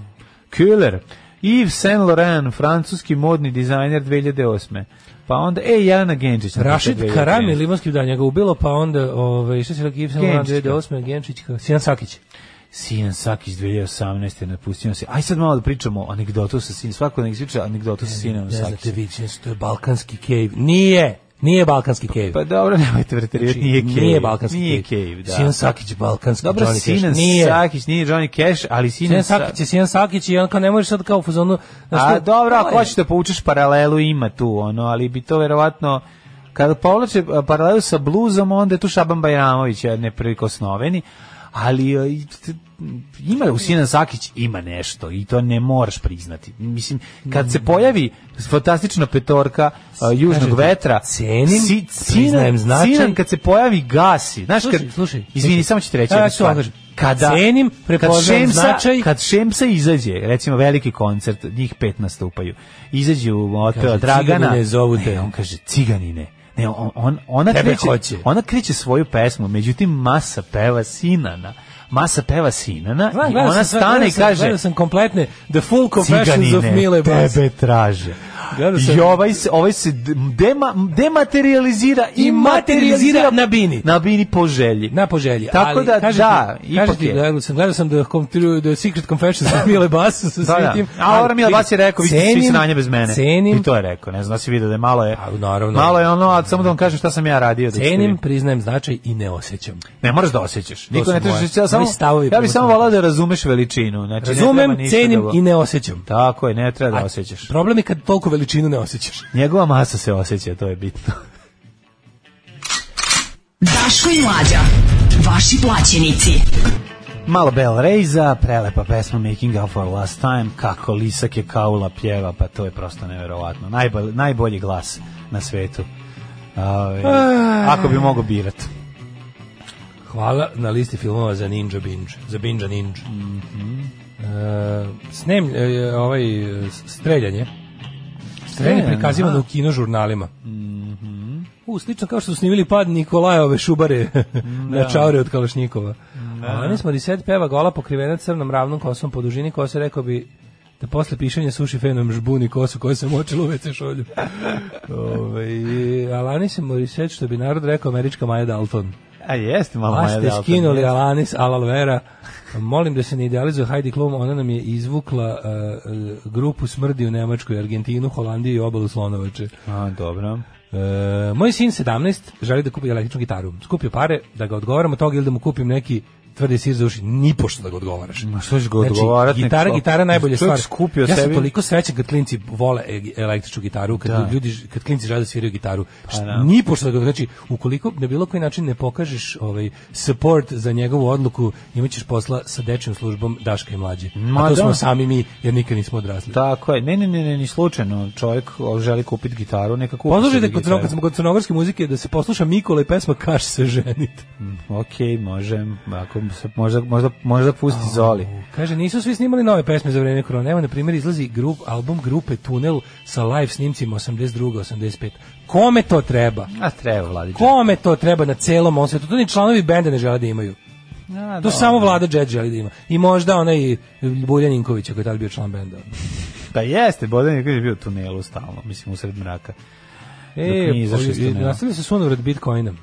Speaker 5: Kühler. Yves Saint Laurent, francuski modni dizajner 2008. Pa onda, e, Jelena Genčić. na primjer,
Speaker 6: Rašid
Speaker 5: 2013.
Speaker 6: Karami, limanski da njega ubilo, pa onda, ovaj, šta se rekao, Gibson,
Speaker 5: Genčićka.
Speaker 6: 2008. Genčićka, Sijan Sakić.
Speaker 5: Sijan Sakić 2018. je napustio nas. Aj sad malo da pričamo o anegdotu sa sinom. Svako nek sviča anegdotu sa sinom
Speaker 6: Ne znate
Speaker 5: Sakićem.
Speaker 6: vi, znači, to je balkanski cave. Nije, nije balkanski cave.
Speaker 5: Pa dobro, nemojte preterivati, nije Cave.
Speaker 6: Znači, Nije balkanski
Speaker 5: Nije
Speaker 6: cave.
Speaker 5: Cave, da.
Speaker 6: Sinan Sakić, balkanski
Speaker 5: Dobro,
Speaker 6: Johnny Cash.
Speaker 5: Sinan
Speaker 6: Nije.
Speaker 5: Sakić, nije Johnny Cash, ali Sinan
Speaker 6: Sinan Sakić je Sinan Sakić i on kao ne možeš sad kao u fazonu... znaš
Speaker 5: A
Speaker 6: to-
Speaker 5: dobro, ako
Speaker 6: to je-
Speaker 5: hoćeš da povučeš paralelu, ima tu, ono, ali bi to verovatno, kada povlače a, paralelu sa bluzom, onda je tu Šaban Bajramović a, neprikosnoveni, ali a, i t- ima u Sinan Sakić ima nešto i to ne moraš priznati. Mislim, kad
Speaker 6: Mm.
Speaker 5: se pojavi fantastična petorka a, južnog
Speaker 6: Kažete,
Speaker 5: vetra,
Speaker 6: cenim,
Speaker 5: si,
Speaker 6: priznajem
Speaker 5: Sinan,
Speaker 6: značaj.
Speaker 5: Sinan kad se pojavi gasi. Znaš,
Speaker 6: Slušaj,
Speaker 5: kad,
Speaker 6: slušaj,
Speaker 5: izvini,
Speaker 6: slušaj.
Speaker 5: samo ću ti reći.
Speaker 6: A,
Speaker 5: jednu
Speaker 6: ja ću
Speaker 5: stvar.
Speaker 6: vam kažem. Cenim, prepoznajem
Speaker 5: Šemsa-
Speaker 6: značaj.
Speaker 5: Kad Šemsa izađe, recimo veliki koncert, njih pet nastupaju, izađe u od
Speaker 6: Kaže,
Speaker 5: Dragana,
Speaker 6: "Ciganine, zovu te."
Speaker 5: ne, on kaže, ciganine, ne, on, on, ona,
Speaker 6: Tebe
Speaker 5: kreće,
Speaker 6: hoće.
Speaker 5: ona kreće svoju pesmu, međutim, masa peva Sinana, masa peva Sinana
Speaker 6: Gledam,
Speaker 5: i
Speaker 6: gledam
Speaker 5: ona
Speaker 6: sam sve,
Speaker 5: stane
Speaker 6: gledam
Speaker 5: i
Speaker 6: sam-
Speaker 5: kaže,
Speaker 6: Gledam sam kompletne The Full Confessions of Mile
Speaker 5: ciganine,
Speaker 6: Bas.
Speaker 5: tebe traže.
Speaker 6: Gledao sam-
Speaker 5: I ovaj se, ovaj se d- dema, dematerializira i,
Speaker 6: I materijalizira na bini.
Speaker 5: na bini po želji.
Speaker 6: Na poželji.
Speaker 5: Tako
Speaker 6: ali,
Speaker 5: da,
Speaker 6: kažete,
Speaker 5: da, ipak
Speaker 6: kažete,
Speaker 5: je.
Speaker 6: Gledao sam, gledao sam The, Com- True- the Secret Confessions of Mile Bas sa svim
Speaker 5: Da, da.
Speaker 6: tim.
Speaker 5: A Aura Mila Bas je rekao, vi ste svi
Speaker 6: Cenim-
Speaker 5: sranje bez mene.
Speaker 6: Cenim,
Speaker 5: I to je rekao, ne znam, da si vidio da je malo je,
Speaker 6: A, naravno.
Speaker 5: malo je ono, a samo da vam kažem šta sam ja radio. Da ćete
Speaker 6: cenim,
Speaker 5: vidjeti.
Speaker 6: priznajem značaj i ne osjećam.
Speaker 5: Ne moraš da osjećaš. Niko
Speaker 6: su
Speaker 5: ne trebaš
Speaker 6: moje.
Speaker 5: osjećati, ja samo,
Speaker 6: Moji stavovi
Speaker 5: ja bih
Speaker 6: prema
Speaker 5: samo
Speaker 6: tome.
Speaker 5: volao da razumeš veličinu. Znači, ne
Speaker 6: Razumem,
Speaker 5: treba ništa
Speaker 6: cenim
Speaker 5: da...
Speaker 6: i ne osjećam.
Speaker 5: Tako je, ne treba da osjećaš.
Speaker 6: Problem je kad toliko veličinu ne osjećaš.
Speaker 5: Njegova masa se osjeća, to je bitno.
Speaker 1: Daško i Mlađa. Vaši plaćenici.
Speaker 5: Malo Bel Rejza, prelepa pesma Making Up for Last Time, kako Lisak je kaula pjeva, pa to je prosto neverovatno. Najbolji, najbolji glas na svetu. Ove, ako bi mogo birat.
Speaker 6: Hvala na listi filmova za Ninja Binge, za Binge Ninja. Mm
Speaker 5: Mhm.
Speaker 6: snem, e, ovaj, e, streljanje. Streljanje
Speaker 5: Streljanje,
Speaker 6: prikazivano
Speaker 5: aha. Mhm.
Speaker 6: u kinožurnalima. Mm U, slično kao što su snimili pad Nikolajove šubare
Speaker 5: Mm,
Speaker 6: na čaure od Kalašnjikova. Da. Alanis Morissette peva gola pokrivena crnom ravnom kosom po dužini koja se rekao bi da posle pišanja suši fenom žbuni kosu koju sam močila u WC šolju. Ovaj, Alanis Morissette, što bi narod rekao, američka Maja Dalton.
Speaker 5: A jeste malo
Speaker 6: Pa
Speaker 5: Maja
Speaker 6: ste
Speaker 5: Delta.
Speaker 6: skinuli Alanis Alalvera. Molim da se ne idealizuje Heidi Klum, ona nam je izvukla uh, uh, grupu smrdi u Nemačkoj, Argentinu, Holandiju i obalu Slonovače.
Speaker 5: A, dobro.
Speaker 6: Uh, moj sin 17 želi da kupi električnu gitaru. Skupio pare da ga odgovaram od toga ili da mu kupim neki tvrdi sir za uši. Nipošto da ga odgovaraš.
Speaker 5: Ma što ćeš ga odgovarati, nek
Speaker 6: Znači, gitara,
Speaker 5: sva-
Speaker 6: gitara je najbolja
Speaker 5: Čovjek
Speaker 6: stvar.
Speaker 5: skupio
Speaker 6: ja sam
Speaker 5: sebi-
Speaker 6: toliko srećan kad klinci vole e- električnu gitaru, kad
Speaker 5: Da. Pa
Speaker 6: ljudi ž- kad klinci žele da sviraju gitaru.
Speaker 5: da.
Speaker 6: Ni pošto da ga znači ukoliko na bilo koji način ne pokažeš ovaj support za njegovu odluku, imaćeš posla sa dečjom službom Daška i mlađe.
Speaker 5: Ma
Speaker 6: A to
Speaker 5: da.
Speaker 6: smo sami mi jer nikad nismo odrasli.
Speaker 5: Tako je. Ne, ne, ne, ne, ni slučajno. Čovjek o, želi kupiti gitaru, neka kupi.
Speaker 6: Poslušajte
Speaker 5: sebi
Speaker 6: kod
Speaker 5: gitaru.
Speaker 6: crno- kad smo kod crnogorske muzike da se posluša Mikola i pesma Kaš se ženit.
Speaker 5: Ok, možem. Mm, Ako možda, možda, možda pusti Zoli.
Speaker 6: Kaže, nisu svi snimali nove pesme za vreme korone. Evo, na primjer, izlazi grup, album grupe Tunel sa live snimcima 82. 85. Kome to treba?
Speaker 5: A treba, Vladić.
Speaker 6: Kome to treba na celom ovom svetu? To ni članovi benda ne žele da imaju.
Speaker 5: A,
Speaker 6: To
Speaker 5: da,
Speaker 6: samo Vlada Jet želi da ima. I možda onaj Buljaninković, koji je tada bio član benda.
Speaker 5: Da jeste, Bodan je kaže, bio u tunelu stalno, mislim, usred mraka.
Speaker 6: E,
Speaker 5: nije izašao iz tunela.
Speaker 6: nastavlja se sunovrat Bitcoinom.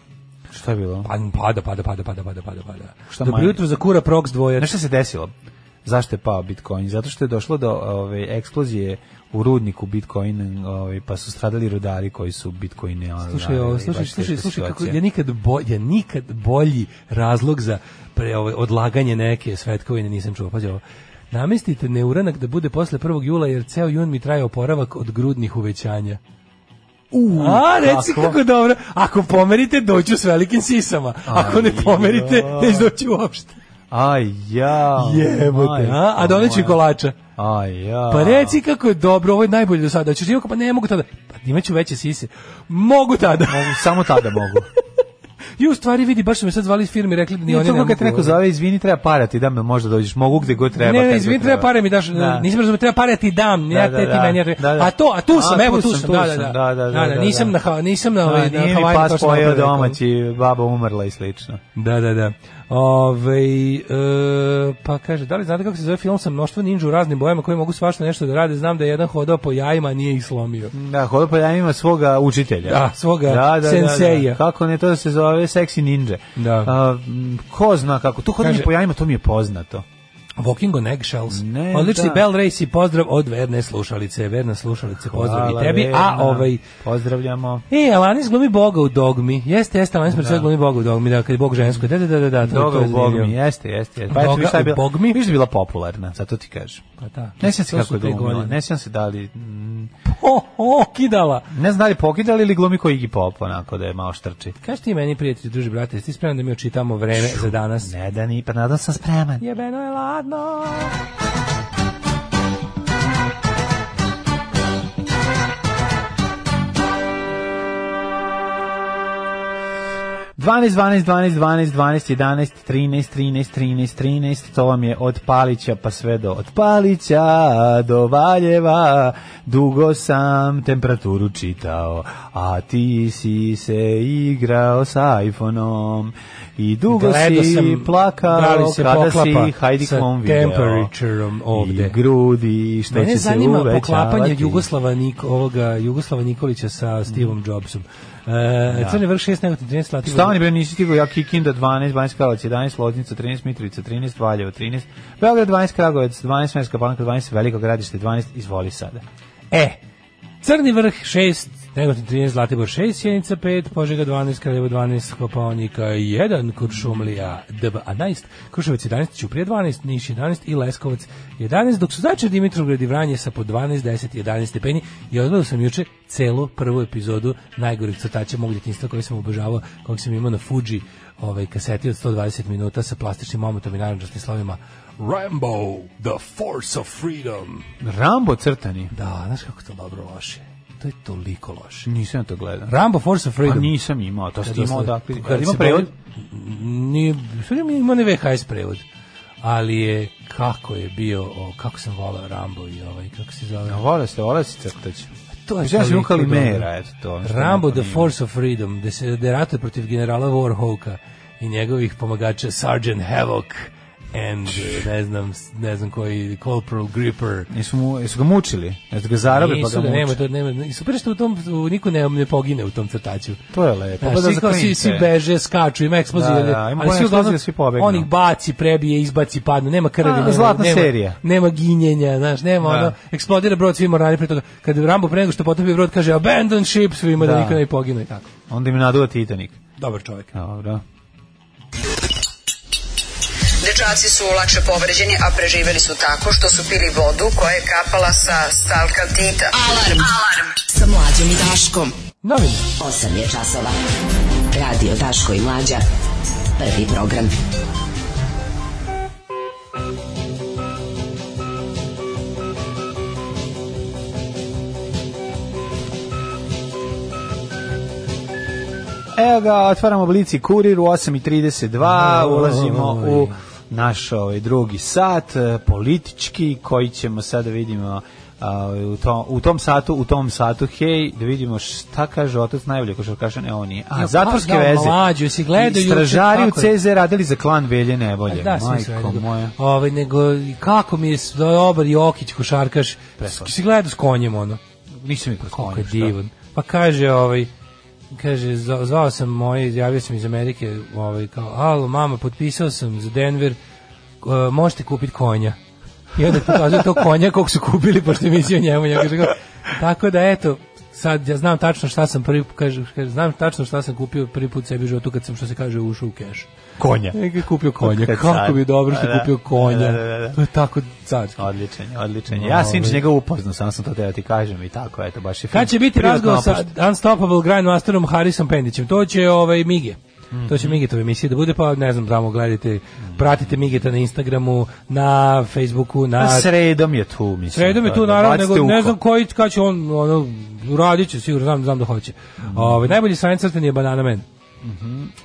Speaker 5: Šta je bilo?
Speaker 6: Pa, pada, pada, pada, pada, pada, pada, pada.
Speaker 5: Šta
Speaker 6: Dobro
Speaker 5: manje?
Speaker 6: jutro za kura Prox dvojac.
Speaker 5: Znaš šta se desilo? Zašto je pao Bitcoin? Zato što je došlo do ove, eksplozije u rudniku Bitcoin, ove, pa su stradali rudari koji su Bitcoine... ono,
Speaker 6: Slušaj, ovo,
Speaker 5: radili,
Speaker 6: slušaj,
Speaker 5: baš
Speaker 6: slušaj,
Speaker 5: teška
Speaker 6: slušaj, kako
Speaker 5: situacija.
Speaker 6: je nikad bolji, je nikad bolji razlog za pre ovaj odlaganje neke svetkovine nisam čuo, pađe ovo. Namestite neuranak da bude posle 1. jula jer ceo jun mi traje oporavak od grudnih uvećanja. U, A, reci kako, dobro. Ako pomerite, doću s velikim sisama. Ako ne
Speaker 5: Aj,
Speaker 6: pomerite,
Speaker 5: joj.
Speaker 6: neće doći uopšte.
Speaker 5: Aj, ja... pa
Speaker 6: Jebote, a? A doneću i kolača.
Speaker 5: Aj, ja...
Speaker 6: Pa reci kako je dobro, ovo je najbolje do sada. Hoćeš imati, pa ne mogu tada. Pa imaću veće sise. Mogu tada.
Speaker 5: Mogu, samo tada mogu.
Speaker 6: I u stvari vidi, baš su me sad zvali iz firme i rekli da ni
Speaker 5: Nije
Speaker 6: oni
Speaker 5: to
Speaker 6: ne
Speaker 5: kao
Speaker 6: mogu.
Speaker 5: kad te neko zove, izvini, treba parati, da me možda dođeš, mogu gde god treba.
Speaker 6: ne,
Speaker 5: kad
Speaker 6: ne,
Speaker 5: god
Speaker 6: izvini, treba pare mi daš,
Speaker 5: Da.
Speaker 6: nisam razumio, treba pare ja ti dam, ja
Speaker 5: Da,
Speaker 6: te
Speaker 5: da,
Speaker 6: ti
Speaker 5: da.
Speaker 6: meni, ja te-
Speaker 5: Da, da.
Speaker 6: a to, a tu
Speaker 5: A,
Speaker 6: sam,
Speaker 5: tu
Speaker 6: evo tu
Speaker 5: sam,
Speaker 6: sam,
Speaker 5: tu
Speaker 6: da, da,
Speaker 5: sam,
Speaker 6: da,
Speaker 5: da, da, da,
Speaker 6: nisam
Speaker 5: da.
Speaker 6: na, Ha- nisam na,
Speaker 5: Da,
Speaker 6: ovaj, na
Speaker 5: nije mi
Speaker 6: Havaju,
Speaker 5: pas
Speaker 6: to sam
Speaker 5: pojeo
Speaker 6: napravio.
Speaker 5: domaći, baba umrla i slično.
Speaker 6: Da, da, da. Ove, e, pa kaže, da li znate kako se zove film sa mnoštvo ninja u raznim bojama koji mogu svašta nešto da rade? Znam da je jedan hodao po jajima, a nije ih slomio.
Speaker 5: Da, hoda pa ja ima svoga učitelja.
Speaker 6: Da, svoga senseija.
Speaker 5: Kako ne, to se zove seksi ninja.
Speaker 6: Da.
Speaker 5: A, m, ko zna kako, to hodanje
Speaker 6: Kaže-
Speaker 5: po jajima, to mi je poznato.
Speaker 6: Walking on eggshells.
Speaker 5: Ne,
Speaker 6: Odlični
Speaker 5: da.
Speaker 6: Bell Race i pozdrav od verne slušalice. Verna slušalice, pozdrav
Speaker 5: Hvala,
Speaker 6: i tebi. A
Speaker 5: Verna.
Speaker 6: ovaj,
Speaker 5: Pozdravljamo.
Speaker 6: E, Alanis glumi Boga u dogmi. Jeste, jeste, Alanis da. glumi Boga u dogmi, da, kad je Bog žensko. Da, da, da, da, da, to,
Speaker 5: Doga
Speaker 6: to je
Speaker 5: u Bogmi,
Speaker 6: zanimljivo.
Speaker 5: jeste, jeste. jeste. Pa eto,
Speaker 6: Doga
Speaker 5: viš šta je
Speaker 6: u
Speaker 5: bila,
Speaker 6: Bogmi?
Speaker 5: Viš da je bila popularna, zato ti kažem.
Speaker 6: Pa da.
Speaker 5: Ne sjećam se
Speaker 6: To
Speaker 5: kako
Speaker 6: su
Speaker 5: je
Speaker 6: te
Speaker 5: glumila,
Speaker 6: godine.
Speaker 5: ne sjećam se da li... mm,
Speaker 6: O, o, kidala.
Speaker 5: Ne znam da li je pokidala ili glumi ko Iggy Pop, onako da je malo štrči.
Speaker 6: Kaži ti meni, prijatelji, druži, brate, jesi ti spreman da mi očitamo vreme za danas?
Speaker 5: Ne da ni, pa nadam sam spreman.
Speaker 6: Jebeno je ladno.
Speaker 5: dvanaest 12, 12, 12, 12, 11, 13, 13, 13, 13, to vam je od Palića pa sve do od Palića do Valjeva, dugo sam temperaturu čitao, a ti si se igrao sa iPhoneom i dugo
Speaker 6: Gledao
Speaker 5: si
Speaker 6: sam
Speaker 5: plakao
Speaker 6: da li se
Speaker 5: kada
Speaker 6: poklapa
Speaker 5: si Heidi
Speaker 6: sa
Speaker 5: Klum video.
Speaker 6: temperatureom ovde.
Speaker 5: I grudi, što
Speaker 6: Mene
Speaker 5: će se
Speaker 6: zanima
Speaker 5: uvećavati.
Speaker 6: poklapanje Jugoslava Nik, ovoga, Jugoslava Nikolića sa
Speaker 5: Mm.
Speaker 6: Steveom Jobsom. E, Crni vrh 6, negotin 13, Zlatibor.
Speaker 5: Stani bre, nisi stigao ja Kikinda 12, Banjska Karlovac 11, Loznica 13, Mitrovica 13, Valjevo 13, Beograd 12, Kragujevac 12, Smerska Palanka 12, Veliko Gradište 12, izvoli sada.
Speaker 6: E, Crni vrh 6, Negotin 13, Zlatibor 6, Sjenica 5, Požega 12, Kraljevo 12, Kopaonika 1, Kuršumlija 11, Kruševac 11, Ćuprije 12, Niš 11 i Leskovac 11, dok su začer Dimitrovgrad i Vranje sa po 12, 10, 11 stepeni i odgledao sam juče celu prvu epizodu najgorih crtača mog djetinjstva koji sam obožavao, kog sam imao na Fuji ovaj kaseti od 120 minuta sa plastičnim momentom i naranđastim slovima Rambo, the force of freedom.
Speaker 5: Rambo crtani.
Speaker 6: Da, znaš kako to dobro loše. To je toliko loše.
Speaker 5: Nisam ja to gledao.
Speaker 6: Rambo Force of
Speaker 5: Pa
Speaker 6: Freedom.
Speaker 5: nisam imao, to
Speaker 6: Kad
Speaker 5: ste imao
Speaker 6: dosle-
Speaker 5: odakle.
Speaker 6: kad
Speaker 5: Kad ima
Speaker 6: se
Speaker 5: prevod?
Speaker 6: bavim- Ni, sve vrijeme ima ne VHS prevod. Ali je kako je bio, o, kako sam volao Rambo i ovaj, kako se zove.
Speaker 5: Ja, Volio se, volio se crtaći.
Speaker 6: To
Speaker 5: Pa Mislim, ja sam imao
Speaker 6: toliko dobro.
Speaker 5: Kalimera, eto to. ono što
Speaker 6: Rambo
Speaker 5: niko
Speaker 6: The
Speaker 5: nije.
Speaker 6: Force of Freedom, gde se gde ratuje protiv generala Warhawka i njegovih pomagača Sergeant Havoc and eh, ne znam, ne znam koji Corporal Gripper.
Speaker 5: Nisu mu, jesu ga mučili? Jesu ga zarobe pa
Speaker 6: Nisu
Speaker 5: ga
Speaker 6: da nema,
Speaker 5: muče?
Speaker 6: to nema. I super što u tom u, niko ne, ne pogine u tom crtaću.
Speaker 5: To je lepo.
Speaker 6: Znaš,
Speaker 5: Pa da
Speaker 6: svi, kao, svi,
Speaker 5: zaklinite.
Speaker 6: svi beže, skaču, ima eksplozije.
Speaker 5: Da, da, ima puno
Speaker 6: ali svi uglavnom,
Speaker 5: eksplozija, svi pobegnu.
Speaker 6: on ih baci, prebije, izbaci, padne, nema krvi.
Speaker 5: A,
Speaker 6: nema,
Speaker 5: zlatna
Speaker 6: nema,
Speaker 5: serija.
Speaker 6: Nema ginjenja, znaš, nema
Speaker 5: Da.
Speaker 6: ono, eksplodira brod, svi morali pre toga. Kad Rambo pre nego što potopi brod, kaže abandon ship, svima da,
Speaker 5: Da.
Speaker 6: niko ne pogine i tako.
Speaker 5: Onda im naduva Titanik.
Speaker 6: Dobar čovjek.
Speaker 5: Dobro.
Speaker 8: Dečaci su lakše povređeni, a preživeli su tako što su pili vodu koja je kapala sa stalkaktita.
Speaker 1: Alarm. Alarm. Sa mlađom i Daškom.
Speaker 6: Novine.
Speaker 1: 8 je časova. Radio Daško i Mlađa. Prvi program.
Speaker 5: Evo ga, otvaramo blici kurir u 8.32, ulazimo u naš ovaj, drugi sat, eh, politički, koji ćemo sada vidimo a, u, tom, u tom satu, u tom satu, hej, da vidimo šta kaže otac najbolje košarkaša, ne on je. A,
Speaker 6: Ja,
Speaker 5: zatvorske
Speaker 6: pa, da,
Speaker 5: veze.
Speaker 6: mlađo, jesi gledao
Speaker 5: I
Speaker 6: juče,
Speaker 5: Stražari u
Speaker 6: kako je?
Speaker 5: CZ radili za klan Velje Nebolje.
Speaker 6: Da, svi su
Speaker 5: Majko
Speaker 6: ajde.
Speaker 5: moja.
Speaker 6: Ovaj, nego, i kako mi je s- dobar Jokić, košarkaš,
Speaker 5: Presladak.
Speaker 6: si gledao s konjem, ono,
Speaker 5: Nisam mi
Speaker 6: kako je
Speaker 5: prekonio.
Speaker 6: divan. Pa kaže, ovaj, kaže, zva- zvao sam moje, javio sam iz Amerike, ovaj, kao, alo, mama, potpisao sam za Denver, e, možete kupiti konja. I onda pokazuje to konja kog su kupili, pošto je mislio njemu, ja kaže, kao, tako da, eto, sad ja znam tačno šta sam prvi kaže, kaže znam tačno šta sam kupio prvi put sebi u životu kad sam što se kaže ušao u keš.
Speaker 5: Konja.
Speaker 6: Neki je kupio konja.
Speaker 5: Kad
Speaker 6: Kako
Speaker 5: sad.
Speaker 6: bi je dobro što
Speaker 5: Da,
Speaker 6: je kupio konja.
Speaker 5: da, da, da.
Speaker 6: To je tako carski.
Speaker 5: Odličan, je, odličan. je.
Speaker 6: Ovaj.
Speaker 5: Ja sinč njega upoznao, samo sam to teo ti kažem i tako, eto, baš je
Speaker 6: Kad će biti
Speaker 5: privatno
Speaker 6: razgovor sa
Speaker 5: opušten.
Speaker 6: Unstoppable Grindmasterom Harisom Pendićem? To će ovaj Mige. To će Migetova emisija da bude, pa ne znam, tamo gledajte, pratite Migeta na Instagramu, na Facebooku, na...
Speaker 5: A sredom je tu, mislim.
Speaker 6: Sredom je
Speaker 5: da,
Speaker 6: tu,
Speaker 5: da,
Speaker 6: naravno,
Speaker 5: bacite
Speaker 6: nego ne
Speaker 5: uho.
Speaker 6: znam koji, kada će on, ono, uradit će, sigurno, znam, znam da hoće. Ovaj, najbolji sajn crtani je Banana Man.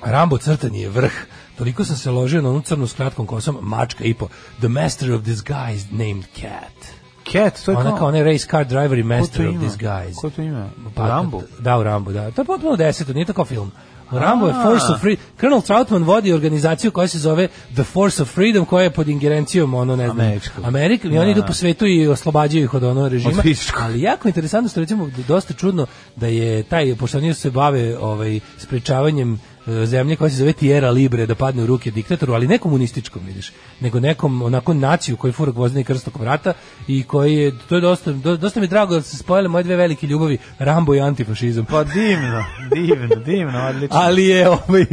Speaker 6: Rambo crtani je vrh. Toliko sam se ložio na onu crnu s kratkom kosom, mačka i po. The master of disguise named Cat.
Speaker 5: Cat, to je
Speaker 6: Ona
Speaker 5: kao...
Speaker 6: kao onaj race car driver i
Speaker 5: Ko
Speaker 6: master
Speaker 5: to
Speaker 6: of
Speaker 5: ima?
Speaker 6: disguise.
Speaker 5: Ko to ima?
Speaker 6: Pa,
Speaker 5: Rambo?
Speaker 6: Da, u Rambo, da. To je potpuno deseto, nije tako film. U Rambo je Force of Freedom. Colonel Troutman vodi organizaciju koja se zove The Force of Freedom, koja je pod ingerencijom, ono, ne znam,
Speaker 5: Američkog.
Speaker 6: Amerika, i oni idu po svetu i oslobađaju ih od ono režima.
Speaker 5: Od fizičkog.
Speaker 6: Ali jako interesantno, što je, recimo, dosta čudno da je taj, pošto oni se bave ovaj, sprečavanjem e, zemlje koja se zove Tierra Libre da padne u ruke diktatoru, ali ne komunističkom, vidiš, nego nekom onako naciju koji fura gvozdeni krst oko vrata i koji je, to je dosta, do- dosta mi je drago da su se spojile moje dve velike ljubavi, Rambo i antifašizam.
Speaker 5: Pa divno, divno, divno, odlično.
Speaker 6: Ali je ovaj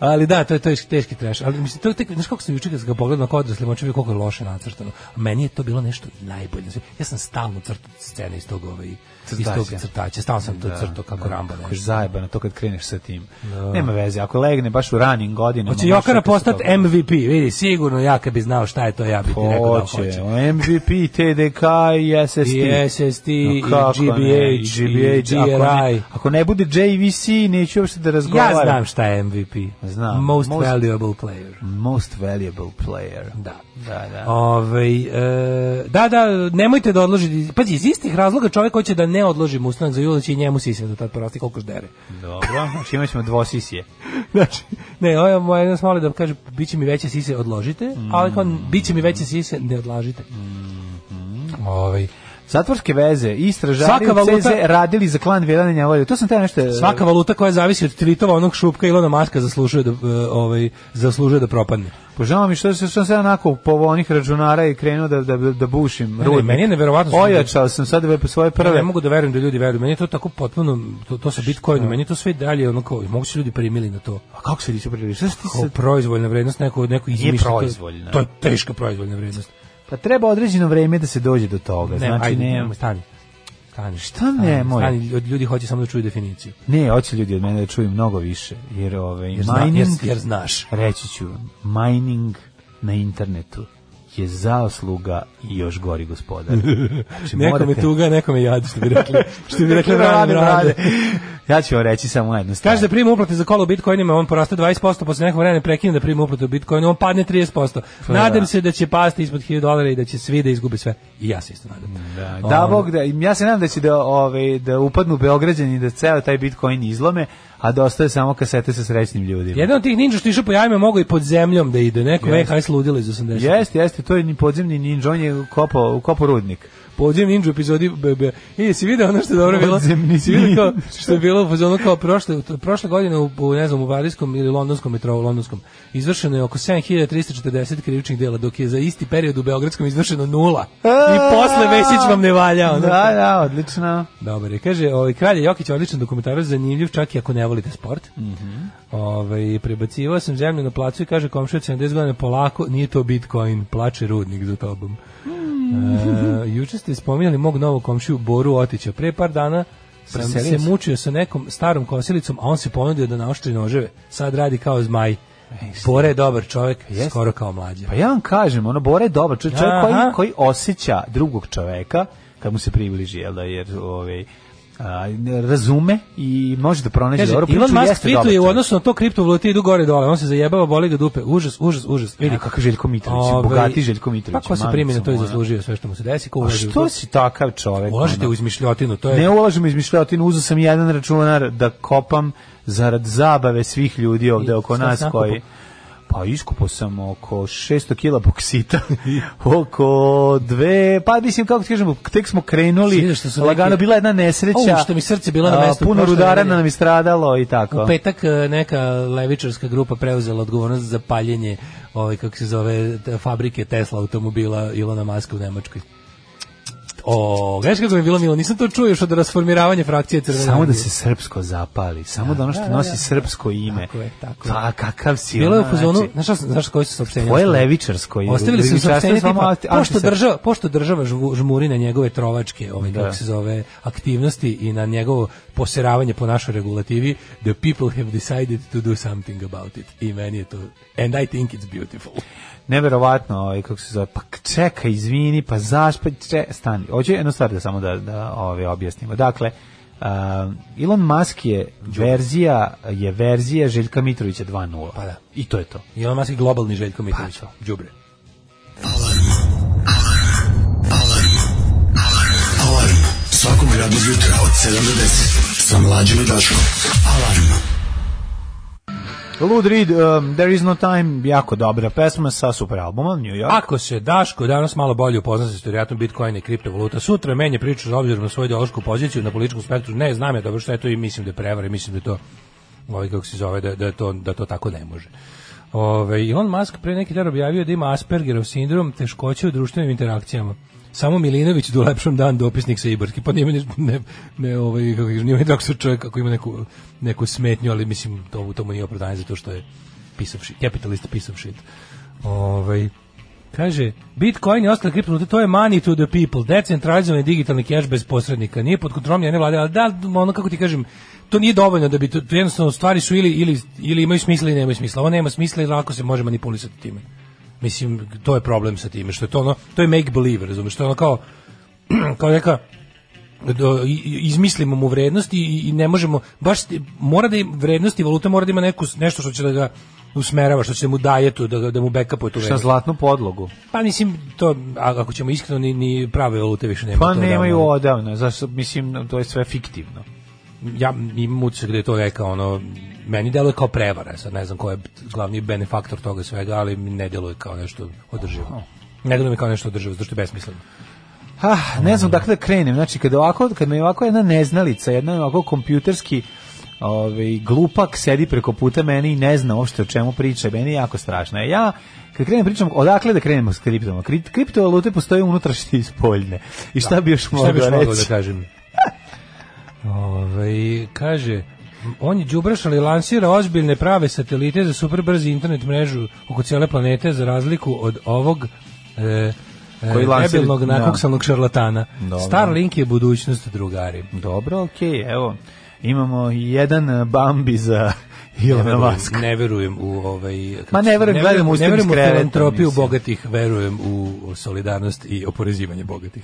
Speaker 6: ali da, to je to je teški trash. Ali mislim to je tek znaš kako sam juče kad sam ga pogledao kao odrasli, moću koliko je loše nacrtano. A meni je to bilo nešto najbolje. Znači, Ja sam stalno crtao scene iz tog ovaj iz
Speaker 5: Crtaća.
Speaker 6: tog crtaća. Stalno sam to crtao kako Rambo
Speaker 5: Kako je
Speaker 6: nešto.
Speaker 5: zajebano to kad kreneš sa tim. Nema veze, ako legne baš u ranim godinama...
Speaker 6: Hoće
Speaker 5: možda
Speaker 6: Jokara
Speaker 5: kad se
Speaker 6: postati
Speaker 5: dobro-
Speaker 6: MVP, vidi, sigurno ja kad bi znao šta je to, ja bi ti rekao da
Speaker 5: Hoće,
Speaker 6: hoće.
Speaker 5: MVP, TDK i SST.
Speaker 6: I SST, i
Speaker 5: kako
Speaker 6: GBH,
Speaker 5: ne,
Speaker 6: i
Speaker 5: GBH, ako ne-
Speaker 6: GRI.
Speaker 5: Ako ne bude JVC, neću uopšte da
Speaker 6: Ja
Speaker 5: razgovaram.
Speaker 6: znam šta je MVP.
Speaker 5: Znam.
Speaker 6: Most,
Speaker 5: Most-
Speaker 6: valuable player.
Speaker 5: Most valuable player.
Speaker 6: Da.
Speaker 5: Da, da.
Speaker 6: Ovaj, e, da, da, nemojte da odložite. Pazi, iz istih razloga čovjek hoće da ne odloži mustanak za Julić i njemu sise do tad porasti koliko ždere.
Speaker 5: Dobro, znači imat ćemo dvosisije.
Speaker 6: Znači, ne, ovo je moja nas moli da kaže, bit će mi veće sise, odložite, ali kao, bit će mi veće sise, ne odlažite.
Speaker 5: Mhm.
Speaker 6: Ovaj,
Speaker 5: Zatvorske veze, istražari
Speaker 6: Svaka
Speaker 5: u CZ
Speaker 6: valuta-
Speaker 5: radili za klan Vjelana Njavolja. To sam te nešto...
Speaker 6: svaka valuta koja zavisi od tvitova onog šupka Ilona Maska zaslužuje da, e, ovaj, zaslužuje da propadne.
Speaker 5: Požao Pa mi što se što sam sad onako po onih računara i krenuo da, da, da bušim
Speaker 6: Ne, ne,
Speaker 5: rudnik.
Speaker 6: meni je neverovatno što-
Speaker 5: Ojačao sam sad ve- svoje
Speaker 6: Ja
Speaker 5: prve.
Speaker 6: ne mogu da verujem da ljudi veruju. Meni je to tako potpuno, to, to sa Bitcoinom, meni je to sve i dalje ono kao, mogu se ljudi primili na to.
Speaker 5: A kako se nisu prilili? Šta si ti
Speaker 6: Kao
Speaker 5: sad?
Speaker 6: proizvoljna vrednost, neko, neko izmišlja. to-
Speaker 5: proizvoljna.
Speaker 6: To je teška proizvoljna vrednost.
Speaker 5: Pa treba određeno vreme da se dođe do toga.
Speaker 6: Ne,
Speaker 5: znači,
Speaker 6: ajde,
Speaker 5: ne,
Speaker 6: nemoj, stani. Stani.
Speaker 5: Šta nemoj?
Speaker 6: Stani, ljudi- ljudi hoće samo da čuju definiciju.
Speaker 5: ne, hoće ljudi od mene da čuju mnogo više. Jer, ove,
Speaker 6: Jer, zna, jer,
Speaker 5: mining,
Speaker 6: jer znaš.
Speaker 5: reći ću, mining na internetu je zasluga i još gori gospodar. Znači,
Speaker 6: Nekom je
Speaker 5: morate-
Speaker 6: tuga, nekom je jad, što bi rekli. Što bi rekli radim, radim.
Speaker 5: Ja ću vam reći samo jednu stvar.
Speaker 6: Kaže da prima uplate za kolo u bitcoinima, on poraste 20%, posle nekog vremena prekine da prima uplate u bitcoinu, on padne 30%. Nadam se da će pasti ispod 1000 dolara i da će svi da izgube sve. I ja se isto nadam.
Speaker 5: Da, da bog da ja se nadam da će da ovaj da upadnu Beograđani da ceo taj Bitcoin izlome, a da ostaje samo kasete sa srećnim ljudima.
Speaker 6: Jedan od tih ninja što je išao po jajima mogu i pod zemljom da ide. Neko VHS ludilo iz 80.
Speaker 5: Jeste, jeste, to je ni podzemni ninja, on je kopao, kopao rudnik.
Speaker 6: Podzem Ninja epizodi BB. I si video ono što je dobro bilo?
Speaker 5: Podzemni
Speaker 6: Si video kao, što je bilo u fazonu kao prošle, prošle godine u, u, ne znam, u Varijskom ili Londonskom metrou, Londonskom, izvršeno je oko 7340 krivičnih dela, dok je za isti period u Beogradskom izvršeno nula. I posle Vesić vam ne valja. Ono.
Speaker 5: Da, da, odlično.
Speaker 6: Dobar je. Kaže, ovaj, Kralj je Jokić odličan dokumentarac, zanimljiv čak i ako ne volite sport.
Speaker 5: Mhm.
Speaker 6: Ovaj, prebacivao sam zemlju na placu i kaže komšija od 70 godina polako, nije to Bitcoin, plače rudnik za tobom.
Speaker 5: Mhm.
Speaker 6: E, juče ste spominjali mog novog komšiju Boru Otića. Pre par dana sam
Speaker 5: Preselio se.
Speaker 6: se mučio sa nekom starom kosilicom, a on se ponudio da naoštri noževe. Sad radi kao zmaj. Bore je dobar čovjek,
Speaker 5: Jeste.
Speaker 6: skoro kao mlađa.
Speaker 5: Pa ja vam kažem, ono Bore je dobar čovjek, čovjek
Speaker 6: Aha.
Speaker 5: koji, koji osjeća drugog čoveka kad mu se približi, jel da, jer ovaj, a, ne razume i može da pronađe
Speaker 6: Kaže,
Speaker 5: dobro
Speaker 6: Elon
Speaker 5: priču,
Speaker 6: Musk
Speaker 5: jeste dobar
Speaker 6: tweetuje u
Speaker 5: čovjek.
Speaker 6: odnosu na to kriptovalute idu gore dole, on se zajebava, boli ga dupe, užas, užas, užas. Vidi
Speaker 5: Ja, kakav Željko Mitrović,
Speaker 6: Ovaj,
Speaker 5: bogati Željko Mitrović,
Speaker 6: Pa ko se
Speaker 5: mami
Speaker 6: primi na to i
Speaker 5: sam, ono.
Speaker 6: zaslužio sve što mu se desi, ko
Speaker 5: A
Speaker 6: ulaže u to.
Speaker 5: što si takav čovek?
Speaker 6: Ulažete
Speaker 5: ono?
Speaker 6: u izmišljotinu, to je...
Speaker 5: Ne ulažem izmišljotinu, uzeo sam jedan računar da kopam zarad zabave svih ljudi ovde
Speaker 6: I
Speaker 5: oko
Speaker 6: šta
Speaker 5: nas
Speaker 6: si nakupao?
Speaker 5: koji... Pa iskupo sam oko 600 kila boksita, oko dve, pa mislim kako ti kažemo, tek smo
Speaker 6: Si
Speaker 5: krenuli,
Speaker 6: vidio što su neki-
Speaker 5: lagano, bila jedna nesreća,
Speaker 6: Au, što mi srce bilo na
Speaker 5: a,
Speaker 6: mestu
Speaker 5: puno
Speaker 6: prošle
Speaker 5: rudarana
Speaker 6: nedelje.
Speaker 5: nam je stradalo i
Speaker 6: U
Speaker 5: tako.
Speaker 6: petak e, neka levičarska grupa preuzela odgovornost za paljenje ovaj kako se zove te fabrike Tesla automobila Ilona Maska u Nemačkoj. O, znaš kako mi je bilo milo, nisam to čuo još od rasformiravanja frakcije Crvene
Speaker 5: Samo da
Speaker 6: armije.
Speaker 5: se srpsko zapali, samo da ono što
Speaker 6: da, da,
Speaker 5: nosi
Speaker 6: da.
Speaker 5: srpsko ime.
Speaker 6: Tako je, tako je.
Speaker 5: Pa kakav si
Speaker 6: Bilo je u
Speaker 5: ono,
Speaker 6: fazonu,
Speaker 5: znači,
Speaker 6: znaš, šta sam- znaš koji su saopštenja?
Speaker 5: Tvoje
Speaker 6: ostavili?
Speaker 5: levičarsko i
Speaker 6: Ostavili su saopštenje
Speaker 5: levičarstvo je
Speaker 6: tipa,
Speaker 5: samo anti-
Speaker 6: pošto
Speaker 5: antisrpsko.
Speaker 6: država, pošto država žvu- žmuri na njegove trovačke, ovaj, kako se zove, aktivnosti i na njegovo poseravanje po našoj regulativi, the people have decided to do something about it. I meni je to, and I think it's beautiful.
Speaker 5: neverovatno, ovaj kako se zove, pa k- čekaj, izvini, pa zaš, pa če, stani. Hoću jednu stvar da samo da da ovaj objasnimo. Dakle, um, Elon Musk je verzija je verzija Željka Mitrovića 2.0.
Speaker 6: Pa da.
Speaker 5: I to je to.
Speaker 6: I ono maski globalni Željko Mitrović,
Speaker 5: Pa
Speaker 6: đubre.
Speaker 9: Alarm svakog radnog jutra od 7 do 10 sa mlađom i Daškom. Alarm.
Speaker 5: Lud Reed, um, There is no time, jako dobra pesma sa super albuma New York.
Speaker 6: Ako se Daško danas malo bolje upozna sa istorijatom Bitcoina i kriptovaluta, sutra menje priču za obzirom na svoju ideološku poziciju na političkom spektru. Ne, znam ja dobro što je to i mislim da je prevara i mislim da je to ovaj kako se zove da, da to da to tako ne može. Ove, Elon Musk pre neki dan objavio da ima Aspergerov sindrom, teškoće u društvenim interakcijama. Samo Milinović do lepšom dan dopisnik sa Ibarski. Pa nije meni ne ne ovaj kako kaže, nije meni tako što čovjek ako ima neku neku smetnju, ali mislim to to mu nije opravdanje zato što je pisav shit, capitalist pisav shit. Ovaj Kaže, Bitcoin i ostale kriptovalute, to je money to the people, decentralizovan digitalni cash bez posrednika, nije pod kontrolom jedne vlade, ali da, ono kako ti kažem, to nije dovoljno da bi, to, to jednostavno stvari su ili, ili, ili imaju smisla ili nemaju smisla, ovo nema smisla i lako se može manipulisati time. Mislim, to je problem sa time, što je to ono, to je make believe, razumiješ, to je ono kao, kao neka, do- i- i- izmislimo mu vrednost i- i, i ne možemo baš sti- mora da im vrednost i valuta mora da ima neku s- nešto što će da ga usmerava, što će mu daje tu, da, ga- da mu backupuje tu
Speaker 5: Šta
Speaker 6: vrednost.
Speaker 5: zlatnu podlogu?
Speaker 6: Pa mislim to a- ako ćemo iskreno ni, ni prave valute više nema.
Speaker 5: Pa
Speaker 6: to
Speaker 5: nemaju
Speaker 6: odavno.
Speaker 5: odavno, zašto mislim to je sve fiktivno.
Speaker 6: Ja imam utisak da je to neka ono meni deluje kao prevara, sad ne znam ko je glavni benefaktor toga svega, ali mi ne deluje kao nešto održivo. Ne deluje mi kao nešto održivo, zato što je besmisleno.
Speaker 5: Ah, ne znam dakle da krenem. Znači, kada ovako, kad me ovako jedna neznalica, jedna ovako kompjuterski ovaj, glupak sedi preko puta mene i ne zna uopšte o čemu priča, meni je jako strašno. E, Ja, kad krenem pričam, odakle da krenemo s kriptama? Kri- Kriptovalute postoje unutrašnje i spoljne. I šta bi još
Speaker 6: Šta
Speaker 5: mogao
Speaker 6: bi još mogao da
Speaker 5: reći?
Speaker 6: kažem? Ove, Ovaj, kaže, on je džubraš, ali lansira ozbiljne prave satelite za super brzi internet mrežu oko cijele planete, za razliku od ovog e,
Speaker 5: Koji
Speaker 6: Koji
Speaker 5: lansira-
Speaker 6: rebelnog
Speaker 5: da.
Speaker 6: nakoksanog šarlatana.
Speaker 5: Dobro.
Speaker 6: Starlink je budućnost drugari.
Speaker 5: Dobro, okej, evo. Imamo jedan eh, Bambi za Ilona Maska.
Speaker 6: Ne verujem u ovaj kako
Speaker 5: Ma ne
Speaker 6: se-
Speaker 5: verujem, gledam ustim
Speaker 6: ne verujem u
Speaker 5: iz kreveta,
Speaker 6: filantropiju
Speaker 5: mislim.
Speaker 6: bogatih, verujem u solidarnost i oporezivanje bogatih.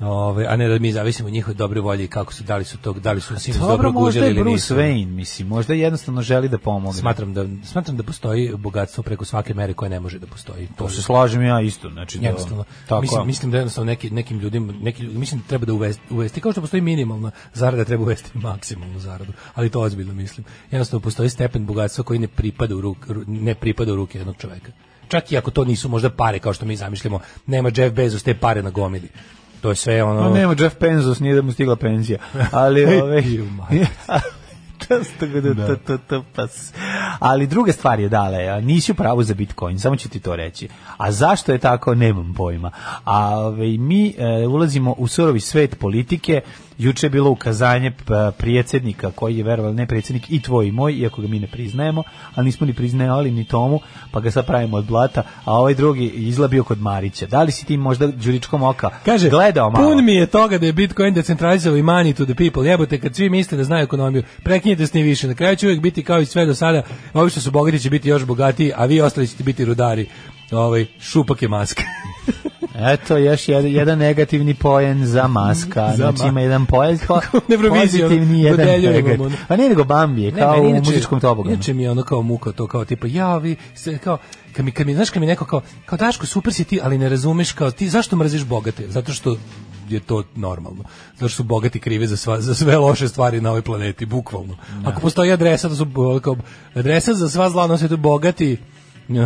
Speaker 6: Ove, a ne da mi zavisimo od njihove dobre volje i kako su, da li su tog, da li su sinoć dobro
Speaker 5: Dobro, možda
Speaker 6: gužili
Speaker 5: je
Speaker 6: ili
Speaker 5: Bruce
Speaker 6: nisu.
Speaker 5: Wayne, mislim, možda jednostavno želi da pomogne.
Speaker 6: Smatram da, smatram da postoji bogatstvo preko svake mere koje ne može da postoji.
Speaker 5: To se slažem ja isto, znači da-
Speaker 6: jednostavno.
Speaker 5: Tako.
Speaker 6: mislim, mislim da jednostavno neki, nekim ljudima, neki, ljudi- mislim da treba da uvesti, uvesti, kao što postoji minimalna zarada, treba uvesti maksimalnu zaradu, ali to ozbiljno mislim. Jednostavno postoji stepen bogatstva koji ne pripada u, ruk, ru- ne pripada u ruke jednog čoveka. Čak i ako to nisu možda pare kao što mi zamišljamo, nema Jeff Bezos te pare na gomili. To je sve ono...
Speaker 5: No, Pa nema Jeff Penzos, nije da mu stigla penzija. Ali ove
Speaker 6: Ju, majko.
Speaker 5: Často ga da, to, to, to, pas. Ali druga stvar je dale, a nisi u pravu za Bitcoin, samo ću ti to reći. A zašto je tako, nemam pojma. A ove, mi e, ulazimo u surovi svet politike, juče je bilo ukazanje p- prijedsednika koji je verovali ne prijedsednik i tvoj i moj, iako ga mi ne priznajemo, ali nismo ni priznajali ni tomu, pa ga sad pravimo od blata, a ovaj drugi je izlabio kod Marića. Da li si ti možda đuričkom oka
Speaker 6: Kaže,
Speaker 5: gledao malo?
Speaker 6: pun mi je toga da je Bitcoin decentralizovao i money to the people. Jebote, kad svi misle da znaju ekonomiju, prekinjete s njim više. Na kraju će uvijek biti kao i sve do sada. Ovi što su bogati će biti još bogatiji, a vi ostali ćete biti rudari. Ovaj, šupak je maska.
Speaker 5: Eto, još jedan, jedan negativni poen za maska. znači, ima jedan poen, po,
Speaker 6: Neurovizijom
Speaker 5: pozitivni jedan
Speaker 6: dodeljujemo
Speaker 5: negativ.
Speaker 6: mu. ono.
Speaker 5: A nije nego Bambi, je kao
Speaker 6: meni
Speaker 5: u muzičkom toboganu.
Speaker 6: Inače mi je ono kao muka to kao tipa ja vi se kao kad mi, kad mi znaš kad mi neko kao kao Daško super si ti, ali ne razumeš kao ti zašto mrziš bogate? Zato što je to normalno. Zato što su bogati krivi za, sva, za sve loše stvari na ovoj planeti, bukvalno. Ako postoji adresa, da su bo- kao, adresa za sva zla na svetu bogati,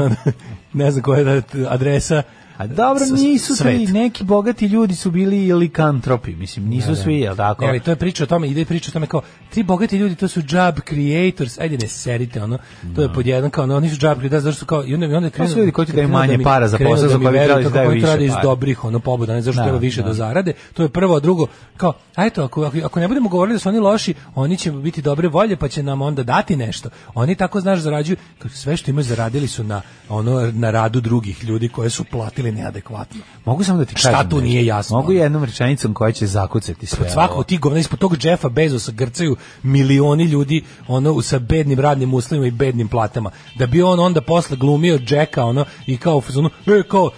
Speaker 6: ne znam koja je adresa,
Speaker 5: ono. A dobro,
Speaker 6: s-
Speaker 5: nisu svi,
Speaker 6: svet.
Speaker 5: neki bogati ljudi su bili i likantropi, mislim, nisu svi, jel tako?
Speaker 6: Ne, ali to je priča o tome, ide priča o tome kao tri bogati ljudi, to su job creators. Ajde ne serite ono. To je pod jedan kao ono, oni su job creators, zato su kao i onda mi onda krenu.
Speaker 5: su ljudi koji ti daju
Speaker 6: krenu
Speaker 5: manje
Speaker 6: mi-
Speaker 5: para za
Speaker 6: krenu
Speaker 5: posao, za
Speaker 6: mi
Speaker 5: koje bi
Speaker 6: veruju
Speaker 5: trebali
Speaker 6: to
Speaker 5: da daju
Speaker 6: kako oni to
Speaker 5: više
Speaker 6: rade iz
Speaker 5: para.
Speaker 6: dobrih ono pobuda, ne zašto
Speaker 5: Da,
Speaker 6: treba više
Speaker 5: da.
Speaker 6: do zarade. To je prvo, a drugo kao a eto ako, ako ako ne budemo govorili da su oni loši, oni će biti dobre volje pa će nam onda dati nešto. Oni tako znaš zarađuju kao sve što imaju zaradili su na ono na radu drugih ljudi koje su platili neadekvatno.
Speaker 5: Mogu samo da ti
Speaker 6: Šta
Speaker 5: kažem
Speaker 6: tu
Speaker 5: nešto?
Speaker 6: nije jasno?
Speaker 5: Mogu jednom rečenicom koja će zakucati sve.
Speaker 6: Pod svakog tih govna ispod tog Jeffa Bezosa grcaju milioni ljudi ono sa bednim radnim uslovima i bednim platama. Da bi on onda posle glumio Jacka ono i kao u fazonu, e kao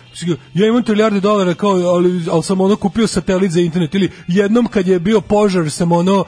Speaker 6: ja imam milijarde dolara kao ali, ali sam ono kupio satelit za internet ili jednom kad je bio požar sam ono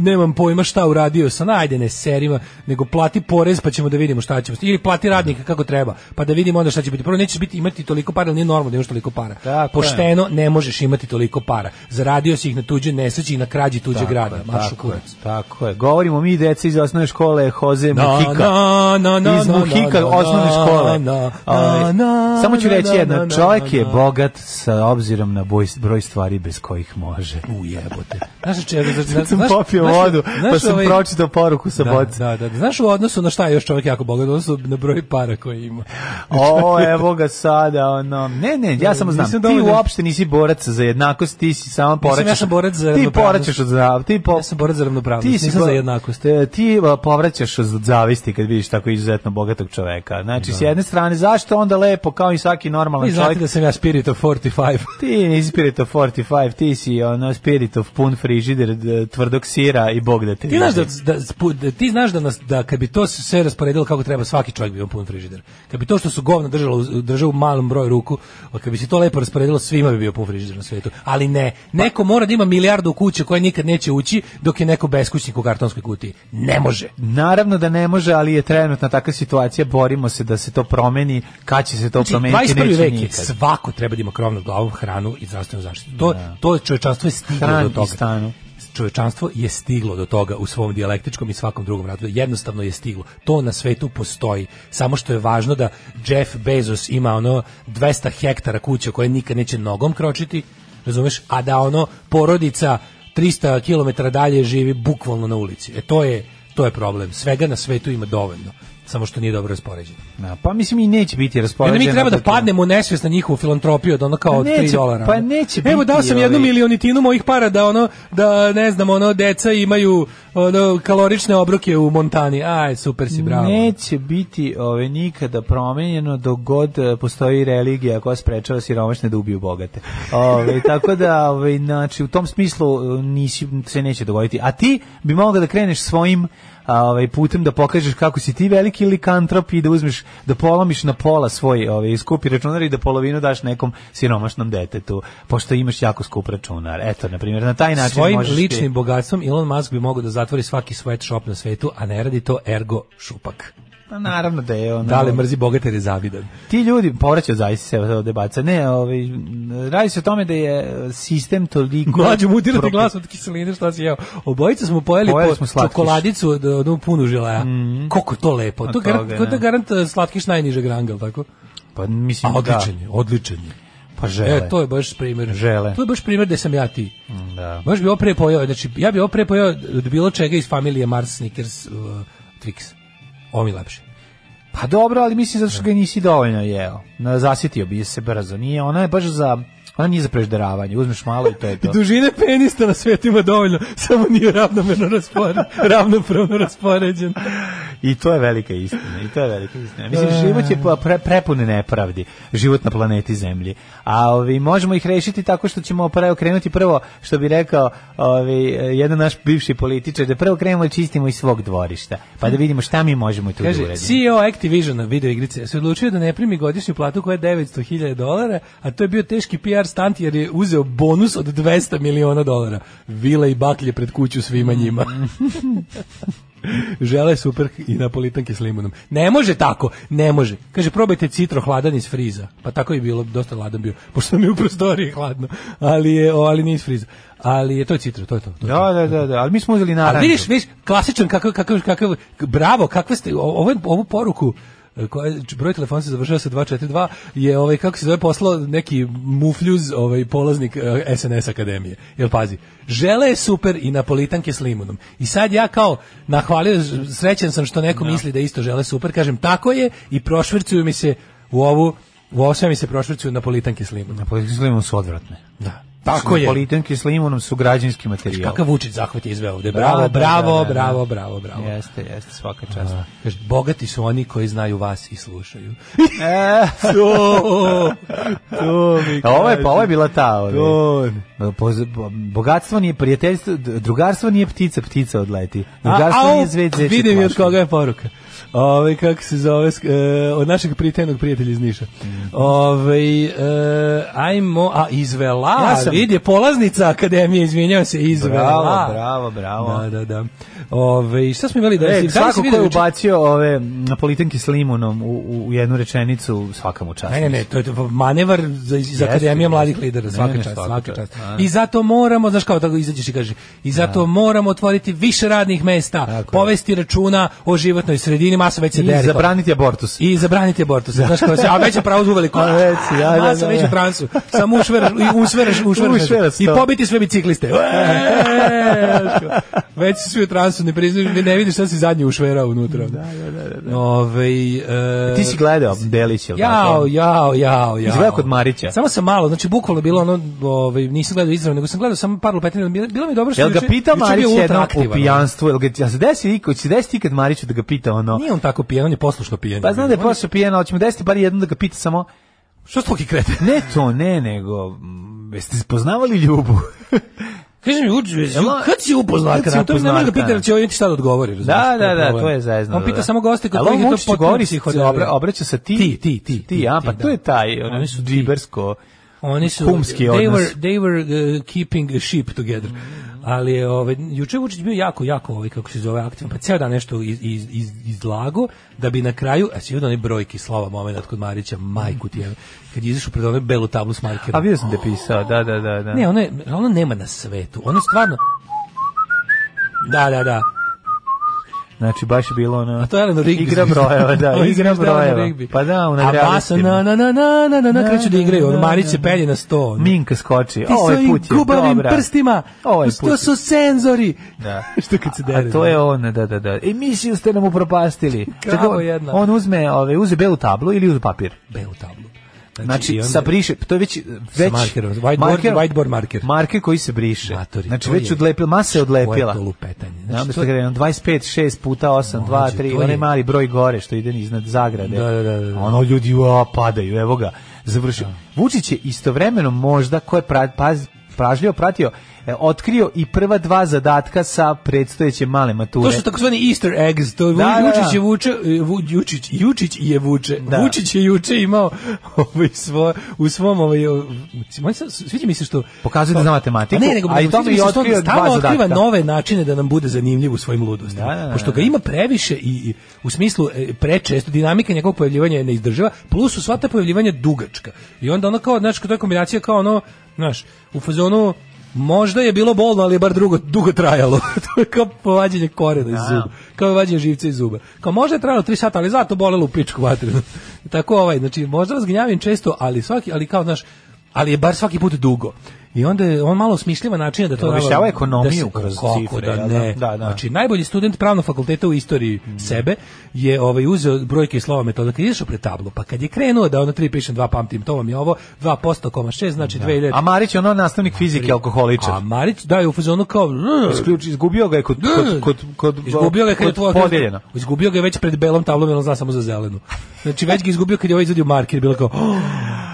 Speaker 6: nemam pojma šta uradio sam ajde ne serima nego plati porez pa ćemo da vidimo šta ćemo s tim. ili plati radnika kako treba pa da vidimo onda šta će biti prvo nećeš biti imati toliko para jer nije normalno da imaš toliko para
Speaker 5: Tako je.
Speaker 6: pošteno no, ne možeš imati toliko para. Zaradio si ih na tuđe nesreći i na krađi tuđe
Speaker 5: Tako
Speaker 6: grada.
Speaker 5: je,
Speaker 6: Maršu
Speaker 5: tako je,
Speaker 6: kurac.
Speaker 5: Tako je. Govorimo mi deca iz osnovne škole Hoze
Speaker 6: Na,
Speaker 5: Muhika.
Speaker 6: na, na, na,
Speaker 5: iz
Speaker 6: na,
Speaker 5: Muhika
Speaker 6: na, na,
Speaker 5: osnovne škole.
Speaker 6: na, na,
Speaker 5: Ovaj,
Speaker 6: na,
Speaker 5: Samo ću
Speaker 6: na,
Speaker 5: reći
Speaker 6: na,
Speaker 5: jedno,
Speaker 6: na,
Speaker 5: čovjek
Speaker 6: na,
Speaker 5: je
Speaker 6: na.
Speaker 5: bogat sa obzirom na boj- broj stvari bez kojih može.
Speaker 6: Ujebote. Znaš, če, znaš,
Speaker 5: Sad sam
Speaker 6: znaš-
Speaker 5: popio
Speaker 6: znaš-
Speaker 5: vodu,
Speaker 6: znaš
Speaker 5: pa sam
Speaker 6: ovaj-
Speaker 5: pročitao poruku sa
Speaker 6: Da,
Speaker 5: boca.
Speaker 6: da, da, Znaš u odnosu na šta je još čovjek jako bogat, u odnosu na broj para koje ima.
Speaker 5: O, evo ga sada, ono. Ne, ne, ja samo znam,
Speaker 6: Nisam
Speaker 5: ti
Speaker 6: dovoljno-
Speaker 5: uopšte nisi borac za jednakost, ti si samo poraćaš.
Speaker 6: ja sam borac za
Speaker 5: Ti
Speaker 6: ravnopravnost.
Speaker 5: poraćaš od zav, ti po...
Speaker 6: Ja sam borac za ravnopravnost, nisam
Speaker 5: po-
Speaker 6: za jednakost.
Speaker 5: Te- Ti a, povraćaš od zavisti kad vidiš tako izuzetno bogatog čoveka. Znači, s jedne strane, zašto onda lepo, kao i svaki normalan
Speaker 6: Vi znate
Speaker 5: Pa čovjek,
Speaker 6: da sam ja Spirit of 45.
Speaker 5: ti nisi Spirit of 45, ti si ono Spirit of pun frižider, d- tvrdog sira i bog da te
Speaker 6: Ti znaš da,
Speaker 5: vidi.
Speaker 6: da, spu- da- ti znaš da nas da kad bi to sve rasporedilo kako treba svaki čovjek bi imao pun frižider. Kad bi to što su govna držalo uz- držao u malom broju ruku, a kad bi se to lepo rasporedilo svima bi bio pun frižider na svetu. Ali ne, neko mora da ima milijardu u kući koja nikad neće ući dok je neko beskućnik u kartonskoj kutiji. Ne može.
Speaker 5: Naravno da ne može, ali je trenutna takva situacija, borimo se da se to promeni, kad će se to
Speaker 6: Znači,
Speaker 5: promeniti,
Speaker 6: 21.
Speaker 5: neće
Speaker 6: vek je,
Speaker 5: nikad.
Speaker 6: svako treba da ima krov nad glavom, hranu i zdravstvenu zaštitu. To, to je čovečanstvo je stiglo
Speaker 5: Hran
Speaker 6: do
Speaker 5: i
Speaker 6: toga.
Speaker 5: stanu.
Speaker 6: Čovečanstvo je stiglo do toga u svom dijalektičkom i svakom drugom radu. Jednostavno je stiglo. To na svetu postoji. Samo što je važno da Jeff Bezos ima ono 200 hektara kuće koje nikad neće nogom kročiti, razumeš? A da ono porodica 300 km dalje živi bukvalno na ulici. E to je to je problem. Svega na svetu ima dovoljno. Samo što nije dobro raspoređeno.
Speaker 5: Da, pa mislim i neće biti
Speaker 6: I onda
Speaker 5: raspoređeno.
Speaker 6: mi treba da
Speaker 5: po tom.
Speaker 6: padnemo u nesvest na njihovu filantropiju od ono kao
Speaker 5: Pa
Speaker 6: od
Speaker 5: neće,
Speaker 6: 3 dolara.
Speaker 5: pa
Speaker 6: ono.
Speaker 5: neće
Speaker 6: Evo
Speaker 5: biti, ovaj.
Speaker 6: dao sam jednu
Speaker 5: ali-
Speaker 6: milionitinu mojih para da ono da ne znam ono deca imaju ono kalorične obroke u Montani. Aj super si bravo.
Speaker 5: Neće biti ove nikada promenjeno dok god e, postoji religija koja sprečava siromašne da ubiju bogate. Ove, tako da ove, znači, u tom smislu e, nisi, se neće dogoditi. A ti bi mogao da kreneš svojim a, ovaj putem da pokažeš kako si ti veliki likantrop i da uzmeš da polomiš na pola svoj ovaj skupi računar i da polovinu daš nekom siromašnom detetu pošto imaš jako skup računar eto na primjer na taj način
Speaker 6: Znači, Svojim
Speaker 5: možeš ti-
Speaker 6: ličnim bogatstvom Elon Musk bi mogao da zatvori svaki sweatshop na svetu, a ne radi to ergo šupak.
Speaker 5: Pa naravno da je ono
Speaker 6: Da li mrzi bogate jer je zavidan?
Speaker 5: ti ljudi povraćaju zaista se od debaca. Ne, ovaj radi se o tome da je sistem toliko
Speaker 6: Mlađe mutirate
Speaker 5: propi-
Speaker 6: glas od kiseline, šta si jeo? Obojica smo pojeli,
Speaker 5: Pojeli
Speaker 6: po
Speaker 5: smo slatkiš. Mhm.
Speaker 6: čokoladicu od onu punu želaja. Koliko je to lepo. To,
Speaker 5: Od
Speaker 6: garant,
Speaker 5: toga,
Speaker 6: ko da
Speaker 5: ne.
Speaker 6: garant eh, slatkiš najnižeg ranga, jel tako?
Speaker 5: Pa mislim
Speaker 6: A
Speaker 5: da.
Speaker 6: odličan je, odličan je.
Speaker 5: Pa žele.
Speaker 6: E, to je baš primjer.
Speaker 5: Žele.
Speaker 6: To je baš primjer da sam ja ti.
Speaker 5: Da.
Speaker 6: Baš bi ovo pre pojeo, znači ja bi ovo pre pojeo od bilo čega iz familije Mars Snickers uh, Twix. Ovo mi je lepše.
Speaker 5: Pa dobro, ali mislim zato što ga nisi dovoljno jeo. Na zasjetio bi se brzo. Nije, ona je baš za ona nije za prežderavanje. Uzmeš malo i to je to.
Speaker 6: Dužine penista na svetu ima dovoljno, samo nije ravnomerno raspoređen, ravnopravno raspoređen.
Speaker 5: I to je velika istina. I to je velika istina. Mislim, život je pre, prepune nepravdi. Život na planeti Zemlji. A ovi, možemo ih rešiti tako što ćemo preokrenuti prvo, što bi rekao ovi, jedan naš bivši političar, da prvo krenemo i čistimo iz svog dvorišta. Pa da vidimo šta mi možemo tu da
Speaker 6: Kaže,
Speaker 5: uradimo.
Speaker 6: CEO Activisiona video igrice se odlučio da ne primi godišnju platu koja je 900.000 dolara, a to je bio teški PR stunt jer je uzeo bonus od 200 miliona dolara. Vila i baklje pred kuću svima njima. Žele super i napolitanke s limunom. Ne može tako, ne može. Kaže, probajte citro hladan iz friza. Pa tako je bilo, dosta hladan bio. Pošto mi je u prostoriji hladno, ali je, o, ali nije iz friza. Ali je to je citro, to je to. to je to.
Speaker 5: Da, da, da, da, ali mi smo uzeli naranđu.
Speaker 6: Ali vidiš, vidiš, klasičan kakav kakav kakav bravo, kakve ste o- ovo ovu poruku e, koja broj telefona se završava sa 242 je ovaj kako se zove poslao neki mufljuz ovaj polaznik e, SNS akademije. Jel pazi, žele je super i napolitanke s limunom. I sad ja kao nahvalio srećan sam što neko misli da isto žele super, kažem tako je i prošvrcuju mi se u ovu u ovo sve mi se prošvrcuju napolitanke s limunom.
Speaker 5: Napolitanke s pa limunom su odvratne.
Speaker 6: Da. Tako je.
Speaker 5: Napolitanke s limunom su građanski materijal.
Speaker 6: Kakav Vučić zahvat je izveo ovde.
Speaker 5: Da,
Speaker 6: Bravo,
Speaker 5: da,
Speaker 6: bravo,
Speaker 5: da, da, da.
Speaker 6: bravo, bravo, bravo.
Speaker 5: Jeste, jeste, svaka čast.
Speaker 6: Kaže, bogati su oni koji znaju vas i slušaju.
Speaker 5: E,
Speaker 6: to, to mi
Speaker 5: A ovo je, pa ovo je bila ta. Ovaj.
Speaker 6: To.
Speaker 5: Poz- bo- Bogatstvo nije prijateljstvo, d- drugarstvo nije ptica, ptica odleti.
Speaker 6: A,
Speaker 5: Drugarstvo
Speaker 6: au,
Speaker 5: nije zvezd, zvezd
Speaker 6: vidim i od koga je poruka. Ove, kako se zove, sk- e, od našeg prijateljnog prijatelja iz Niša.
Speaker 5: Mm.
Speaker 6: Ove, e, ajmo, a izvela,
Speaker 5: Ja
Speaker 6: ja
Speaker 5: sam-
Speaker 6: vidi, je polaznica akademije, izvinjavam se, izvela.
Speaker 5: Bravo, bravo, bravo.
Speaker 6: Da, da, da. Ove, i šta smo imali da
Speaker 5: E,
Speaker 6: da li si
Speaker 5: svako ko
Speaker 6: vidio
Speaker 5: je
Speaker 6: juče-
Speaker 5: ubacio ove napolitanke s limunom u, u, u jednu rečenicu, svaka mu čast.
Speaker 6: Ne, ne, ne, to je manevar za, za akademije
Speaker 5: jeste.
Speaker 6: mladih lidera,
Speaker 5: Ne,
Speaker 6: svaka
Speaker 5: ne,
Speaker 6: čast,
Speaker 5: svaka
Speaker 6: svaka
Speaker 5: čast.
Speaker 6: čast.
Speaker 5: A.
Speaker 6: I zato moramo, znaš kao tako izađeš i kaže, i zato moramo otvoriti više radnih mesta,
Speaker 5: Tako je.
Speaker 6: povesti računa o životnoj sredini, masa već se
Speaker 5: I
Speaker 6: deri.
Speaker 5: zabraniti abortus.
Speaker 6: I zabraniti abortus, znaš kao se, a već je pravo uveliko.
Speaker 5: A već, da, da,
Speaker 6: Masa
Speaker 5: da,
Speaker 6: već
Speaker 5: da.
Speaker 6: u transu. Samo ušveraš, i usveraš, ušveraš.
Speaker 5: Ušveraš
Speaker 6: I
Speaker 5: to.
Speaker 6: pobiti sve bicikliste. Eee, znaš kao, već si svi u transu, ne priznaš, ne vidiš šta si zadnji ušverao unutra. Da, da, da. da. Ove, e,
Speaker 5: Ti si gledao Delić, jel
Speaker 6: Jao, jao, jao, jao.
Speaker 5: Izgleda ono? kod Marića.
Speaker 6: Samo sam malo, znači bukvalno je bilo ono, ovaj nisam gledao izravno, nego sam gledao samo par lupetina, bilo bilo mi je dobro što
Speaker 5: Jel ga
Speaker 6: juče-
Speaker 5: pitao
Speaker 6: juče je
Speaker 5: Marić
Speaker 6: bio ultra
Speaker 5: jedno u
Speaker 6: aktivan, ono.
Speaker 5: pijanstvu? Jel ga, jel se desi ikad, će desiti ikad Mariću da ga pita ono?
Speaker 6: ono. Nije on tako pijan, on je poslušno pijan.
Speaker 5: Pa znam da je posao pijen, ali ćemo desiti bar jednom da ga pita samo
Speaker 6: Što stoki krete?
Speaker 5: Ne to, ne, nego mm, jeste spoznavali ljubu?
Speaker 6: Kaže mi, uđe,
Speaker 5: Jel on-
Speaker 6: kad si upoznat?
Speaker 5: Kad si
Speaker 6: Kad si upoznat?
Speaker 5: upoznat,
Speaker 6: Ne ga pita,
Speaker 5: da.
Speaker 6: da će ovaj ti šta da odgovori, razumiješ?
Speaker 5: Da, da, da,
Speaker 6: problem.
Speaker 5: to je zajezno.
Speaker 6: On
Speaker 5: da,
Speaker 6: pita
Speaker 5: da.
Speaker 6: samo goste kod
Speaker 5: Ali on
Speaker 6: kojih je to
Speaker 5: Vučiću
Speaker 6: potpuno
Speaker 5: govori,
Speaker 6: psihodelija.
Speaker 5: obra- obraća se ti.
Speaker 6: Ti, ti, ti,
Speaker 5: Ti, a, pa
Speaker 6: ti,
Speaker 5: to je
Speaker 6: da.
Speaker 5: taj, ono,
Speaker 6: Oni su ti.
Speaker 5: džibersko.
Speaker 6: Oni su
Speaker 5: Kumski
Speaker 6: they
Speaker 5: odnos.
Speaker 6: were they were uh, keeping a ship together. Ali je ovaj juče je Vučić bio jako jako ovaj kako se zove aktivan, pa ceo dan nešto iz, iz, iz, izlago da bi na kraju, a sigurno one brojke slava momenat kod Marića, majku ti je. Kad je izašao pred onu belu tablu s markerom.
Speaker 5: A vidio sam da je pisao, da, da, da. da.
Speaker 6: Ne, ono, je, ono nema na svetu. Ono stvarno Da, da, da.
Speaker 5: Znači, baš je bilo ono...
Speaker 6: A to je Eleno Rigby.
Speaker 5: Igra brojeva, da,
Speaker 6: Ovo je
Speaker 5: igra
Speaker 6: izveštaj Elenu
Speaker 5: brojeva.
Speaker 6: Rigby.
Speaker 5: Pa da, ona
Speaker 6: A masa, na, na, na, na, na, na, na, kreću da igraju. Ono, Marić se pelje na sto. ono.
Speaker 5: Minka skoči,
Speaker 6: Ti
Speaker 5: ovaj
Speaker 6: svojim
Speaker 5: put je
Speaker 6: gubavim
Speaker 5: dobra.
Speaker 6: prstima,
Speaker 5: Ovaj put
Speaker 6: to
Speaker 5: je-
Speaker 6: su senzori.
Speaker 5: Da.
Speaker 6: Što kad se dere.
Speaker 5: A to je on, da, da, da. Emisiju ste nam upropastili.
Speaker 6: Kao
Speaker 5: Čekaj, on-
Speaker 6: jedna.
Speaker 5: On uzme, ove, uze belu tablu ili uze papir.
Speaker 6: belu tablu. i
Speaker 5: Znači,
Speaker 6: onda-
Speaker 5: sa briše, to je već
Speaker 6: Sa
Speaker 5: već
Speaker 6: markerom, whiteboard- whiteboard marker.
Speaker 5: Marker koji se briše.
Speaker 6: Matori,
Speaker 5: znači
Speaker 6: to
Speaker 5: već
Speaker 6: je-
Speaker 5: odlepila, masa je
Speaker 6: Koje
Speaker 5: odlepila.
Speaker 6: je to lupetanje.
Speaker 5: Znači,
Speaker 6: Znači,
Speaker 5: to...
Speaker 6: to,
Speaker 5: 25, 6 puta 8, 2,
Speaker 6: Mlađe,
Speaker 5: 3,
Speaker 6: to je-
Speaker 5: onaj ono mali broj gore što ide iznad zagrade.
Speaker 6: Da, da, da, da.
Speaker 5: Ono ljudi ua, padaju, evo ga, završio. Vučić je istovremeno možda, ko je pra, paz, pražljio, pratio, e, otkrio i prva dva zadatka sa predstojeće male mature.
Speaker 6: to su takozvani easter eggs, to
Speaker 5: Da, da,
Speaker 6: Vučić
Speaker 5: da.
Speaker 6: je vuče, Vu- Jučić, Jučić je vuče.
Speaker 5: Da.
Speaker 6: Vučić je juče imao ovaj svoj, u svom ovaj, o, mislim, on se- sviđa mi se što...
Speaker 5: Pokazuje da zna matematiku,
Speaker 6: A Pa- ne, nego,
Speaker 5: a i
Speaker 6: sviđa
Speaker 5: tome
Speaker 6: mi
Speaker 5: i
Speaker 6: se što on
Speaker 5: otkrio dva
Speaker 6: stalno otkriva
Speaker 5: zadatka.
Speaker 6: nove načine da nam bude zanimljiv u svojim ludostima.
Speaker 5: Da, da, da,
Speaker 6: Pošto ga
Speaker 5: da.
Speaker 6: ima previše i, i u smislu e, prečesto dinamika njegovog pojavljivanja je neizdrživa, plus su sva ta pojavljivanja dugačka. I onda ono kao, znači, to je kombinacija kao ono, znaš, u fazonu Možda je bilo bolno, ali je bar drugo, dugo trajalo. to je kao povađanje korena iz zuba. Kao vađenje živca iz zuba. Kao možda je trajalo 3 sata, ali zato bolelo u pičku vatrinu. Tako ovaj, znači možda vas gnjavim često, ali svaki, ali kao znaš, ali je bar svaki put dugo. I onda je on malo smišljiva načina da to
Speaker 5: Objašnjava
Speaker 6: nama-
Speaker 5: ekonomiju
Speaker 6: da se-
Speaker 5: kroz
Speaker 6: kako
Speaker 5: cifre,
Speaker 6: Da
Speaker 5: jel
Speaker 6: ne.
Speaker 5: da? Mm. Da, da.
Speaker 6: Znači najbolji student pravnog fakulteta u istoriji sebe je ovaj uzeo brojke i slova metoda kad je išao pred tablu, pa kad je krenuo da ono 3 pišem 2 pamtim, to vam je ovo 2%,6 znači 2000.
Speaker 5: A Marić je ono nastavnik fizike, alkoholičar.
Speaker 6: A Marić da je u fazonu kao
Speaker 5: Isključi, izgubio ga je kod, kod, kod, kod,
Speaker 6: izgubio ga je kad je
Speaker 5: kod
Speaker 6: tvoja
Speaker 5: podeljeno.
Speaker 6: Izgubio ga je već pred belom tablom, jer on zna samo za zelenu. Znači već ga je izgubio kad je ovaj izvadio marker, bilo kao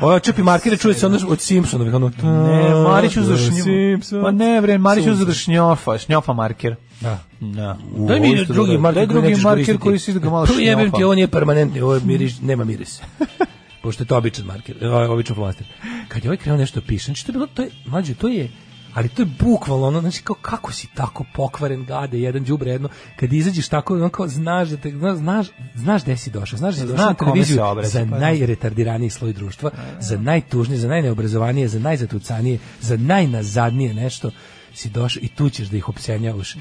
Speaker 6: Ovo čepi markere, čuje se ono od Simpsonovih, ono...
Speaker 5: Ne, Marić uzeo šnjofa.
Speaker 6: Simpson.
Speaker 5: Pa ne, bre, Marić uzeo šnjofa, šnjofa marker.
Speaker 6: Da.
Speaker 5: Da.
Speaker 6: Daj mi drugi marker,
Speaker 5: Daj drugi
Speaker 6: nećeš koristiti.
Speaker 5: marker koji si ga malo pa.
Speaker 6: Tu jebem ti,
Speaker 5: šnjofa.
Speaker 6: ovo nije permanentni, ovo miriš, nema mirisa. Pošto je to običan marker, ovaj, običan flomaster. Kad je ovaj krenuo nešto piše, znači to je bilo, to je, mlađe, to je, ali to je bukvalno ono, znači kao kako si tako pokvaren gade, jedan đubre jedno, kad izađeš tako, ono kao znaš da te, zna- znaš, znaš gde si došao, znaš da si došao na
Speaker 5: kome se
Speaker 6: televiziju
Speaker 5: obraća,
Speaker 6: za
Speaker 5: pa da.
Speaker 6: najretardiraniji sloj društva, za najtužnije, za najneobrazovanije, za najzatucanije, za najnazadnije nešto si došao i tu ćeš da ih opsenjavaš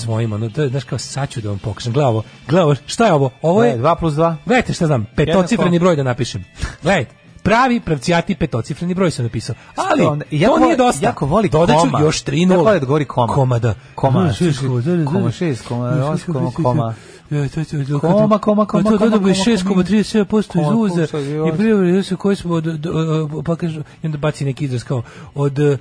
Speaker 6: svojim, ono, to je, znaš kao, sad ću da vam pokušam, gledaj ovo, gledaj ovo, šta je ovo, ovo je,
Speaker 5: E, 2 plus 2.
Speaker 6: gledajte šta znam, petocifreni broj da napišem, gledajte, pravi pravcijati petocifreni broj sam napisao, ali
Speaker 5: Onda,
Speaker 6: to
Speaker 5: jako
Speaker 6: nije
Speaker 5: voli-
Speaker 6: dosta,
Speaker 5: jako voli
Speaker 6: dodaću
Speaker 5: koma.
Speaker 6: još tri nula,
Speaker 5: Jako voli da govori koma.
Speaker 6: koma da,
Speaker 5: Koma,
Speaker 6: Da, šest,
Speaker 5: šest, koma šest, koma osam, koma, koma.
Speaker 6: Ja, E, to- to- to-
Speaker 5: Koma, koma, koma,
Speaker 6: To- To
Speaker 5: koma,
Speaker 6: dobio
Speaker 5: koma,
Speaker 6: 6,37% iz
Speaker 5: koma,
Speaker 6: uvoza
Speaker 5: koma,
Speaker 6: i privredili se koji smo od, od, od- pa kaže, i onda baci neki izraz kao od eh,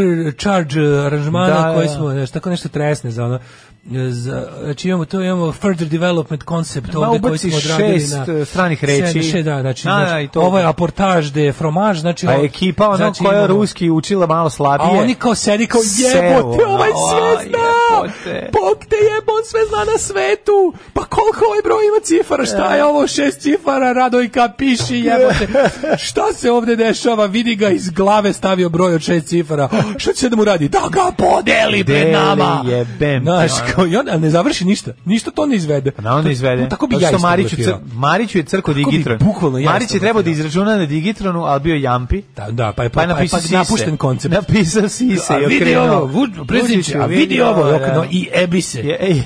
Speaker 6: supercharge eh, aranžmana
Speaker 5: Da,
Speaker 6: koji
Speaker 5: da.
Speaker 6: smo, znaš, tako nešto tresne za ono, eh, za, znači imamo to, imamo further development concept
Speaker 5: Ma,
Speaker 6: ovde koji
Speaker 5: ubaci
Speaker 6: smo odradili
Speaker 5: šest,
Speaker 6: na...
Speaker 5: eh, stranih reči.
Speaker 6: Še, da, znači,
Speaker 5: Da, da,
Speaker 6: znaš,
Speaker 5: i to-
Speaker 6: ovo je aportaž de fromage, znači...
Speaker 5: A
Speaker 6: ovo-
Speaker 5: ekipa ono
Speaker 6: znači,
Speaker 5: koja je
Speaker 6: imamo-
Speaker 5: ruski učila malo
Speaker 6: a
Speaker 5: slabije.
Speaker 6: oni kao sedi kao jebote,
Speaker 5: Sevo,
Speaker 6: ovaj
Speaker 5: ono, a,
Speaker 6: sve zna,
Speaker 5: jebote.
Speaker 6: Bog te jebo, on sve zna na svetu, pa koliko ovaj broj ima cifara, šta je ovo, šest cifara, Radojka, piši jebote, šta se ovde dešava, vidi ga iz glave stavio broj od šest cifara, šta će da mu radi, da ga podeli pred
Speaker 5: Deli,
Speaker 6: nama,
Speaker 5: jebem ti,
Speaker 6: Znaš,
Speaker 5: ono.
Speaker 6: kao, i on a ne završi ništa, ništa to ne izvede,
Speaker 5: Na onda
Speaker 6: To-
Speaker 5: izvede.
Speaker 6: tako bi
Speaker 5: Zato
Speaker 6: ja
Speaker 5: što
Speaker 6: isto
Speaker 5: Mariću, cr,
Speaker 6: blefirao.
Speaker 5: Mariću je crko
Speaker 6: bi
Speaker 5: Digitron.
Speaker 6: bukvalno ja
Speaker 5: Marić
Speaker 6: isto
Speaker 5: je trebao da
Speaker 6: blefirao.
Speaker 5: izračuna na Digitronu, ali bio Jampi.
Speaker 6: Da, da, pa je,
Speaker 5: Pa
Speaker 6: pa,
Speaker 5: je
Speaker 6: pa, pa,
Speaker 5: napisao Sise.
Speaker 6: napušten koncept.
Speaker 5: Napisao Sise
Speaker 6: A
Speaker 5: i
Speaker 6: vidi
Speaker 5: okrenuo.
Speaker 6: ovo, Vuč- predsjedniče, a vidi ovo, i okrenuo, i ebi se.
Speaker 5: Je, ej,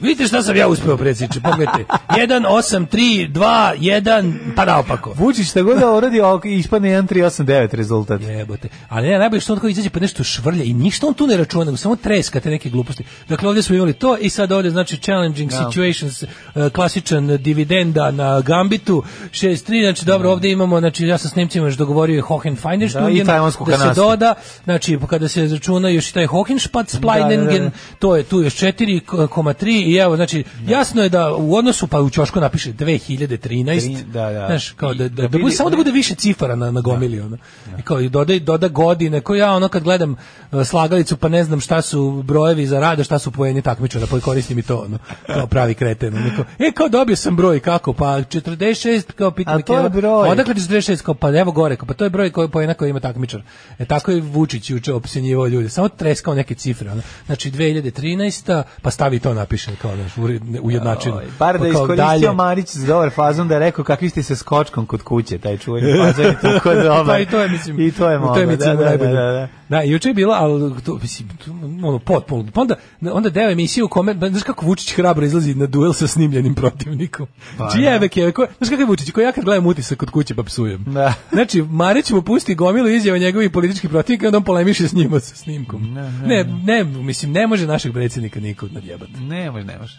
Speaker 6: Vidite šta sam ja uspeo predsjedniče, pogledajte. 1, 8, 3, 2, 1, pa naopako.
Speaker 5: Vučić šta god da uradi, ok, ispadne 1389 rezultat.
Speaker 6: Jebote. Ali ne, najbolje što on kao izađe pa nešto švrlja i ništa on tu ne računa, nego samo treska te neke gluposti. Dakle, ovdje smo imali to i sad ovdje, znači, challenging situations, eh, klasičan dividenda na Gambitu, 6-3, znači, dobro, ovdje imamo, znači, ja sa snimcima još dogovorio je Hohenfeinder
Speaker 5: Da, i tajvansku
Speaker 6: da se
Speaker 5: kanastu.
Speaker 6: doda, znači, kada se računa još i taj Hohenspatz,
Speaker 5: Da, da, da,
Speaker 6: Splajningen,
Speaker 5: da.
Speaker 6: to je tu još 4,3 i evo, znači, jasno je da u odnosu, pa u čošku napiše 2013,
Speaker 5: Tri- da, da.
Speaker 6: znaš, kao da, da,
Speaker 5: I
Speaker 6: da,
Speaker 5: da
Speaker 6: bude-
Speaker 5: vidi-
Speaker 6: samo da bude više cifara na, na gomili, ono. I kao, i doda, doda godine, ko ja, ono, kad gledam e, slagalicu, pa ne znam šta su brojevi za rada, šta su poeni takmičara, pa koristim i to, ono, kao pravi kreten. Ono, kao, e, kao dobio sam broj, kako, pa 46, kao pitam
Speaker 5: A to je broj.
Speaker 6: Odakle 46, kao, pa evo gore, kao, pa to je broj koji poena koji ima takmičar. E, tako je Vučić juče opsenjivao ljude, samo treskao neke cifre, ono. Znači, 2013, pa stavi to napiše, kao, znaš, uri- ujednačeno.
Speaker 5: Oj, Bar Znači, da
Speaker 6: Pa
Speaker 5: je
Speaker 6: kao, dalje.
Speaker 5: iskoristio Marić za dobar fazon da je rekao kakvi ste se s kočkom kod kuće, taj čuveni fazon je tako dobar.
Speaker 6: Pa i to je mislim.
Speaker 5: Ovaj, I to je
Speaker 6: u toj
Speaker 5: moglo,
Speaker 6: emisiji
Speaker 5: da, da, da,
Speaker 6: najbolje.
Speaker 5: da, da.
Speaker 6: Da, juče je bila, ali to, mislim, to, ono, potpuno. Pa onda, onda deo emisije u kome, ba, znaš kako Vučić hrabro izlazi na duel sa snimljenim protivnikom. Pa, Čijeve, keve, ko, znaš kako je Vučić, koji ja kad gledam utisak kod kuće pa psujem.
Speaker 5: Da.
Speaker 6: Znači, Marić mu pusti gomilu izjava njegovih političkih protivnika i onda on polemiše s njima sa snimkom. Ne, ne, mislim, ne može našeg predsjednika niko nadjebati.
Speaker 5: Ne može, ne može.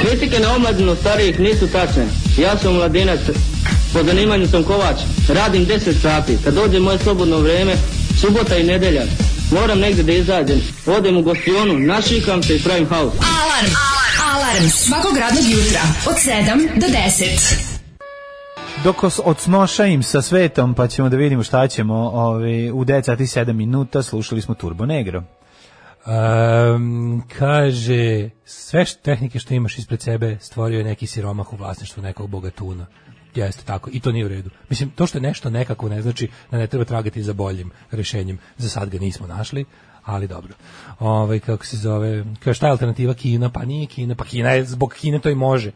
Speaker 10: Kritike na omladinu starijih nisu tačne. Ja sam mladinac, po zanimanju sam kovač, radim 10 sati. Kad dođe moje slobodno vrijeme, subota i nedelja, moram negdje da izađem. Odem u gostionu, našikam se i pravim haus.
Speaker 1: Alarm. Alarm. Alarm. Svakog radnog jutra od 7 do 10.
Speaker 5: Dok os- odsnoša im sa svetom, pa ćemo da vidimo šta ćemo ove, u 10 sati 7 minuta slušali smo Turbo Negro.
Speaker 6: Um, kaže, sve št- tehnike što imaš ispred sebe stvorio je neki siromah u vlasništvu nekog bogatuna. Jeste tako, i to nije u redu. Mislim, to što je nešto nekako ne znači da ne treba tragati za boljim rešenjem. Za sad ga nismo našli, ali dobro. Ovaj kako se zove, kao šta je alternativa Kina? Pa nije Kina, pa Kina je, zbog Kine to i može.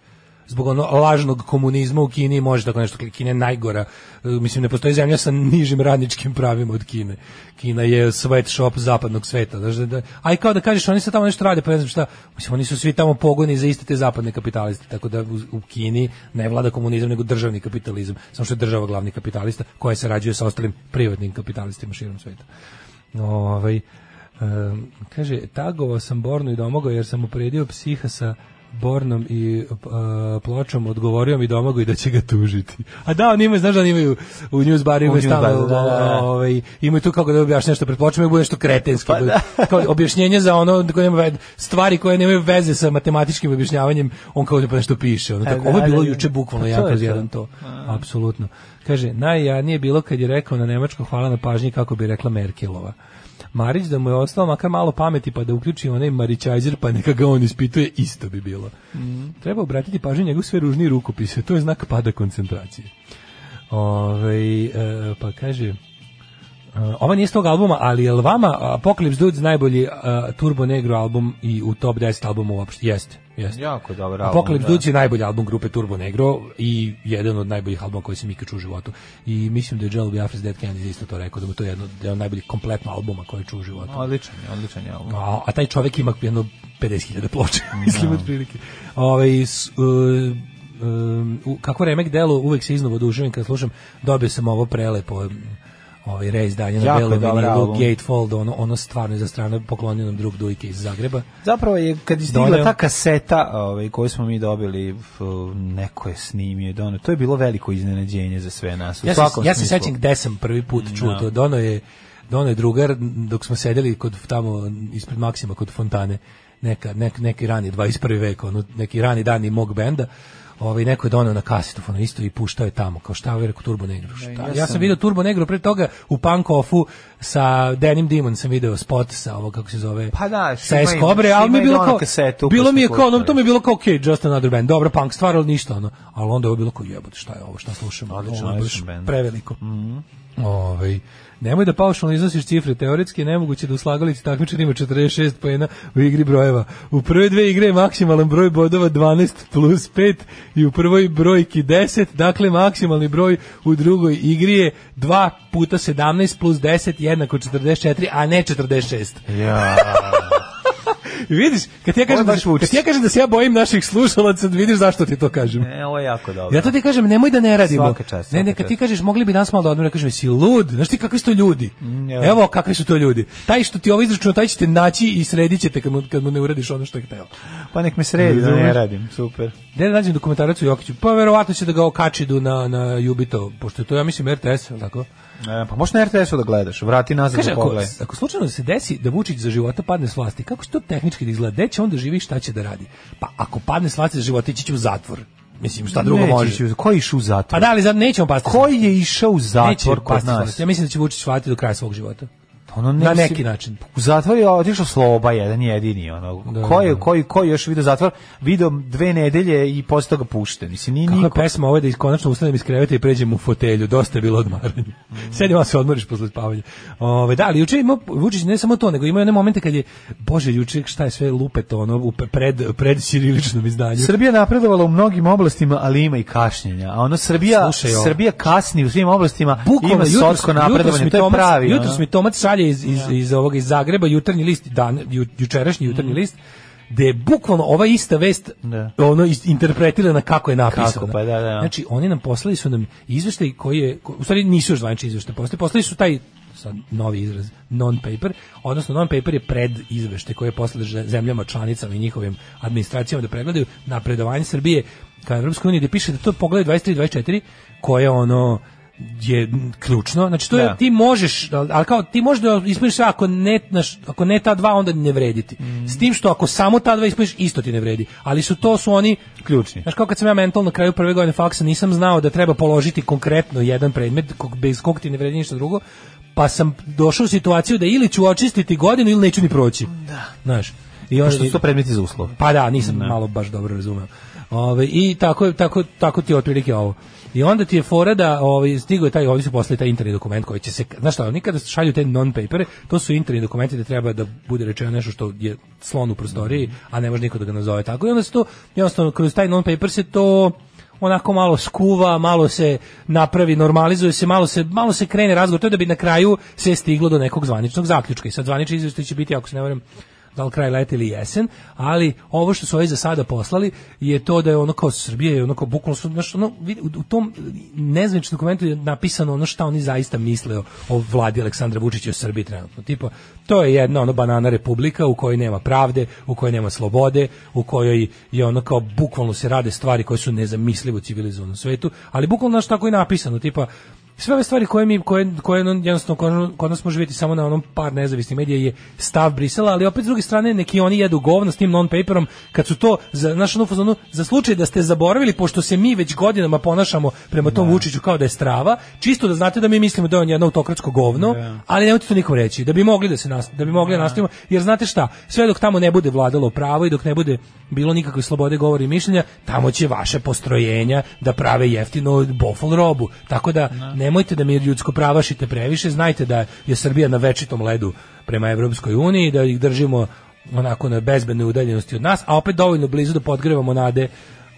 Speaker 6: zbog ono lažnog komunizma u Kini može tako nešto Kina je najgora E, mislim ne postoji zemlja sa nižim radničkim pravima od Kine Kina je sweatshop zapadnog sveta znači da aj kao da kažeš oni se tamo nešto rade pa ne znam šta mislim oni su svi tamo pogoni za iste te zapadne kapitaliste tako da u, u Kini ne vlada komunizam nego državni kapitalizam samo što je država glavni kapitalista koja sarađuje sa ostalim privatnim kapitalistima širom sveta ovaj Um, kaže, tagovao sam Bornu i domogao jer sam upredio psiha sa Bornom i uh, pločom odgovorio mi domagu i da će ga tužiti. A da, oni imaju, znaš da oni imaju u news baru imaju stalno, da, da. ovaj, imaju tu kako da objašnje nešto pred pločom i bude nešto kretenski. Pa, da. kao objašnjenje za ono, koje nema, veze, stvari koje nemaju veze sa matematičkim objašnjavanjem, on kao da pa nešto piše. Ono, tako, ovo je bilo juče bukvalno pa, jako jedan to. Apsolutno. Kaže, najjadnije je bilo kad je rekao na nemačko hvala na pažnji kako bi rekla Merkelova. Marić da mu je ostalo makar malo pameti pa da uključi onaj Marićajzer pa neka ga on ispituje, isto bi bilo. Mm. Treba obratiti pažnju njegov sve ružni rukopise, to je znak pada koncentracije. Ove, e, pa kaže... Uh, ova nije s tog albuma, ali je vama e, Apocalypse Dudes najbolji uh, Turbo Negro album i u top 10 albuma uopšte? Jeste, jeste.
Speaker 5: Jako dobar
Speaker 6: album. Apocalypse da. Dudes je najbolji album grupe Turbo Negro i jedan od najboljih albuma koji sam ikad čuo u životu. I mislim da je Joel Biafra's Dead Kennedy isto to rekao, da mu to je jedno, jedan od najboljih kompletno albuma koje čuo u životu.
Speaker 5: Odličan je, odličan je album.
Speaker 6: A, a taj čovek ima jedno 50.000 ploče, mislim, no. od prilike. Ove, s, uh, um, kako remek delo uvek se iznova oduševim kad slušam dobio sam ovo prelepo ovaj reizdanje na belom vinilu Gatefold ono ono stvarno je za strane poklonio nam drug Dujke iz Zagreba.
Speaker 5: Zapravo je kad je stigla Donio. ta kaseta, ovaj koju smo mi dobili, neko je snimio dono. To je bilo veliko iznenađenje za sve nas. U
Speaker 6: ja
Speaker 5: svakom
Speaker 6: se, ja se sećam gde sam prvi put čuo no. to. Dono je Dono je drugar dok smo sedeli kod tamo ispred Maksima kod fontane neka nek, neki rani 21. vek ono neki rani dani mog benda ovaj neko je doneo na kasetofon isto i puštao je tamo kao šta rekao Turbo Negro šta? Ja, ja, sam, sam video Turbo Negro pre toga u Punk Offu sa Denim Demon sam video spot sa ovo kako se zove
Speaker 5: pa da
Speaker 6: sa Escobre ali mi je bilo kao ono kasetu, bilo mi je kao no, to mi je bilo kao okay, just another band dobro punk stvar ali ništa ono ali onda je ovo bilo kao jebote šta je ovo šta slušamo
Speaker 5: odlično
Speaker 6: ono, preveliko mm -hmm. ovaj Nemoj da paušalno iznosiš cifre, teoretski je nemoguće da u slagalici takmičar ima 46 poena u igri brojeva. U prve dve igre je maksimalan broj bodova 12 plus 5 i u prvoj brojki 10, dakle maksimalni broj u drugoj igri je 2 puta 17 plus 10 jednako 44, a ne 46.
Speaker 5: Ja...
Speaker 6: vidiš, kad ti ja kažem, da, kad ti ja kažem da se ja bojim naših slušalaca, vidiš zašto ti to kažem.
Speaker 5: Ne, ovo je jako E, dobro.
Speaker 6: Ja to ti kažem, nemoj da ne radimo.
Speaker 5: Svaka čast.
Speaker 6: ne, ne, kad ti kažeš, mogli bi nas malo da odmora, kažem, si lud, znaš ti kakvi su to ljudi? Mm, ja. Evo kakvi su to ljudi. Taj što ti ovo izračuna, taj ćete naći i sredit ćete kad mu, kad mu ne uradiš ono što je hteo.
Speaker 5: Pa nek me sredi da ne radim, super.
Speaker 6: Gde da nađem dokumentaracu Jokiću? Pa verovatno će da ga okačidu na, na Jubito, pošto to ja mislim RTS, tako?
Speaker 5: E, pa možeš na RTS-u da gledaš, vrati nazad Kaže, da
Speaker 6: pogledaj. Ako, ako slučajno se desi da Vučić za života padne s vlasti, kako će to tehnički da izgleda? Gde će onda živi šta će da radi? Pa ako padne s vlasti za života, ići će u zatvor. Mislim, šta drugo
Speaker 5: neće,
Speaker 6: može?
Speaker 5: Ko je išao u
Speaker 6: Pa
Speaker 5: zatvor?
Speaker 6: da, ali za, nećemo pasti.
Speaker 5: Ko je išao u zatvor kod nas?
Speaker 6: Ja mislim da će Vučić shvatiti do kraja svog života.
Speaker 5: Ono
Speaker 6: ne na neki si, način.
Speaker 5: U zatvor je otišao Sloba jedan jedini ono. Da, ko je koji koji još video zatvor? Video dve nedelje i posle toga pušten. Mislim ni
Speaker 6: niko. Kako pesma ovo da konačno ustanem iz kreveta i pređem u fotelju, dosta je bilo odmaranja. Mm. Sedim se odmoriš posle spavanja. Ove da, ali juče ima Vučić ne samo to, nego ima one momente kad je bože juče šta je sve lupeto ono u pred pred ćiriličnom izdanju.
Speaker 5: Srbija napredovala u mnogim oblastima, ali ima i kašnjenja. A ono Srbija Slušaj, Srbija kasni u svim oblastima, Bukvalno, ima sotsko napredovanje, to je pravi. ono.
Speaker 6: Jutros mi Tomac šalje iz, iz, iz ovoga iz Zagreba jutarnji list dan ju, jučerašnji
Speaker 5: Mhm.
Speaker 6: jutarnji mm. list da je bukvalno ova ista vest da. ono interpretirana kako je napisana. Kako,
Speaker 5: pa da, da, da.
Speaker 6: Znači oni nam poslali su nam izveštaj koji je ko, u stvari nisu još zvanični izveštaj, poslali, poslali su taj sad novi izraz non paper, odnosno non paper je pred izveštaj koje je poslali zemljama članicama i njihovim administracijama da pregledaju napredovanje Srbije ka Evropskoj uniji da piše da to pogleda 23 24 koje ono je ključno. Znači to da. je ti možeš, ali kao ti možeš da ispuniš sve ako ne, naš, ako ne ta dva onda ne vrediti. Mm. S tim što ako samo ta dva ispuniš isto ti ne vredi. Ali su to su oni
Speaker 5: ključni.
Speaker 6: Znaš kao kad sam ja mentalno na kraju prve godine faksa nisam znao da treba položiti konkretno jedan predmet bez kog ti ne vredi ništa drugo, pa sam došao u situaciju da ili ću očistiti godinu ili neću ni proći.
Speaker 5: Da.
Speaker 6: Znaš.
Speaker 5: I onda, pa što su to predmeti za uslov.
Speaker 6: Pa da, nisam ne. malo baš dobro razumeo. Ove, I tako, je- tako, tako ti je otprilike ovo. I onda ti je fora da ovaj, stigo je taj, ovdje su poslali taj interni dokument koji će se, znaš šta, oni kada šalju te non-papere, to su interni dokumenti da treba da bude rečeno nešto što je slon u prostoriji, a ne može niko da ga nazove tako. I onda se to, jednostavno, kroz taj non-paper se to onako malo skuva, malo se napravi, normalizuje se, malo se, malo se krene razgovor, to je da bi na kraju se stiglo do nekog zvaničnog zaključka. I sad zvanični izvještaj će biti, ako se ne varam, da li kraj leta ili jesen, ali ovo što su ovi za sada poslali je to da je ono kao Srbije, je ono kao bukvalno su, znaš, ono, vidi, u, u tom nezvaničnom dokumentu je napisano ono šta oni zaista misle o, o vladi Aleksandra Vučića i o Srbiji trenutno. Tipo, to je jedna ono banana republika u kojoj nema pravde, u kojoj nema slobode, u kojoj je ono kao bukvalno se rade stvari koje su nezamislive u civilizovanom svetu, ali bukvalno znaš tako je napisano, tipa, sve ove stvari koje mi koje koje no, jednostavno kod- ono, kod nas može biti samo na onom par nezavisnih medija je stav Brisela, ali opet s druge strane neki oni jedu govno s tim non paperom kad su to za naš ono u fazonu, za slučaj da ste zaboravili pošto se mi već godinama ponašamo prema tom Vučiću kao da je strava, čisto da znate da mi mislimo da je on jedno autokratsko govno, ali nemojte to nikom reći da bi mogli da se nas, da bi mogli da nastavimo jer znate šta, sve dok tamo ne bude vladalo pravo i dok ne bude bilo nikakve slobode govora i mišljenja, tamo će vaše postrojenja da prave jeftino bofol robu. Tako da nemojte da mi ljudsko pravašite previše, znajte da je Srbija na večitom ledu prema Evropskoj uniji, da ih držimo onako na bezbednoj udaljenosti od nas, a opet dovoljno blizu da podgrevamo nade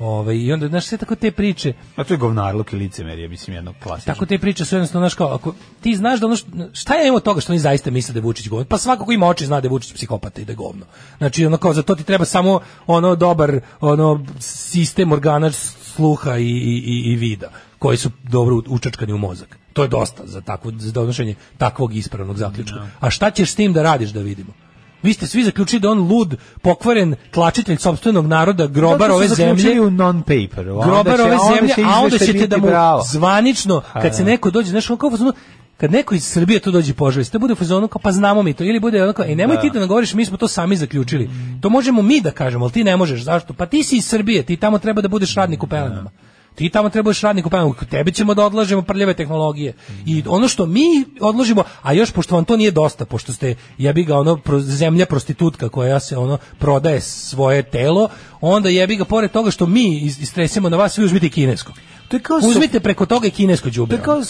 Speaker 6: Ovaj, I onda, znaš, sve tako te priče,
Speaker 5: A Pa to je govnarluk i licemerje, mislim, jedno klasično.
Speaker 6: tako te priče su jednostavno, znaš, kao, ako ti znaš da ono, što- šta je od toga što oni zaista misle da je Vučić govno? Pa svako ko ima oči zna da je Vučić psihopata i da je govno. Znači, ono, kao, za to ti treba samo, ono, dobar, ono, sistem organa sluha i, i, i, i vida, koji su dobro u- učačkani u mozak. To je dosta za, takvo, za donošenje takvog ispravnog zaključka. A šta ćeš s tim da radiš da vidimo? Vi ste svi zaključili da je on lud, pokvaren, tlačitelj sopstvenog naroda, grobar
Speaker 5: Zato su
Speaker 6: ove zemlje
Speaker 5: zaključili u non-paper.
Speaker 6: grobar ove zemlje, a onda ćete da mu
Speaker 5: Bravo.
Speaker 6: zvanično, kad se neko dođe, znaš, ono kao u fazonu, kad neko iz Srbije tu dođe poželi, to bude u fazonu kao, pa znamo mi to, ili bude onako, e, nemoj ti da nagovoriš, mi smo to sami zaključili. To možemo mi da kažemo, ali ti ne možeš, zašto? Pa ti si iz Srbije, ti tamo treba da budeš radnik u pelenama. Ti tamo trebaš radnik u pelenama, tebe ćemo da odlažemo prljave tehnologije. I ono što mi odložimo, a još pošto vam to nije dosta, pošto ste, jebi ga, ono, pro- zemlja prostitutka koja se, ono, prodaje svoje telo, onda jebi ga, pored toga što mi is- istresemo na vas, vi uzmite i kinesko.
Speaker 5: To je kao
Speaker 6: Uzmite preko toga i kinesko
Speaker 5: To
Speaker 6: đubre.
Speaker 5: je kao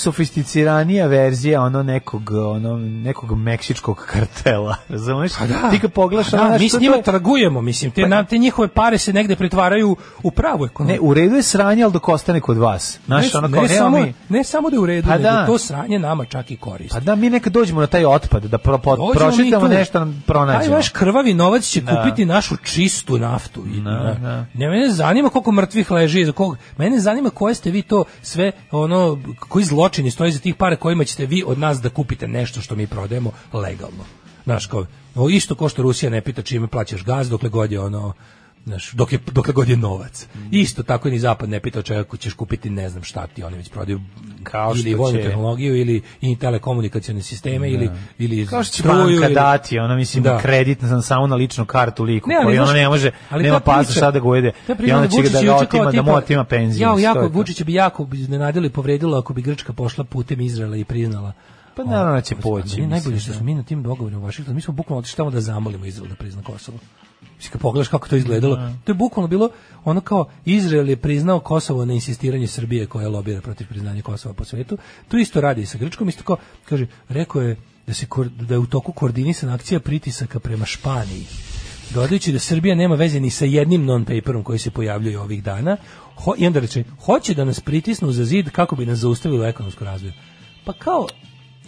Speaker 5: sofisticiranija verzija ono nekog ono nekog meksičkog kartela, razumeš? Ti kad pogledaš, ono,
Speaker 6: Da,
Speaker 5: znaš,
Speaker 6: mi
Speaker 5: to-
Speaker 6: s njima
Speaker 5: to je-
Speaker 6: trgujemo, mislim, te, na, te njihove pare se negde pretvaraju u pravu
Speaker 5: Ne,
Speaker 6: ekonomiju.
Speaker 5: u redu je sranje, ali dok ostane kod vas. Znaš, ono kao,
Speaker 6: ne,
Speaker 5: nema
Speaker 6: samo,
Speaker 5: mi-
Speaker 6: ne samo da je u redu,
Speaker 5: Pa
Speaker 6: nego
Speaker 5: da.
Speaker 6: to sranje nama čak i koristi.
Speaker 5: Pa da, mi nekad dođemo na taj otpad, da pro, po-
Speaker 6: Dođemo mi
Speaker 5: prošetamo
Speaker 6: tu.
Speaker 5: nešto, nam pronađemo.
Speaker 6: Taj vaš krvavi novac će kupiti našu čistu naftu. I, na-
Speaker 5: da.
Speaker 6: Ne, mene zanima koliko mrtvih leži iza kog. Mene zanima koje ste vi to sve, ono, koji zločini stoji za tih para kojima ćete vi od nas da kupite nešto što mi prodajemo legalno. Znaš, kao, ovo isto ko što Rusija ne pita čime plaćaš gaz dokle god je ono, znaš, dok je, dokle god je novac.
Speaker 5: Mm.
Speaker 6: Isto tako ni zapad ne pita od čega ćeš kupiti ne znam šta ti, oni već prodaju
Speaker 5: Kao
Speaker 6: ili
Speaker 5: što
Speaker 6: vojnu
Speaker 5: će-
Speaker 6: tehnologiju ili i telekomunikacione sisteme ili ili
Speaker 5: Kao što će
Speaker 6: struju
Speaker 5: banka
Speaker 6: ili-
Speaker 5: dati, ono, mislim,
Speaker 6: Da.
Speaker 5: kredit sam samo na ličnu kartu liku,
Speaker 6: Ne, ali
Speaker 5: koji ono
Speaker 6: znaš-
Speaker 5: ne može,
Speaker 6: ali
Speaker 5: nema
Speaker 6: ta
Speaker 5: pasa
Speaker 6: priča-
Speaker 5: šta da ga ujede,
Speaker 6: ta
Speaker 5: i
Speaker 6: priča
Speaker 5: onda
Speaker 6: da
Speaker 5: će ga da
Speaker 6: Vučić
Speaker 5: ga
Speaker 6: juče kao
Speaker 5: otima, da mu
Speaker 6: tipa,
Speaker 5: otima penziju.
Speaker 6: Jao,
Speaker 5: mislim, to
Speaker 6: jako,
Speaker 5: je to.
Speaker 6: Vučić bi jako iznenadilo i povredilo ako bi Grčka pošla putem Izraela i priznala.
Speaker 5: Pa naravno da će
Speaker 6: Ono,
Speaker 5: poći,
Speaker 6: mislim, Najbolje što
Speaker 5: da.
Speaker 6: smo mi na tim dogovorima u Vašingtonu, mi smo bukvalno otišli tamo da zamolimo Izrael da prizna Kosovo. Mislim, kad pogledaš kako to izgledalo, to je bukvalno bilo ono kao Izrael je priznao Kosovo na insistiranje Srbije koja lobira protiv priznanja Kosova po svetu. To isto radi i sa Grčkom, isto kao, kaže, rekao je da, se, koor- da je u toku koordinisana akcija pritisaka prema Španiji. Dodajući da Srbija nema veze ni sa jednim non-paperom koji se pojavljuje ovih dana, ho, i onda reče, hoće da nas pritisnu za zid kako bi nas zaustavilo ekonomsko razvoju. Pa kao,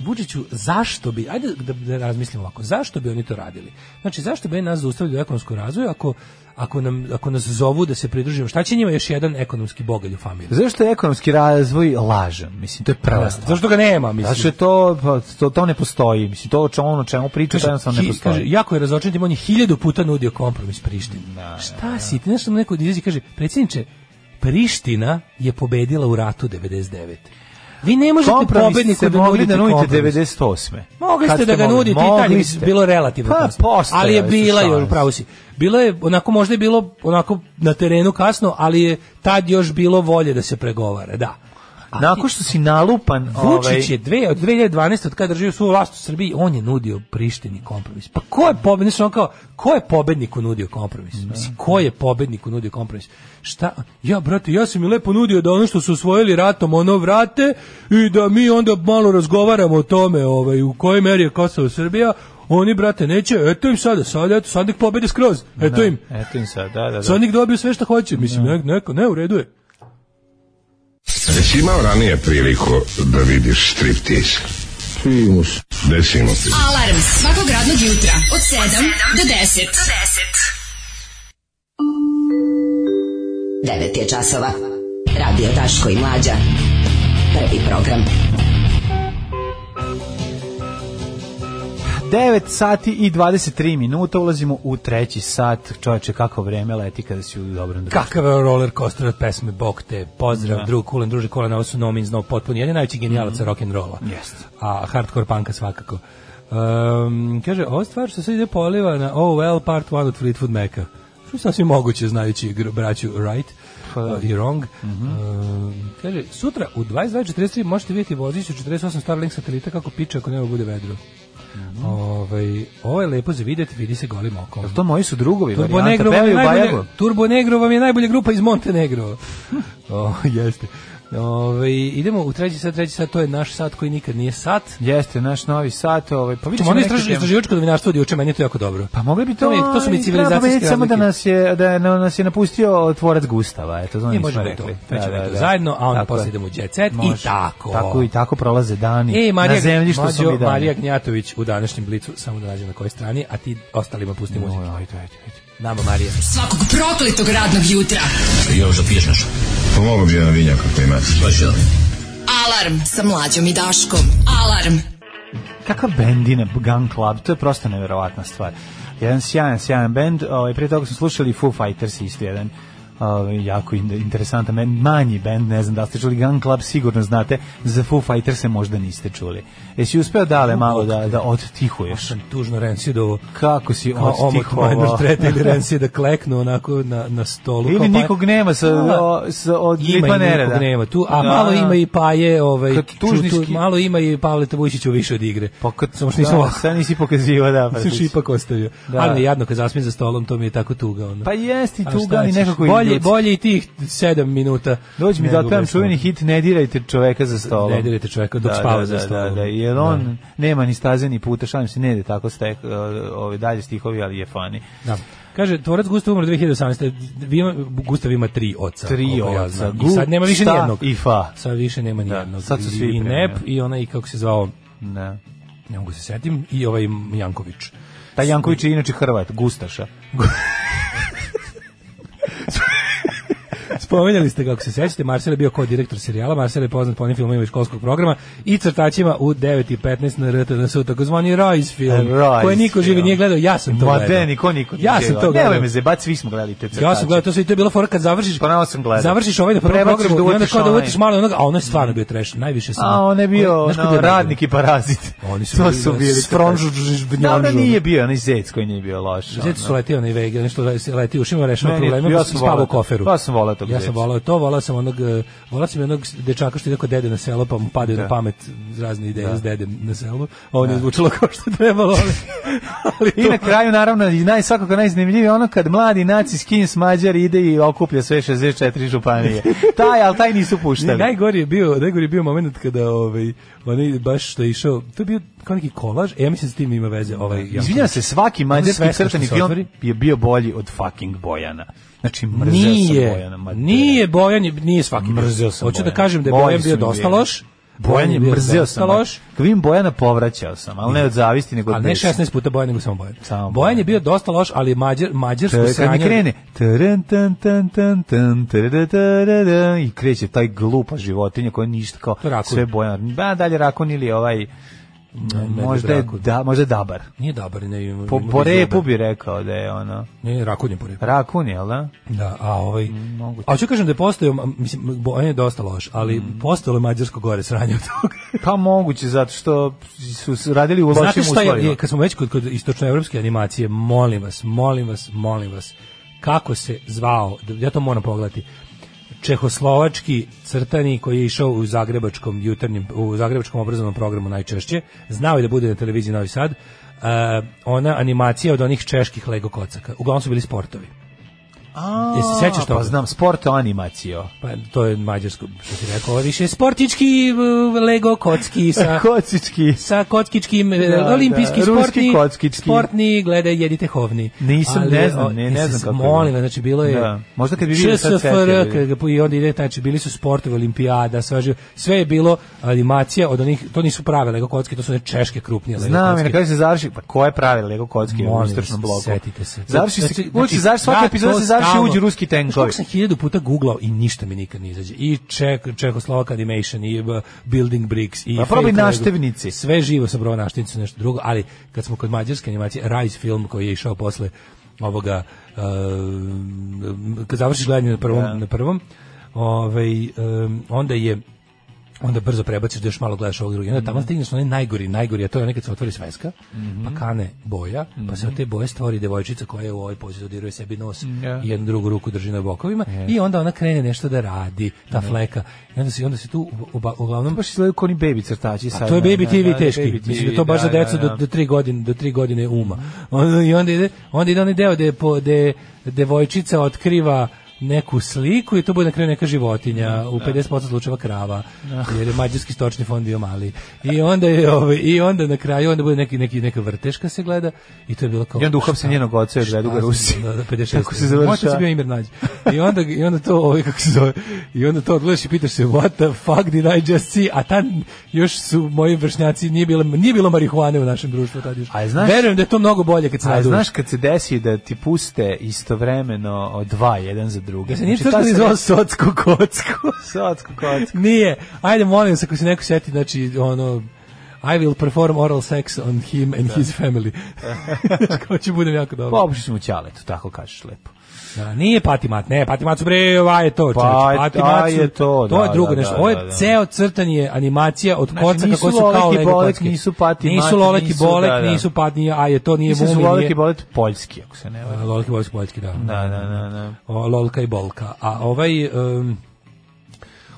Speaker 6: Vučiću, zašto bi, ajde da, da razmislimo ovako, zašto bi oni to radili? Znači, zašto bi oni nas zaustavili u ekonomskom razvoju ako, ako, nam, ako nas zovu da se pridružimo? Šta će njima još jedan ekonomski bogalj u familiji?
Speaker 5: Zašto je ekonomski razvoj lažan? Mislim, to je prva stvar.
Speaker 6: Zašto ga nema, mislim?
Speaker 5: Zašto je to, pa, to, to ne postoji. Mislim, to o čemu, ono čemu priča, to jednostavno ne
Speaker 6: Hi- kaže,
Speaker 5: postoji.
Speaker 6: jako je razočaran tim, on je hiljadu puta nudio kompromis Prištini. Šta si, ti nešto mu neko izlazi i kaže, predsjedniče, Priština je pobedila u ratu 99. Vi ne možete
Speaker 5: Kompromis ste
Speaker 6: pobedniku da
Speaker 5: mogli
Speaker 6: nudite
Speaker 5: da nudite
Speaker 6: kompromis.
Speaker 5: 98.
Speaker 6: Mogli
Speaker 5: Kad
Speaker 6: ste da ga
Speaker 5: mogli?
Speaker 6: nudite i
Speaker 5: Mogli
Speaker 6: tad je
Speaker 5: ste.
Speaker 6: bilo relativno
Speaker 5: pa,
Speaker 6: kasno.
Speaker 5: postojale
Speaker 6: ali je
Speaker 5: su
Speaker 6: bila još,
Speaker 5: šanse.
Speaker 6: pravo si. Bilo je onako možda je bilo onako na terenu kasno, ali je tad još bilo volje da se pregovara, da.
Speaker 11: Nakon što si nalupan,
Speaker 5: ovaj,
Speaker 6: Vučić je dve, od 2012. od kada držio svu vlast u Srbiji, on je nudio Prištini kompromis. Pa ko je pobednik? on kao, ko je pobedniku nudio kompromis? Mislim, ko je pobedniku nudio kompromis? Šta? Ja, brate, ja sam mi lepo nudio da ono što su osvojili ratom, ono vrate i da mi onda malo razgovaramo o tome ovaj, u kojoj meri je Kosovo Srbija, oni, brate, neće, eto im sada, sad, eto, sad nek pobede skroz, eto
Speaker 5: Da,
Speaker 6: im.
Speaker 5: Eto im sad, da, da. da.
Speaker 6: Sad nek dobije sve što hoće, mislim, ne, neko, ne, u redu je.
Speaker 12: Jesi imao ranije priliku da vidiš striptiz? Simus. Gde si imao?
Speaker 2: Alarm svakog radnog jutra od 7 do 10.
Speaker 1: 9 je časova. Radio Daško i Mlađa. Prvi program.
Speaker 5: 9 sati i 23 minuta ulazimo u treći sat. Čoveče, kako vreme leti kada si u dobrom društvu.
Speaker 6: Kakav je roller coaster od pesme Bog te, pozdrav,
Speaker 5: Da.
Speaker 6: drug, kulen, druže, kolena, ovo su No Means No potpuno, jedan je najveći genijalac mm rock'n'rolla.
Speaker 5: Jeste.
Speaker 6: A hardcore panka svakako. Um, kaže, ova stvar što se ide poliva na OL Part 1 od Fleetwood Maca. Što je sasvim moguće, znajući gr- braću Wright uh, i Wrong. Um, kaže, sutra u 22.43 možete vidjeti vozić u 48 Starlink satelita kako piče ako nema bude vedro. Ovaj, ovo je lepo za vidjeti, vidi se golim okom.
Speaker 5: To moji su drugovi,
Speaker 6: Turbo
Speaker 5: varijanta,
Speaker 6: Negro, vam je
Speaker 5: pevaju Bajago.
Speaker 6: najbolja, Turbo Negro vam je najbolja grupa iz Montenegro. o, jeste. Ove, idemo u treći sat, treći sat, to je naš sat koji nikad nije sat.
Speaker 5: Jeste, naš novi sat, ovaj, pa vidimo
Speaker 6: Čemo ono istraž, istraživačko novinarstvo od juče, meni je to jako dobro.
Speaker 5: Pa mogli bi to,
Speaker 6: To je- to su mi
Speaker 5: i treba
Speaker 6: civilizacijske
Speaker 5: pomeniti Samo da
Speaker 6: razlike.
Speaker 5: nas je, da je- na- nas je napustio tvorac Gustava, eto, to
Speaker 6: Nije,
Speaker 5: nismo
Speaker 6: možemo i
Speaker 5: rekli.
Speaker 6: to. To ćemo i to zajedno, a onda
Speaker 5: Tako
Speaker 6: posle
Speaker 5: je.
Speaker 6: idemo u Jet Set i
Speaker 5: Može.
Speaker 6: tako.
Speaker 5: Tako i tako prolaze dani.
Speaker 6: E, Marija,
Speaker 5: na zemlji što su
Speaker 6: mlađo,
Speaker 5: mi dani.
Speaker 6: Marija Gnjatović u današnjem blicu, samo da nađem na kojoj strani, a ti ostalima pusti muziku.
Speaker 5: Ajde, ajde, ajde.
Speaker 6: Nama Marija.
Speaker 2: Svakog prokletog radnog jutra.
Speaker 12: Još da piješ nešto? Pomogu Pa bi jedan vinjak ako imate. Pa želim.
Speaker 2: Alarm sa mlađom i Daškom. Alarm.
Speaker 5: Kakva bendina Gun Club, to je prosto neverovatna stvar. Jedan sjajan, sjajan bend, ovaj, prije toga smo slušali Foo Fighters isto jedan ovaj, jako in- interesantan bend, manji bend, ne znam da li ste čuli, Gun Club sigurno znate, za Foo Fighters se možda niste čuli. Jesi uspeo dale malo da, da odtihuješ?
Speaker 6: Sam tužno Rencidovo.
Speaker 5: Kako si
Speaker 6: Kao omot minor
Speaker 5: odtihovao?
Speaker 6: threat ili Renci da kleknu onako na, na stolu. kao
Speaker 5: Ili
Speaker 6: pa-
Speaker 5: nikog nema sa,
Speaker 6: Da.
Speaker 5: o, sa od
Speaker 6: ima i
Speaker 5: Litvanera,
Speaker 6: nikog
Speaker 5: da.
Speaker 6: nema tu, a
Speaker 5: Da,
Speaker 6: malo
Speaker 5: da.
Speaker 6: ima i Paje, ovaj,
Speaker 5: Kad tužnički-
Speaker 6: čutu- malo ima i Pavle Tavušića više od igre.
Speaker 5: Pa kad
Speaker 6: Samo što nisam
Speaker 5: da,
Speaker 6: ovako.
Speaker 5: sad nisi pokazivao, da. pa
Speaker 6: Mislim
Speaker 5: ti-
Speaker 6: šipak ostavio.
Speaker 5: Da.
Speaker 6: Ali ne, jadno kad zasmijem za stolom, to mi je tako tuga. Ono.
Speaker 5: Pa jesti
Speaker 6: A
Speaker 5: tu,
Speaker 6: šta
Speaker 5: ali
Speaker 6: ćeš?
Speaker 5: nekako i
Speaker 6: bolje,
Speaker 5: ljudski.
Speaker 6: bolje i tih sedam minuta.
Speaker 5: Dođi mi da
Speaker 6: nego
Speaker 5: pevam
Speaker 6: bez
Speaker 5: čuveni
Speaker 6: toga.
Speaker 5: hit Ne dirajte čoveka za stolom.
Speaker 6: Ne dirajte čoveka dok spava
Speaker 5: da,
Speaker 6: za
Speaker 5: Da,
Speaker 6: stolom.
Speaker 5: da, da, jer on nema ni staze ni puta, šalim se, ne ide tako stek, uh, ove dalje stihovi, ali je fani.
Speaker 6: Da. Kaže, tvorac Gustav umro 2018. Vi ima, Gustav ima tri oca.
Speaker 5: Tri
Speaker 6: koliko ja
Speaker 5: oca.
Speaker 6: znam.
Speaker 5: Gu,
Speaker 6: I sad nema više
Speaker 5: šta
Speaker 6: nijednog.
Speaker 5: i fa.
Speaker 6: Sad više nema
Speaker 5: Da,
Speaker 6: nijednog.
Speaker 5: sad su svi
Speaker 6: I
Speaker 5: primljeni.
Speaker 6: Nep, i onaj, kako se zvao,
Speaker 5: Da.
Speaker 6: ne mogu se setim, i ovaj Janković.
Speaker 5: Taj Janković je inače Hrvat, Gustaša.
Speaker 6: Spomenjali ste kako se sećate, Marcel je bio kao direktor serijala, Marcel je poznat po onim filmovima iz školskog programa i crtačima u 9.15 na RTNS-u, takozvani Rise film,
Speaker 5: Rise
Speaker 6: koje niko živi
Speaker 5: film.
Speaker 6: nije gledao, ja sam to
Speaker 5: Ma
Speaker 6: gledao.
Speaker 5: de, niko, niko.
Speaker 6: Ja sam to
Speaker 5: Nemoj
Speaker 6: gledao.
Speaker 5: me zebat, svi smo gledali te crtače.
Speaker 6: Ja sam gledao, to sve i to je bila fora kad završiš.
Speaker 5: Ponovo sam gledao.
Speaker 6: Završiš ovaj na prvom
Speaker 5: Prebaciš
Speaker 6: programu i onda
Speaker 5: da uvatiš
Speaker 6: kao da
Speaker 5: onaj.
Speaker 6: uvatiš malo onoga, a ono je stvarno bio trash, najviše sam.
Speaker 5: A on je bio
Speaker 6: Znaš ko
Speaker 5: ono,
Speaker 6: je najbolji?
Speaker 5: radnik i parazit.
Speaker 6: Oni su
Speaker 5: to
Speaker 6: bili
Speaker 5: su bili.
Speaker 6: sfronžu,
Speaker 5: Da,
Speaker 6: žbnjanžu.
Speaker 5: da nije bio, onaj zec koji nije bio loš.
Speaker 6: Zeti
Speaker 5: ono.
Speaker 6: su letio na Vega, nešto se leti u šima, rešava
Speaker 5: Meni je-
Speaker 6: probleme,
Speaker 5: ja
Speaker 6: ja
Speaker 5: sam
Speaker 6: spava
Speaker 5: volao
Speaker 6: u
Speaker 5: to. Pa
Speaker 6: koferu.
Speaker 5: Ja sam volao tog
Speaker 6: Ja sam
Speaker 5: zeca.
Speaker 6: volao to, volao sam onog, eh, volao sam i onog dečaka što ide kod dede na selo, pa mu padaju na pamet razne ideje s dedem na selu, a on je zvučalo kao što je trebalo, ali, ali
Speaker 5: I na
Speaker 6: to-
Speaker 5: kraju naravno i naj svakako najzanimljivije je ono kad mladi naci skins Mađar ide i okuplja sve 64 županije. taj, al taj nisu
Speaker 6: Ne,
Speaker 5: puštali.
Speaker 6: najgori je bio, najgori je bio moment kada ovaj onaj baš što je išao, to je bio kao neki kolaž, e, ja mislim da s tim ima veze ovaj.
Speaker 5: Izvinjavam se, svaki mađarski
Speaker 6: Svesno što
Speaker 5: crtani
Speaker 6: se
Speaker 5: film
Speaker 6: otvori.
Speaker 5: je bio bolji od fucking Bojana. Znači, mrzeo sam
Speaker 6: Nije,
Speaker 5: Bojana. ma-
Speaker 6: nije Bojan, je- nije svaki. bio.
Speaker 5: Mrzeo sam
Speaker 6: Hoću da
Speaker 5: Bojana.
Speaker 6: kažem da je
Speaker 5: Bolji
Speaker 6: Bojan
Speaker 5: su
Speaker 6: bio
Speaker 5: mi
Speaker 6: dosta
Speaker 5: bili.
Speaker 6: loš.
Speaker 5: Bojan je mrzeo
Speaker 6: dosta
Speaker 5: sam.
Speaker 6: loš.
Speaker 5: Kad vidim Bojana povraćao sam, ali ne od zavisti, nego od
Speaker 6: Ali ne
Speaker 5: besa.
Speaker 6: 16 puta Bojan, nego samo Bojan.
Speaker 5: Samo Bojan.
Speaker 6: Bojan je bio dosta loš, ali mađar, mađarsko
Speaker 5: T- Kad mi
Speaker 6: sranje...
Speaker 5: krene tarun, tan, tan, tan, tan, tarara, tarara, i kreće taj glupa životinja koja ništa kao
Speaker 6: To je rakun.
Speaker 5: sve bojan. Ba, dalje rakun ili ovaj
Speaker 6: medved
Speaker 5: možda je,
Speaker 6: rakun.
Speaker 5: da, možda je dabar.
Speaker 6: Nije dobar, ne ima...
Speaker 5: Po,
Speaker 6: ima
Speaker 5: po
Speaker 6: izgleda.
Speaker 5: repu bi rekao da je ono
Speaker 6: Ne, rakun je po repu.
Speaker 5: rakun, jel da?
Speaker 6: Da, a ovaj...
Speaker 5: Mm, moguće. Mm.
Speaker 6: A hoću kažem da je postojao, ma- mislim, Bojan je dosta loš, ali postojalo je mađarsko gore sranje od toga.
Speaker 5: Pa moguće, zato što su s- radili u lošim
Speaker 6: Znate šta je,
Speaker 5: uslovima.
Speaker 6: je, kad smo već kod, kod istočnoevropske animacije, molim vas, molim vas, molim vas, kako se zvao, da- ja to moram pogledati, čehoslovački crtani koji je išao u zagrebačkom jutarnjem u zagrebačkom obrazovnom programu najčešće, znao je da bude na televiziji Novi Sad. Uh, ona animacija od onih čeških Lego kocaka. Uglavnom su bili sportovi.
Speaker 5: A, Jesi sećaš to? Pa znam, sport animacijo.
Speaker 6: Pa to je mađarsko, što ti rekao, ovo više sportički eh, Lego kocki sa
Speaker 5: kockički.
Speaker 6: Sa kockičkim da, olimpijski da, sportni kockički. sportni, gledaj, jedite hovni.
Speaker 5: Nisam, Ali, ne znam, ne, ne znam kako.
Speaker 6: Molim, znači bilo je. Da.
Speaker 5: Možda kad bi bili sad
Speaker 6: SFR, i onda ide znači bili su sportovi olimpijada, sve sve je bilo animacija od onih, to nisu prave Lego kocki, to su ne češke krupnije Lego
Speaker 5: Znam, na kraju se završi, pa ko je pravi Lego kocki u stršnom bloku?
Speaker 6: Setite se.
Speaker 5: Završi se, znači, završi svaka epizoda se završi uđu ruski tenkovi.
Speaker 6: Kako sam hiljadu puta googlao i ništa mi nikad ne izađe. I Czech, Czechoslovak Animation, i uh, Building Bricks, i...
Speaker 5: Pa probaj naštevnici.
Speaker 6: Sve živo sam probao naštevnicu, nešto drugo, ali kad smo kod mađarske animacije, Rise film koji je išao posle ovoga, uh, kad završiš gledanje na prvom, yeah. na prvom ovaj, um, onda je onda brzo prebaciš da još malo gledaš ovog drugog. I onda mm -hmm. tamo stigneš onaj najgori, najgori, a to je onaj kad se otvori sveska, mm -hmm. pa kane boja, mm -hmm. pa se od te boje stvori devojčica koja je u ovoj pozi dodiruje sebi nos yeah. i jednu drugu ruku drži na bokovima yeah. i onda ona krene nešto da radi, ta yeah. fleka. I onda se, onda se tu uba, uglavnom...
Speaker 5: To baš izgledaju koni baby crtači sad.
Speaker 6: A Pa to je baby TV da, da, teški. Baby TV, Mislim da to baš da, za decu do, do, tri godine, do tri godine uma. Onda, I onda ide, onda ide onaj deo gde, po, gde devojčica otkriva neku sliku i to bude na kraju neka životinja, u 50% slučajeva krava, jer je mađarski stočni fond bio mali. I onda je ovaj i onda na kraju onda bude neki neki neka vrteška se gleda i to je bilo kao
Speaker 5: I onda uhap se njenog oca i gledaju ga Rusi.
Speaker 6: Da, da 56. Kako se završava? Možda se bio Imir Nađ. I onda i onda to ovaj kako se zove i onda to gledaš i pitaš se what the fuck did I just see? A tad još su moji vršnjaci nije bilo nije bilo marihuane u našem društvu tad još.
Speaker 5: A znaš,
Speaker 6: Verujem da je to mnogo bolje kad se
Speaker 5: A znaš kad se desi da ti puste istovremeno dva jedan za drugi.
Speaker 6: Da se nije znači, crtani zvao Socku kocku.
Speaker 5: Socku kocku.
Speaker 6: Nije. Ajde, molim se, ako se neko sjeti, znači, ono, I will perform oral sex on him and da. his family. Kao će budem jako dobro.
Speaker 5: Pa, opišiš mu ćaletu, tako kažeš lepo.
Speaker 6: Da, nije patimat, ne, patimat su bre, ova je to,
Speaker 5: pa, patimat
Speaker 6: je
Speaker 5: to,
Speaker 6: to je drugo da, nešto. Ovo je da, da, da. ceo crtanje animacija od znači, kocaka koji su kao
Speaker 5: Lego
Speaker 6: bolek,
Speaker 5: Nisu patimat,
Speaker 6: nisu lolek i bolek, da, da. nisu pat, nije, a je to, nije
Speaker 5: Mislim
Speaker 6: mumi,
Speaker 5: su lolek i bolek poljski, ako se ne varam.
Speaker 6: Lolek i bolek poljski, da.
Speaker 5: Da, da, da, da.
Speaker 6: O, lolka i bolka. A ovaj... Um,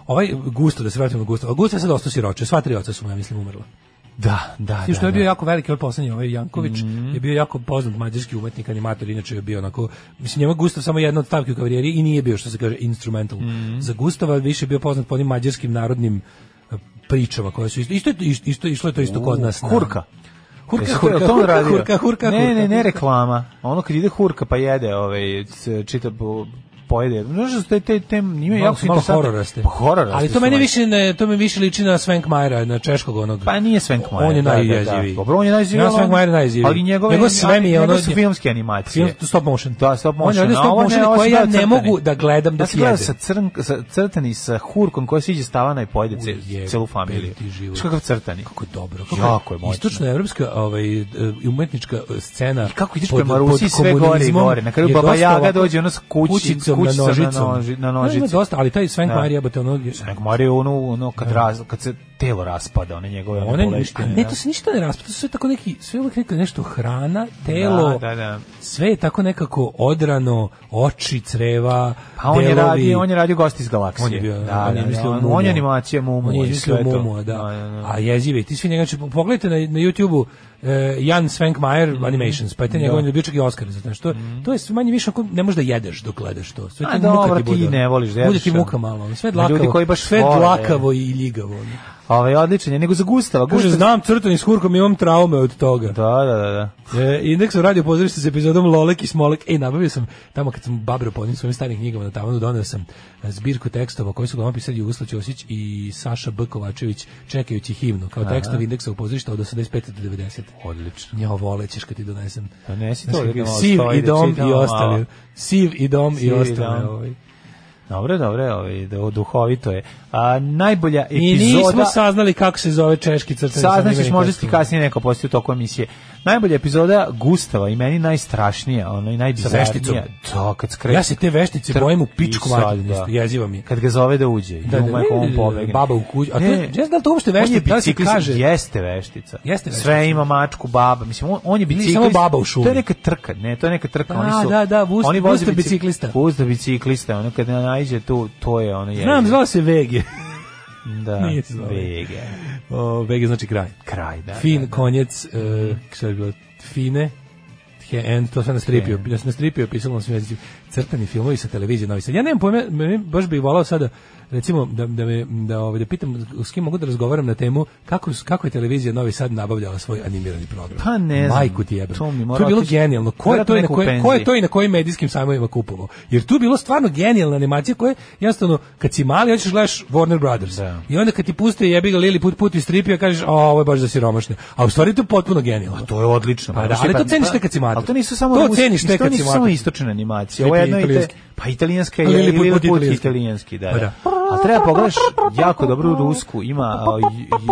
Speaker 6: ovaj Gusto, da se vratimo na Gusto. Gusto je sad ostao siroče, sva tri oca su mu, ja mislim, umrla.
Speaker 5: Da, da,
Speaker 6: Svi što je
Speaker 5: da, Mhm.
Speaker 6: bio
Speaker 5: da.
Speaker 6: jako veliki ovaj poslednji, ovaj Janković, mm -hmm. je bio jako poznat mađarski umetnik, animator, inače je bio onako, mislim, njema Gustav samo jedna od stavki u karijeri i nije bio, što se kaže, instrumental. Mm
Speaker 5: Mhm.
Speaker 6: -hmm. Za Gustava više je bio poznat po onim mađarskim narodnim eh, pričama koje su isto, isto, isto, isto išlo je to isto kod nas.
Speaker 5: Kurka.
Speaker 6: Hurka, Jesi hurka, hurka, hurka, hurka, hurka,
Speaker 5: Ne, ne, ne reklama. Ono kad ide hurka pa jede, ovaj, čita po, pojede. Znaš da te te te njima jako
Speaker 6: malo hororasti.
Speaker 5: Pa hororasti.
Speaker 6: Ali to meni više ne, to mi više liči na Svenkmajera, na češkog onog.
Speaker 5: Pa nije Svenkmajer.
Speaker 6: On je najjeziviji.
Speaker 5: Da, Dobro, on je najjeziviji.
Speaker 6: Ja Svenkmajer najjeziviji.
Speaker 5: Ali njegove
Speaker 6: njegov sve mi je ono
Speaker 5: su filmske animacije.
Speaker 6: Film stop motion.
Speaker 5: Da, stop motion.
Speaker 6: On je stop motion koji ja ne mogu da gledam da
Speaker 5: sjede. Ja sa crn sa crtani sa hurkom koji siđe stavana i pojede celu familiju. Kakav crtani?
Speaker 6: Kako dobro.
Speaker 5: Kako je moćno.
Speaker 6: Istočna evropska ovaj umetnička e, scena.
Speaker 5: Kako ideš prema Rusiji sve gore i gore. Na kraju baba Jaga dođe ona sa kućicom
Speaker 6: na nožicom. Na, noži,
Speaker 5: na nožici.
Speaker 6: Ne, dosta, ali taj Sven Kmar je jebote ono...
Speaker 5: Sven Kmar je ono, ono kad, raz, kad se telo raspada, one njegove one, one boleštine.
Speaker 6: A ne, to se ništa ne raspada, to su sve tako neki, sve uvek neko nešto hrana, telo, da, da, da. sve je tako nekako odrano, oči, creva,
Speaker 5: pa on delovi. Je radio, on je radio gost iz galaksije.
Speaker 6: On je bio,
Speaker 5: da, on je mislio da, mumu. On je animacija mumu.
Speaker 6: On je mislio mumu, da. da, da, da. A jezive, ti svi njega, pogledajte na, na YouTube-u, uh, Jan Svenkmajer mm -hmm. Animations, pa je njegov da. čak i Oscar za nešto. Mm -hmm. To je manje više ako ne možeš da jedeš dok gledaš to. Sve
Speaker 5: ti dobro, ti, ti ne voliš da jedeš.
Speaker 6: Bude ti muka malo, ono, sve dlakavo. Ljudi koji baš sve vole, dlakavo i ljigavo. ono.
Speaker 5: Ovaj odličan je, nego za Gustava.
Speaker 6: Kaže, znam crtani s hurkom, imam traume od toga.
Speaker 5: Da, da, da.
Speaker 6: da. E, Indeks u radio pozorište s epizodom Lolek i Smolek. E, nabavio sam, tamo kad sam babro po onim svojim starim knjigama na tavanu, donio sam e, zbirku tekstova koji su glavno pisali Jugoslav Ćosić i Saša B. Kovačević čekajući himnu, kao tekstov indeksa u pozorištu od 85. do 90.
Speaker 5: Odlično.
Speaker 6: Ja, volećeš kad ti donesem.
Speaker 5: Donesi to.
Speaker 6: Znači, siv i dom i ostali. Siv i dom i ostali. Ovaj.
Speaker 5: Dobro, dobro, ovaj duhovito je. A najbolja epizoda.
Speaker 6: I nismo saznali kako se zove češki crtani.
Speaker 5: Saznaćeš možda ti kasnije neko postoji u toku emisije. najbolja epizoda Gustava i meni najstrašnija, ona i najbizarnija.
Speaker 6: Sa vešticom.
Speaker 5: Da, kad skreće.
Speaker 6: Ja se te veštice
Speaker 5: Tr-
Speaker 6: bojim u pičku
Speaker 5: i sad,
Speaker 6: materinu, isto, jeziva mi je.
Speaker 5: Kad ga zove da uđe, da, da,
Speaker 6: ne,
Speaker 5: on pobegne.
Speaker 6: Baba u kući. A to,
Speaker 5: Ne,
Speaker 6: je- ja znam da li to uopšte
Speaker 5: on je
Speaker 6: veštica, da li se
Speaker 5: biciklist,
Speaker 6: kaže?
Speaker 5: Jeste veštica.
Speaker 6: Jeste veštica.
Speaker 5: Sve ima mačku, baba. Mislim, on, on je
Speaker 6: Nije
Speaker 5: biciklist.
Speaker 6: samo baba u šumi.
Speaker 5: To je neka trka, ne, to je neka trka.
Speaker 6: Da,
Speaker 5: oni su,
Speaker 6: da, da, Vusta-
Speaker 5: oni voze
Speaker 6: Vusta
Speaker 5: bicik-
Speaker 6: biciklista.
Speaker 5: Vusta biciklista, ono kad ne naiđe tu, to je ono je.
Speaker 6: Znam, zvao se Vege.
Speaker 5: da,
Speaker 6: nije se zvao.
Speaker 5: Vege.
Speaker 6: O, Vege znači kraj.
Speaker 5: Kraj, da.
Speaker 6: fin
Speaker 5: da, da.
Speaker 6: konjec, e, šta je bilo, fine, he end, to sam nastripio, ja sam nastripio, pisalo na svim jezicima, crtani filmovi sa televizije novi sad. Ja nemam pojma, meni baš bih volao sada, recimo, da, da, me, da, ovaj, da pitam s kim mogu da razgovaram na temu kako, s- kako je televizija Novi Sad nabavljala svoj animirani program.
Speaker 5: Pa ne znam,
Speaker 6: Majku ti jebem.
Speaker 5: to mi mora
Speaker 6: je bilo
Speaker 5: otići-
Speaker 6: genijalno. Ko je,
Speaker 5: Vjerojatno
Speaker 6: to i na
Speaker 5: neko u
Speaker 6: koje, ko je
Speaker 5: penziji.
Speaker 6: to i na kojim medijskim sajmovima kupovao? Jer tu je bilo stvarno genijalna animacija koja je jednostavno, kad si mali, hoćeš gledaš Warner Brothers.
Speaker 5: Da.
Speaker 6: I onda kad ti puste jebi ga Lili put put i stripija, kažeš, a ovo je baš za siromašne. A u stvari to je potpuno genijalno.
Speaker 5: To je odlično.
Speaker 6: Pa da,
Speaker 5: Znaš,
Speaker 6: ali
Speaker 5: pa-
Speaker 6: to ceniš
Speaker 5: pa-
Speaker 6: tek kad si mater.
Speaker 5: Ali to nisu samo
Speaker 6: To
Speaker 5: rus-
Speaker 6: ceniš tek
Speaker 5: to
Speaker 6: kad si
Speaker 5: nisu
Speaker 6: mater.
Speaker 5: samo istočne animacije.
Speaker 6: Ili
Speaker 5: Ovo je jedno i te,
Speaker 6: italijanski.
Speaker 5: pa italijanska je
Speaker 6: Ali
Speaker 5: ili
Speaker 6: Lilliput
Speaker 5: put,
Speaker 6: put italijanski.
Speaker 5: italijanski, da.
Speaker 6: Pa
Speaker 5: da.
Speaker 6: da.
Speaker 5: A treba pogledaš jako dobru rusku, ima a,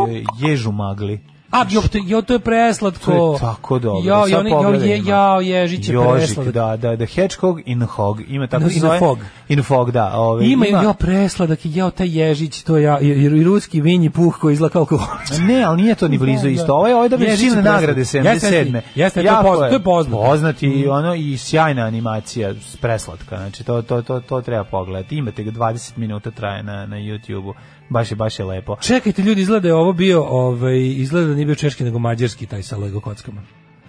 Speaker 5: je- je- ježu magli.
Speaker 6: A, jo, to, jo, to je preslatko.
Speaker 5: To je tako dobro.
Speaker 6: Jao,
Speaker 5: Sad
Speaker 6: jo, jo,
Speaker 5: pogledaj,
Speaker 6: je,
Speaker 5: ima.
Speaker 6: jao, ježić je
Speaker 5: Jožik,
Speaker 6: presladak.
Speaker 5: da, da, da, Hedgehog in Hog, ima tako
Speaker 6: Da,
Speaker 5: se zove.
Speaker 6: in Fog.
Speaker 5: In Fog, da. ovaj, Ove,
Speaker 6: Ima, ima, jo, presladak, i jao, taj ježić, to ja, i, i, i ruski vinji puh koji izgleda kao alkohol.
Speaker 5: Ne, ali nije to ni blizu isto. Ovo je ovo je da bi
Speaker 6: Ježić je
Speaker 5: silne
Speaker 6: presladak.
Speaker 5: nagrade
Speaker 6: Jeste,
Speaker 5: 77.
Speaker 6: jeste, to je
Speaker 5: Jako
Speaker 6: poznat- to je poznat. Mm.
Speaker 5: Poznat i ono i sjajna animacija, s- preslatka. Znači to to to to treba pogledati. Imate ga 20 minuta traje na na YouTubeu. Baš je baš je lepo.
Speaker 6: Čekajte, ljudi, izgleda je ovo bio, ovaj, izgleda da nije bio češki, nego mađarski taj sa Lego kockama.
Speaker 5: Pa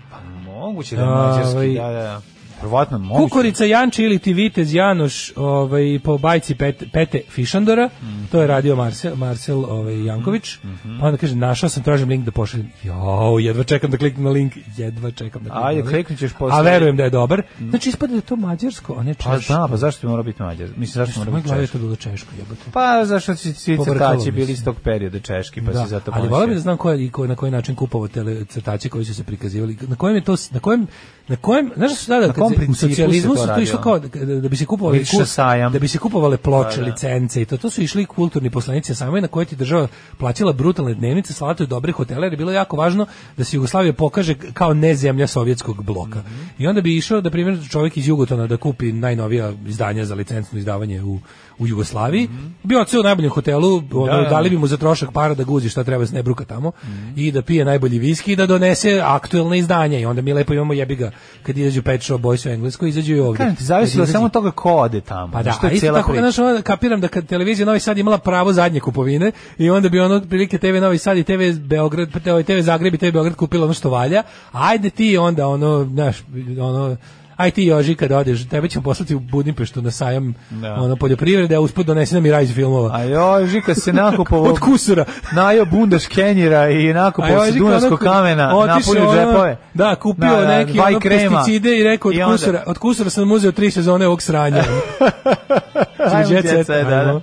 Speaker 5: Moguće da je mađarski,
Speaker 6: Ovaj.
Speaker 5: da, da, da. Verovatno moguće.
Speaker 6: Kukurica Janči ili ti Vitez Janoš ovaj, po bajci Pet, Pete Fišandora,
Speaker 5: Mhm.
Speaker 6: to je radio Marcel, Marcel ovaj, Janković, pa onda kaže, našao sam, tražim link da pošaljem. Jau, jedva čekam da kliknem na link, jedva čekam da kliknem
Speaker 5: Ajde,
Speaker 6: na link.
Speaker 5: kliknut ćeš posle.
Speaker 6: A verujem da je dobar. Znači, ispada da je to mađarsko, a ne češko.
Speaker 5: Pa da, pa zašto bi morao biti mađar? Mislim zašto
Speaker 6: Što
Speaker 5: mora
Speaker 6: moj
Speaker 5: biti
Speaker 6: glavi je
Speaker 5: češki?
Speaker 6: to bilo češko, jebote.
Speaker 5: Pa zašto su svi
Speaker 6: Povrkalo
Speaker 5: crtači
Speaker 6: mi se.
Speaker 5: bili iz tog perioda češki, pa se zato
Speaker 6: ali
Speaker 5: ponosi.
Speaker 6: volio bih da znam ko je i ko, na koji način kupovao tele crtače koji su se prikazivali. Na kojem je to s- na kojem na kojem znaš što su tada
Speaker 5: Na kom
Speaker 6: kad se- u
Speaker 5: principu
Speaker 6: socijalizmu
Speaker 5: se to
Speaker 6: su to
Speaker 5: radilo?
Speaker 6: išlo kao da, da bi se kupovali
Speaker 5: Ideš na sajam.
Speaker 6: da bi se kupovale ploče,
Speaker 5: Pa, da.
Speaker 6: licence i to to su išli kulturni poslanici samo na koje ti država plaćala brutalne dnevnice, slatu i dobre hotele, jer je bilo jako važno da se Jugoslavija pokaže kao ne zemlja sovjetskog bloka.
Speaker 5: Mhm.
Speaker 6: I onda bi išao da primjer čovjek iz Jugotona da kupi najnovija izdanja za licencno izdavanje u u Jugoslaviji. Bio je u najboljem hotelu, ono,
Speaker 5: Mhm. da. Mhm.
Speaker 6: dali bi mu za trošak para da guzi šta treba s nebruka tamo i da pije najbolji viski i da donese aktuelne izdanja i onda mi lepo imamo jebi ga kad izađu Pet Shop Boys u Englesku izađu i ovdje.
Speaker 5: Kažem ti, zavisi da
Speaker 6: Kad izađe-
Speaker 5: samo od toga ko ode tamo.
Speaker 6: Pa da,
Speaker 5: što
Speaker 6: a
Speaker 5: je
Speaker 6: isto
Speaker 5: cijela
Speaker 6: tako
Speaker 5: priča.
Speaker 6: znaš, ono, kapiram da kad televizija Novi Sad imala pravo zadnje kupovine i onda bi ono otprilike TV Novi Sad i TV Beograd, pa te- ovaj, TV Zagreb i TV Beograd kupila ono što valja, a ajde ti onda ono, znaš, ono, aj ti Joži kad odeš, tebe ćemo poslati u Budimpeštu na sajam
Speaker 5: Da.
Speaker 6: ono, poljoprivrede, a usput donesi nam i rajz filmova.
Speaker 5: A joj, Žika se nakupovao
Speaker 6: Od kusura.
Speaker 5: Najo bundaš kenjira i nakupao
Speaker 6: A
Speaker 5: se
Speaker 6: joj,
Speaker 5: Dunavskog
Speaker 6: rekao, onako,
Speaker 5: kamena,
Speaker 6: otišao
Speaker 5: napunio
Speaker 6: ono,
Speaker 5: džepove.
Speaker 6: Da, kupio neki
Speaker 5: dva i
Speaker 6: ono
Speaker 5: krema.
Speaker 6: pesticide i rekao od
Speaker 5: I onda-
Speaker 6: kusura, od kusura sam uzeo tri sezone ovog sranja.
Speaker 5: Ajmo,
Speaker 6: Jet
Speaker 5: djeca,
Speaker 6: set,
Speaker 5: da, da.
Speaker 6: ajmo.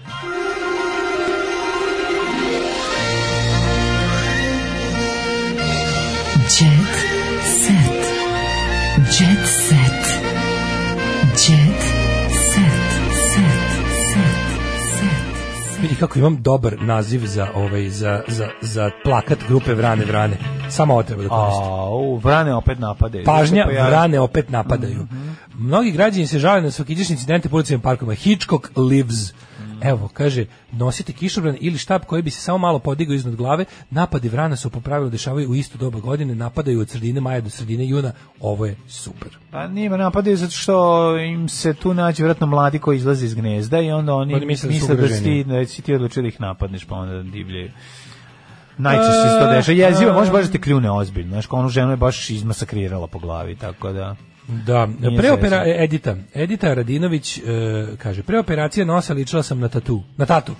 Speaker 1: Jet set. Jet set. Jet set. Set.
Speaker 6: Vidi kako imam dobar naziv za ovaj za za za plakat grupe Vrane Vrane. Samo ovo treba da koristim.
Speaker 5: Au, vrane opet napade.
Speaker 6: Pažnja,
Speaker 5: Pa ja- Mhm.
Speaker 6: vrane opet napadaju. Mnogi građani se žale na svakiđašnje incidente po ulicama i parkovima. Hitchcock lives.
Speaker 5: Mhm.
Speaker 6: Evo, kaže, nosite kišobran ili štab koji bi se samo malo podigao iznad glave, napadi vrana su po pravilu dešavaju u isto doba godine, napadaju od sredine maja do sredine juna, ovo je super.
Speaker 5: Pa njima napadaju zato što im se tu nađe vjerojatno mladi koji izlaze iz gnezda i onda oni,
Speaker 6: Oni misle da su
Speaker 5: misle da, si, ti-
Speaker 6: ugroženi.
Speaker 5: da si ti odlučio da ih napadneš pa onda divljaju. Najčešće se to deša. Jezivo, može baš da te kljune ozbiljno. Znaš, kao onu ženu je baš izmasakrirala po glavi, tako da...
Speaker 6: Da,
Speaker 5: Nije
Speaker 6: preopera
Speaker 5: zezno.
Speaker 6: Edita. Edita Radinović e, kaže, pre operacije nosa ličila sam na tatu. Na tatu.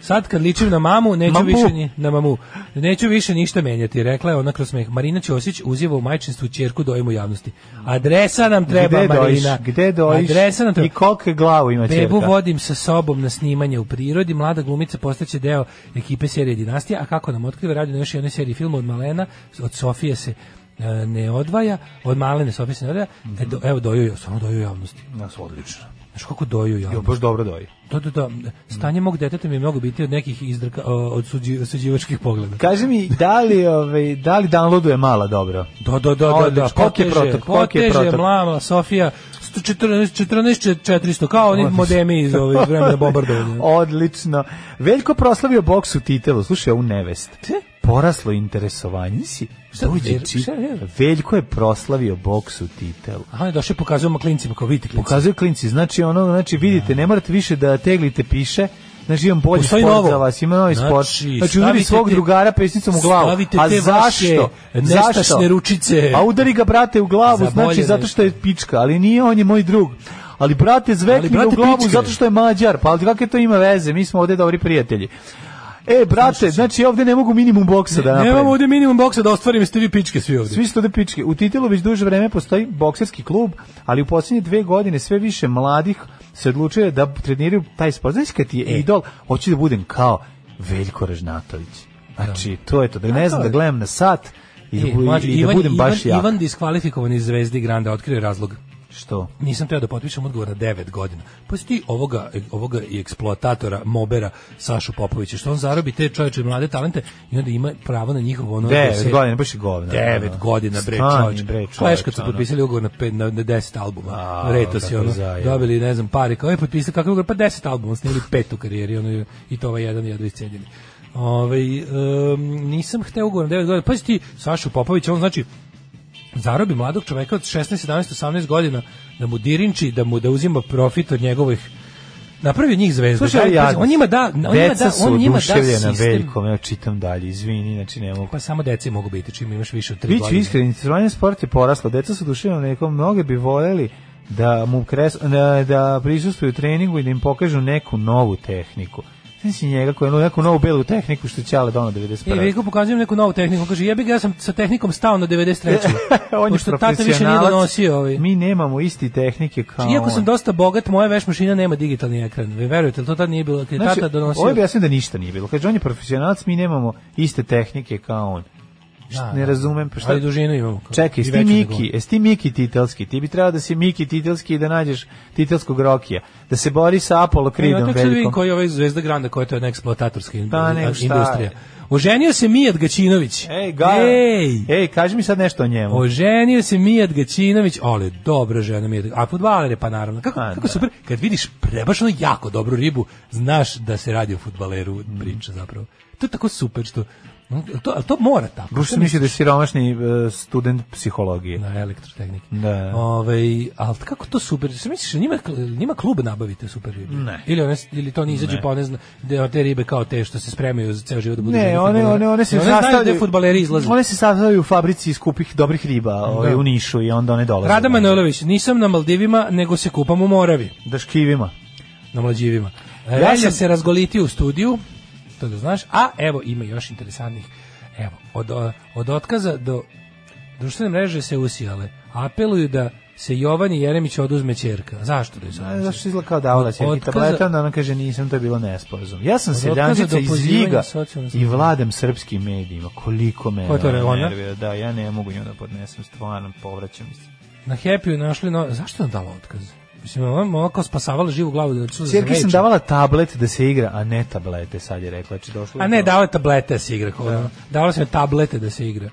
Speaker 6: Sad kad ličim na mamu, neću
Speaker 5: Mamu.
Speaker 6: više ni, na mamu. Neću više ništa menjati, rekla je ona kroz smeh. Marina Ćosić uziva u majčinstvu ćerku dojem u javnosti. Adresa nam treba,
Speaker 5: Gde dojiš?
Speaker 6: Marina.
Speaker 5: Gde dojiš?
Speaker 6: Adresa nam treba.
Speaker 5: I koliko glavu ima čerka?
Speaker 6: Bebu vodim sa sobom na snimanje u prirodi, mlada glumica postaće deo ekipe serije Dinastija, a kako nam otkriva, radi na još jednoj seriji filma od Malena, od Sofije se e, ne odvaja, od malene sobe se ne odvaja, e, do, evo doju, samo doju javnosti.
Speaker 5: Nas odlično.
Speaker 6: Znaš kako doju javnosti? Jo,
Speaker 5: baš dobro doji.
Speaker 6: Da, da, da. Stanje mog deteta mi je mnogo bitnije od nekih izdrka, od suđi, suđivačkih pogleda.
Speaker 5: Kaži mi, da li, ovaj, da li downloaduje mala dobro?
Speaker 6: Da, da, da, da, da. Poteže, protok, poteže, mlama, Sofija, 14 14 400 kao oni modemi iz ove vremena bombardovanja.
Speaker 5: Odlično. Veljko proslavio boksu titelu, slušaj u nevest. Poraslo interesovanje si.
Speaker 6: Šta
Speaker 5: Dođe
Speaker 6: Ver-
Speaker 5: či-
Speaker 6: šta je?
Speaker 5: Veljko je proslavio boksu titelu.
Speaker 6: Aha, je došao i pokazujemo klincima kao vidite klinci.
Speaker 5: Pokazuje klinci, znači ono, znači vidite, ne morate više da teglite piše. Znači imam bolji
Speaker 6: Postoji
Speaker 5: sport
Speaker 6: novo.
Speaker 5: za vas, ima novi sport.
Speaker 6: Znači,
Speaker 5: Znači udari
Speaker 6: stavite
Speaker 5: svog
Speaker 6: te-
Speaker 5: drugara pesnicom u glavu.
Speaker 6: stavite
Speaker 5: A
Speaker 6: te
Speaker 5: zašto?
Speaker 6: vaše nestašne ručice.
Speaker 5: A udari ga brate u glavu, znači
Speaker 6: Zaboljene.
Speaker 5: zato što je pička, ali nije on je moj drug. Ali brate
Speaker 6: Ali,
Speaker 5: zvekni ga
Speaker 6: brate,
Speaker 5: u glavu
Speaker 6: pička je.
Speaker 5: zato što je Mađar, pa ali kakve to ima veze, mi smo ovde dobri prijatelji. E, brate, znači ja ovde ne mogu minimum boksa da pa- napravim.
Speaker 6: Nemamo ovdje minimum boksa da ostvarim, ste vi pičke svi ovdje.
Speaker 5: Svi su to da pičke. U titelu već duže vreme postoji bokserski klub, ali u posljednje dve godine sve više mladih se odlučuje da treniraju taj sport. Znaš kad ti
Speaker 6: E.
Speaker 5: je idol, hoću da budem kao Veljko Režnatović. Znači, to je to. Da ne znam, da gledam na sat i, da
Speaker 6: E,
Speaker 5: bu-
Speaker 6: mlađe,
Speaker 5: i da budem baš
Speaker 6: Ivan,
Speaker 5: ja.
Speaker 6: Ivan diskvalifikovan iz Zvezdi Granda, otkrio je razlog.
Speaker 5: Što?
Speaker 6: Nisam teo da potpišem ugovor na 9 godina. Pa si ti ovoga, ovoga i eksploatatora, mobera, Sašu Popovića, što on zarobi te čoveče mlade talente i onda ima pravo na njihov ono... da se-
Speaker 5: 9 godina, baš i govna.
Speaker 6: 9 godina bre
Speaker 5: Stani,
Speaker 6: čovječe.
Speaker 5: bre,
Speaker 6: Znaš kad
Speaker 5: čoveče,
Speaker 6: su
Speaker 5: ono.
Speaker 6: potpisali ugovor na, pet, na, na 10 albuma.
Speaker 5: A,
Speaker 6: Reto si
Speaker 5: kako
Speaker 6: ono.
Speaker 5: zajebo.
Speaker 6: Dobili ne znam pare kao je potpisali kakav ugovor pa 10 albuma snimili pet u karijeri ono i to ovaj jedan i jedan iscenjeni. Ovaj em, nisam hteo ugovor na 9 godina. Pazi ti Sašu Popovića, on znači zarobi mladog čoveka od 16, 17, 18 godina da mu dirinči, da mu da uzima profit od njegovih Napravi od njih zvezdu.
Speaker 5: Slušaj,
Speaker 6: Pazi,
Speaker 5: ja-
Speaker 6: on njima da, on njima
Speaker 5: Deca
Speaker 6: da,
Speaker 5: su
Speaker 6: on njima da
Speaker 5: oduševljena
Speaker 6: sistem.
Speaker 5: Veljkom, ja čitam dalje, izvini, znači ne mogu.
Speaker 6: Pa samo deci mogu biti čim imaš više od 3
Speaker 5: Biću
Speaker 6: godine.
Speaker 5: iskren, interesovanje sport je poraslo. Deca su duševno nekom, mnoge bi voljeli da mu kres, da, da prisustuju treningu i da im pokažu neku novu tehniku. Znači njega koji je ono neku novu belu tehniku što će ali dono
Speaker 6: E,
Speaker 5: 91.
Speaker 6: Veljko pokazujem neku novu tehniku. On Kaže, jebi ga, ja sam sa tehnikom stao na 93.
Speaker 5: On je
Speaker 6: Pošto tata više nije
Speaker 5: profesionalac.
Speaker 6: donosio. Ovaj.
Speaker 5: Mi nemamo isti tehnike kao
Speaker 6: Iako sam
Speaker 5: on.
Speaker 6: dosta bogat, moja veš mašina nema digitalni ekran. Vi verujete, li to tad nije bilo, kad je
Speaker 5: Znači,
Speaker 6: tata donosio.
Speaker 5: ovo je objasnio da ništa nije bilo. Kaže, on je profesionalac, mi nemamo iste tehnike kao on. Šta,
Speaker 6: Da,
Speaker 5: ne
Speaker 6: da.
Speaker 5: razumem, pa šta...
Speaker 6: Ali dužinu imamo. kao-
Speaker 5: Čekaj,
Speaker 6: i
Speaker 5: jesi ti
Speaker 6: veću nego
Speaker 5: Miki,
Speaker 6: on.
Speaker 5: jesi ti Miki titelski? Ti bi trebao da si Miki titelski i da nađeš titelskog Rokija. Da se bori sa Apollo
Speaker 6: Ja,
Speaker 5: Creedom
Speaker 6: tek sad vidim
Speaker 5: velikom.
Speaker 6: koji je ovaj Zvezda Granda, koja je to jedna eksploatatorska in-
Speaker 5: Pa, nego šta je.
Speaker 6: industrija. Oženio se Mijat Gaćinović.
Speaker 5: Ej, ga,
Speaker 6: Ej!
Speaker 5: ej, kaži mi sad nešto o njemu.
Speaker 6: Pa. Oženio se Mijat Gaćinović, ali dobra žena Mijat. A fudbaler je pa naravno. Kako,
Speaker 5: A,
Speaker 6: kako
Speaker 5: da.
Speaker 6: super, kad vidiš prebašno jako dobru ribu, znaš da se radi o fudbaleru
Speaker 5: Mhm.
Speaker 6: priča zapravo. To je tako super što to, ali to mora tako.
Speaker 5: Baš
Speaker 6: To
Speaker 5: sam
Speaker 6: mi-
Speaker 5: mislio da je siromašni e, student psihologije.
Speaker 6: na elektrotehniki.
Speaker 5: Da.
Speaker 6: Ovaj, ali kako to super, se misliš, njima, njima klub nabavite super ribe?
Speaker 5: Ne.
Speaker 6: Ili, one, ili to ne izađe pa one zna, da te ribe kao te što se spremaju za ceo život da budu žene
Speaker 5: Ne, one,
Speaker 6: fudbalera.
Speaker 5: one, one se
Speaker 6: I znaju
Speaker 5: sastavljaju...
Speaker 6: da fudbaleri izlaze.
Speaker 5: One se sastavljaju u fabrici skupih dobrih riba ovaj, u Nišu i onda one dolaze.
Speaker 6: Rada Manojlović, nisam na Maldivima, nego se kupam u Moravi.
Speaker 5: Da škivima.
Speaker 6: na mlađivima.
Speaker 5: Ja
Speaker 6: Ja Relja
Speaker 5: sam-
Speaker 6: se razgoliti u studiju, to da znaš, a evo ima još interesantnih. Evo, od, o- od otkaza do društvene mreže se usijale. Apeluju da se Jovani Jeremić oduzme ćerka. Zašto da je
Speaker 5: A,
Speaker 6: oduzme?
Speaker 5: Zašto Pa, izgleda kao davala
Speaker 6: Od
Speaker 5: će i
Speaker 6: otkaza-
Speaker 5: tableta, onda ona kaže nisam, to je bilo nesporazum. Ja sam
Speaker 6: Od
Speaker 5: seljančica
Speaker 6: otkaza do
Speaker 5: iz
Speaker 6: pozivanja
Speaker 5: Ljiga
Speaker 6: socijalne
Speaker 5: i
Speaker 6: službe.
Speaker 5: vladam srpskim medijima. Koliko me
Speaker 6: Ko je to
Speaker 5: ona
Speaker 6: re- ona?
Speaker 5: nervira. Da, ja ne mogu nju da podnesem, stvarno povraćam mi se.
Speaker 6: Na Happy našli no... Zašto je on dala otkaz? Mislim, ona ona kao spasavala živu glavu da čuza
Speaker 5: Sjerki sam davala tablet da se igra, a ne tablete, sad je rekla. Znači, došlo je
Speaker 6: A ne,
Speaker 5: do-
Speaker 6: dala je tablete da se igra. Da. Dala sam joj tablete da se igra.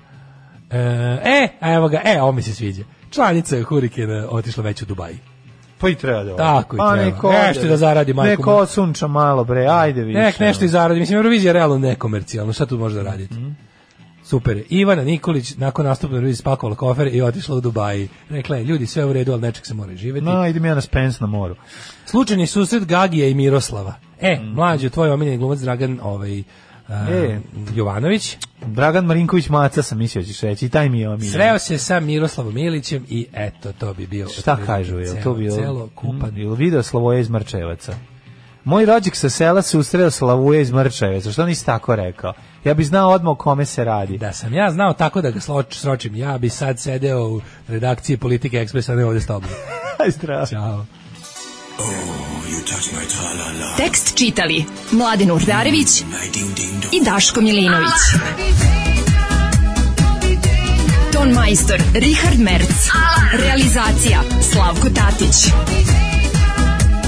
Speaker 6: E, E, a evo ga, e, ovo mi se sviđa. Članica Hurikena otišla već u Dubaji.
Speaker 5: Pa i treba da ode.
Speaker 6: Tako i
Speaker 5: Pa
Speaker 6: treba.
Speaker 5: neko
Speaker 6: Nešto
Speaker 5: ode.
Speaker 6: da zaradi, majko
Speaker 5: Neko
Speaker 6: moja.
Speaker 5: odsunča malo, bre, ajde više. ono.
Speaker 6: Nek nešto i zaradi. Mislim, Eurovizija je realno nekomercijalno. Šta tu možda raditi?
Speaker 5: Mhm.
Speaker 6: Super. je. Ivana Nikolić nakon nastupa na Euroviziji spakovala kofer i otišla u Dubaji. Rekla je, ljudi, sve u redu, ali nečeg se mora živjeti.
Speaker 5: No, idem ja na Spens na moru.
Speaker 6: Slučajni susret Gagija i Miroslava. E, mlađe, tvoj omiljeni glumac Dragan ovaj, e,
Speaker 5: Mhm. E. Mhm.
Speaker 6: Jovanović.
Speaker 5: Dragan Marinković Maca sam mislio ćeš reći, i taj mi je omiljen.
Speaker 6: Sreo se sa Miroslavom Ilićem i eto, to bi bio...
Speaker 5: Šta
Speaker 6: otprilike
Speaker 5: kažu, je
Speaker 6: celo-
Speaker 5: to bio?
Speaker 6: Celo kupan.
Speaker 5: Mm, Jel video Slavoje iz Mrčevaca? Moj rođak sa sela se ustreo Slavuje iz Mrčevaca, što nisi tako rekao? Ja bi znao odmah o kome se radi.
Speaker 6: Da sam ja znao tako da ga sloč, sročim, ja bi sad sedeo u redakciji Politike Ekspresa, a ne ovdje s tobom.
Speaker 5: Aj, zdravo.
Speaker 6: Ćao.
Speaker 1: Tekst čitali Mladin Urdarević i Daško Milinović. Ton majstor Richard Merc. Realizacija Slavko Tatić.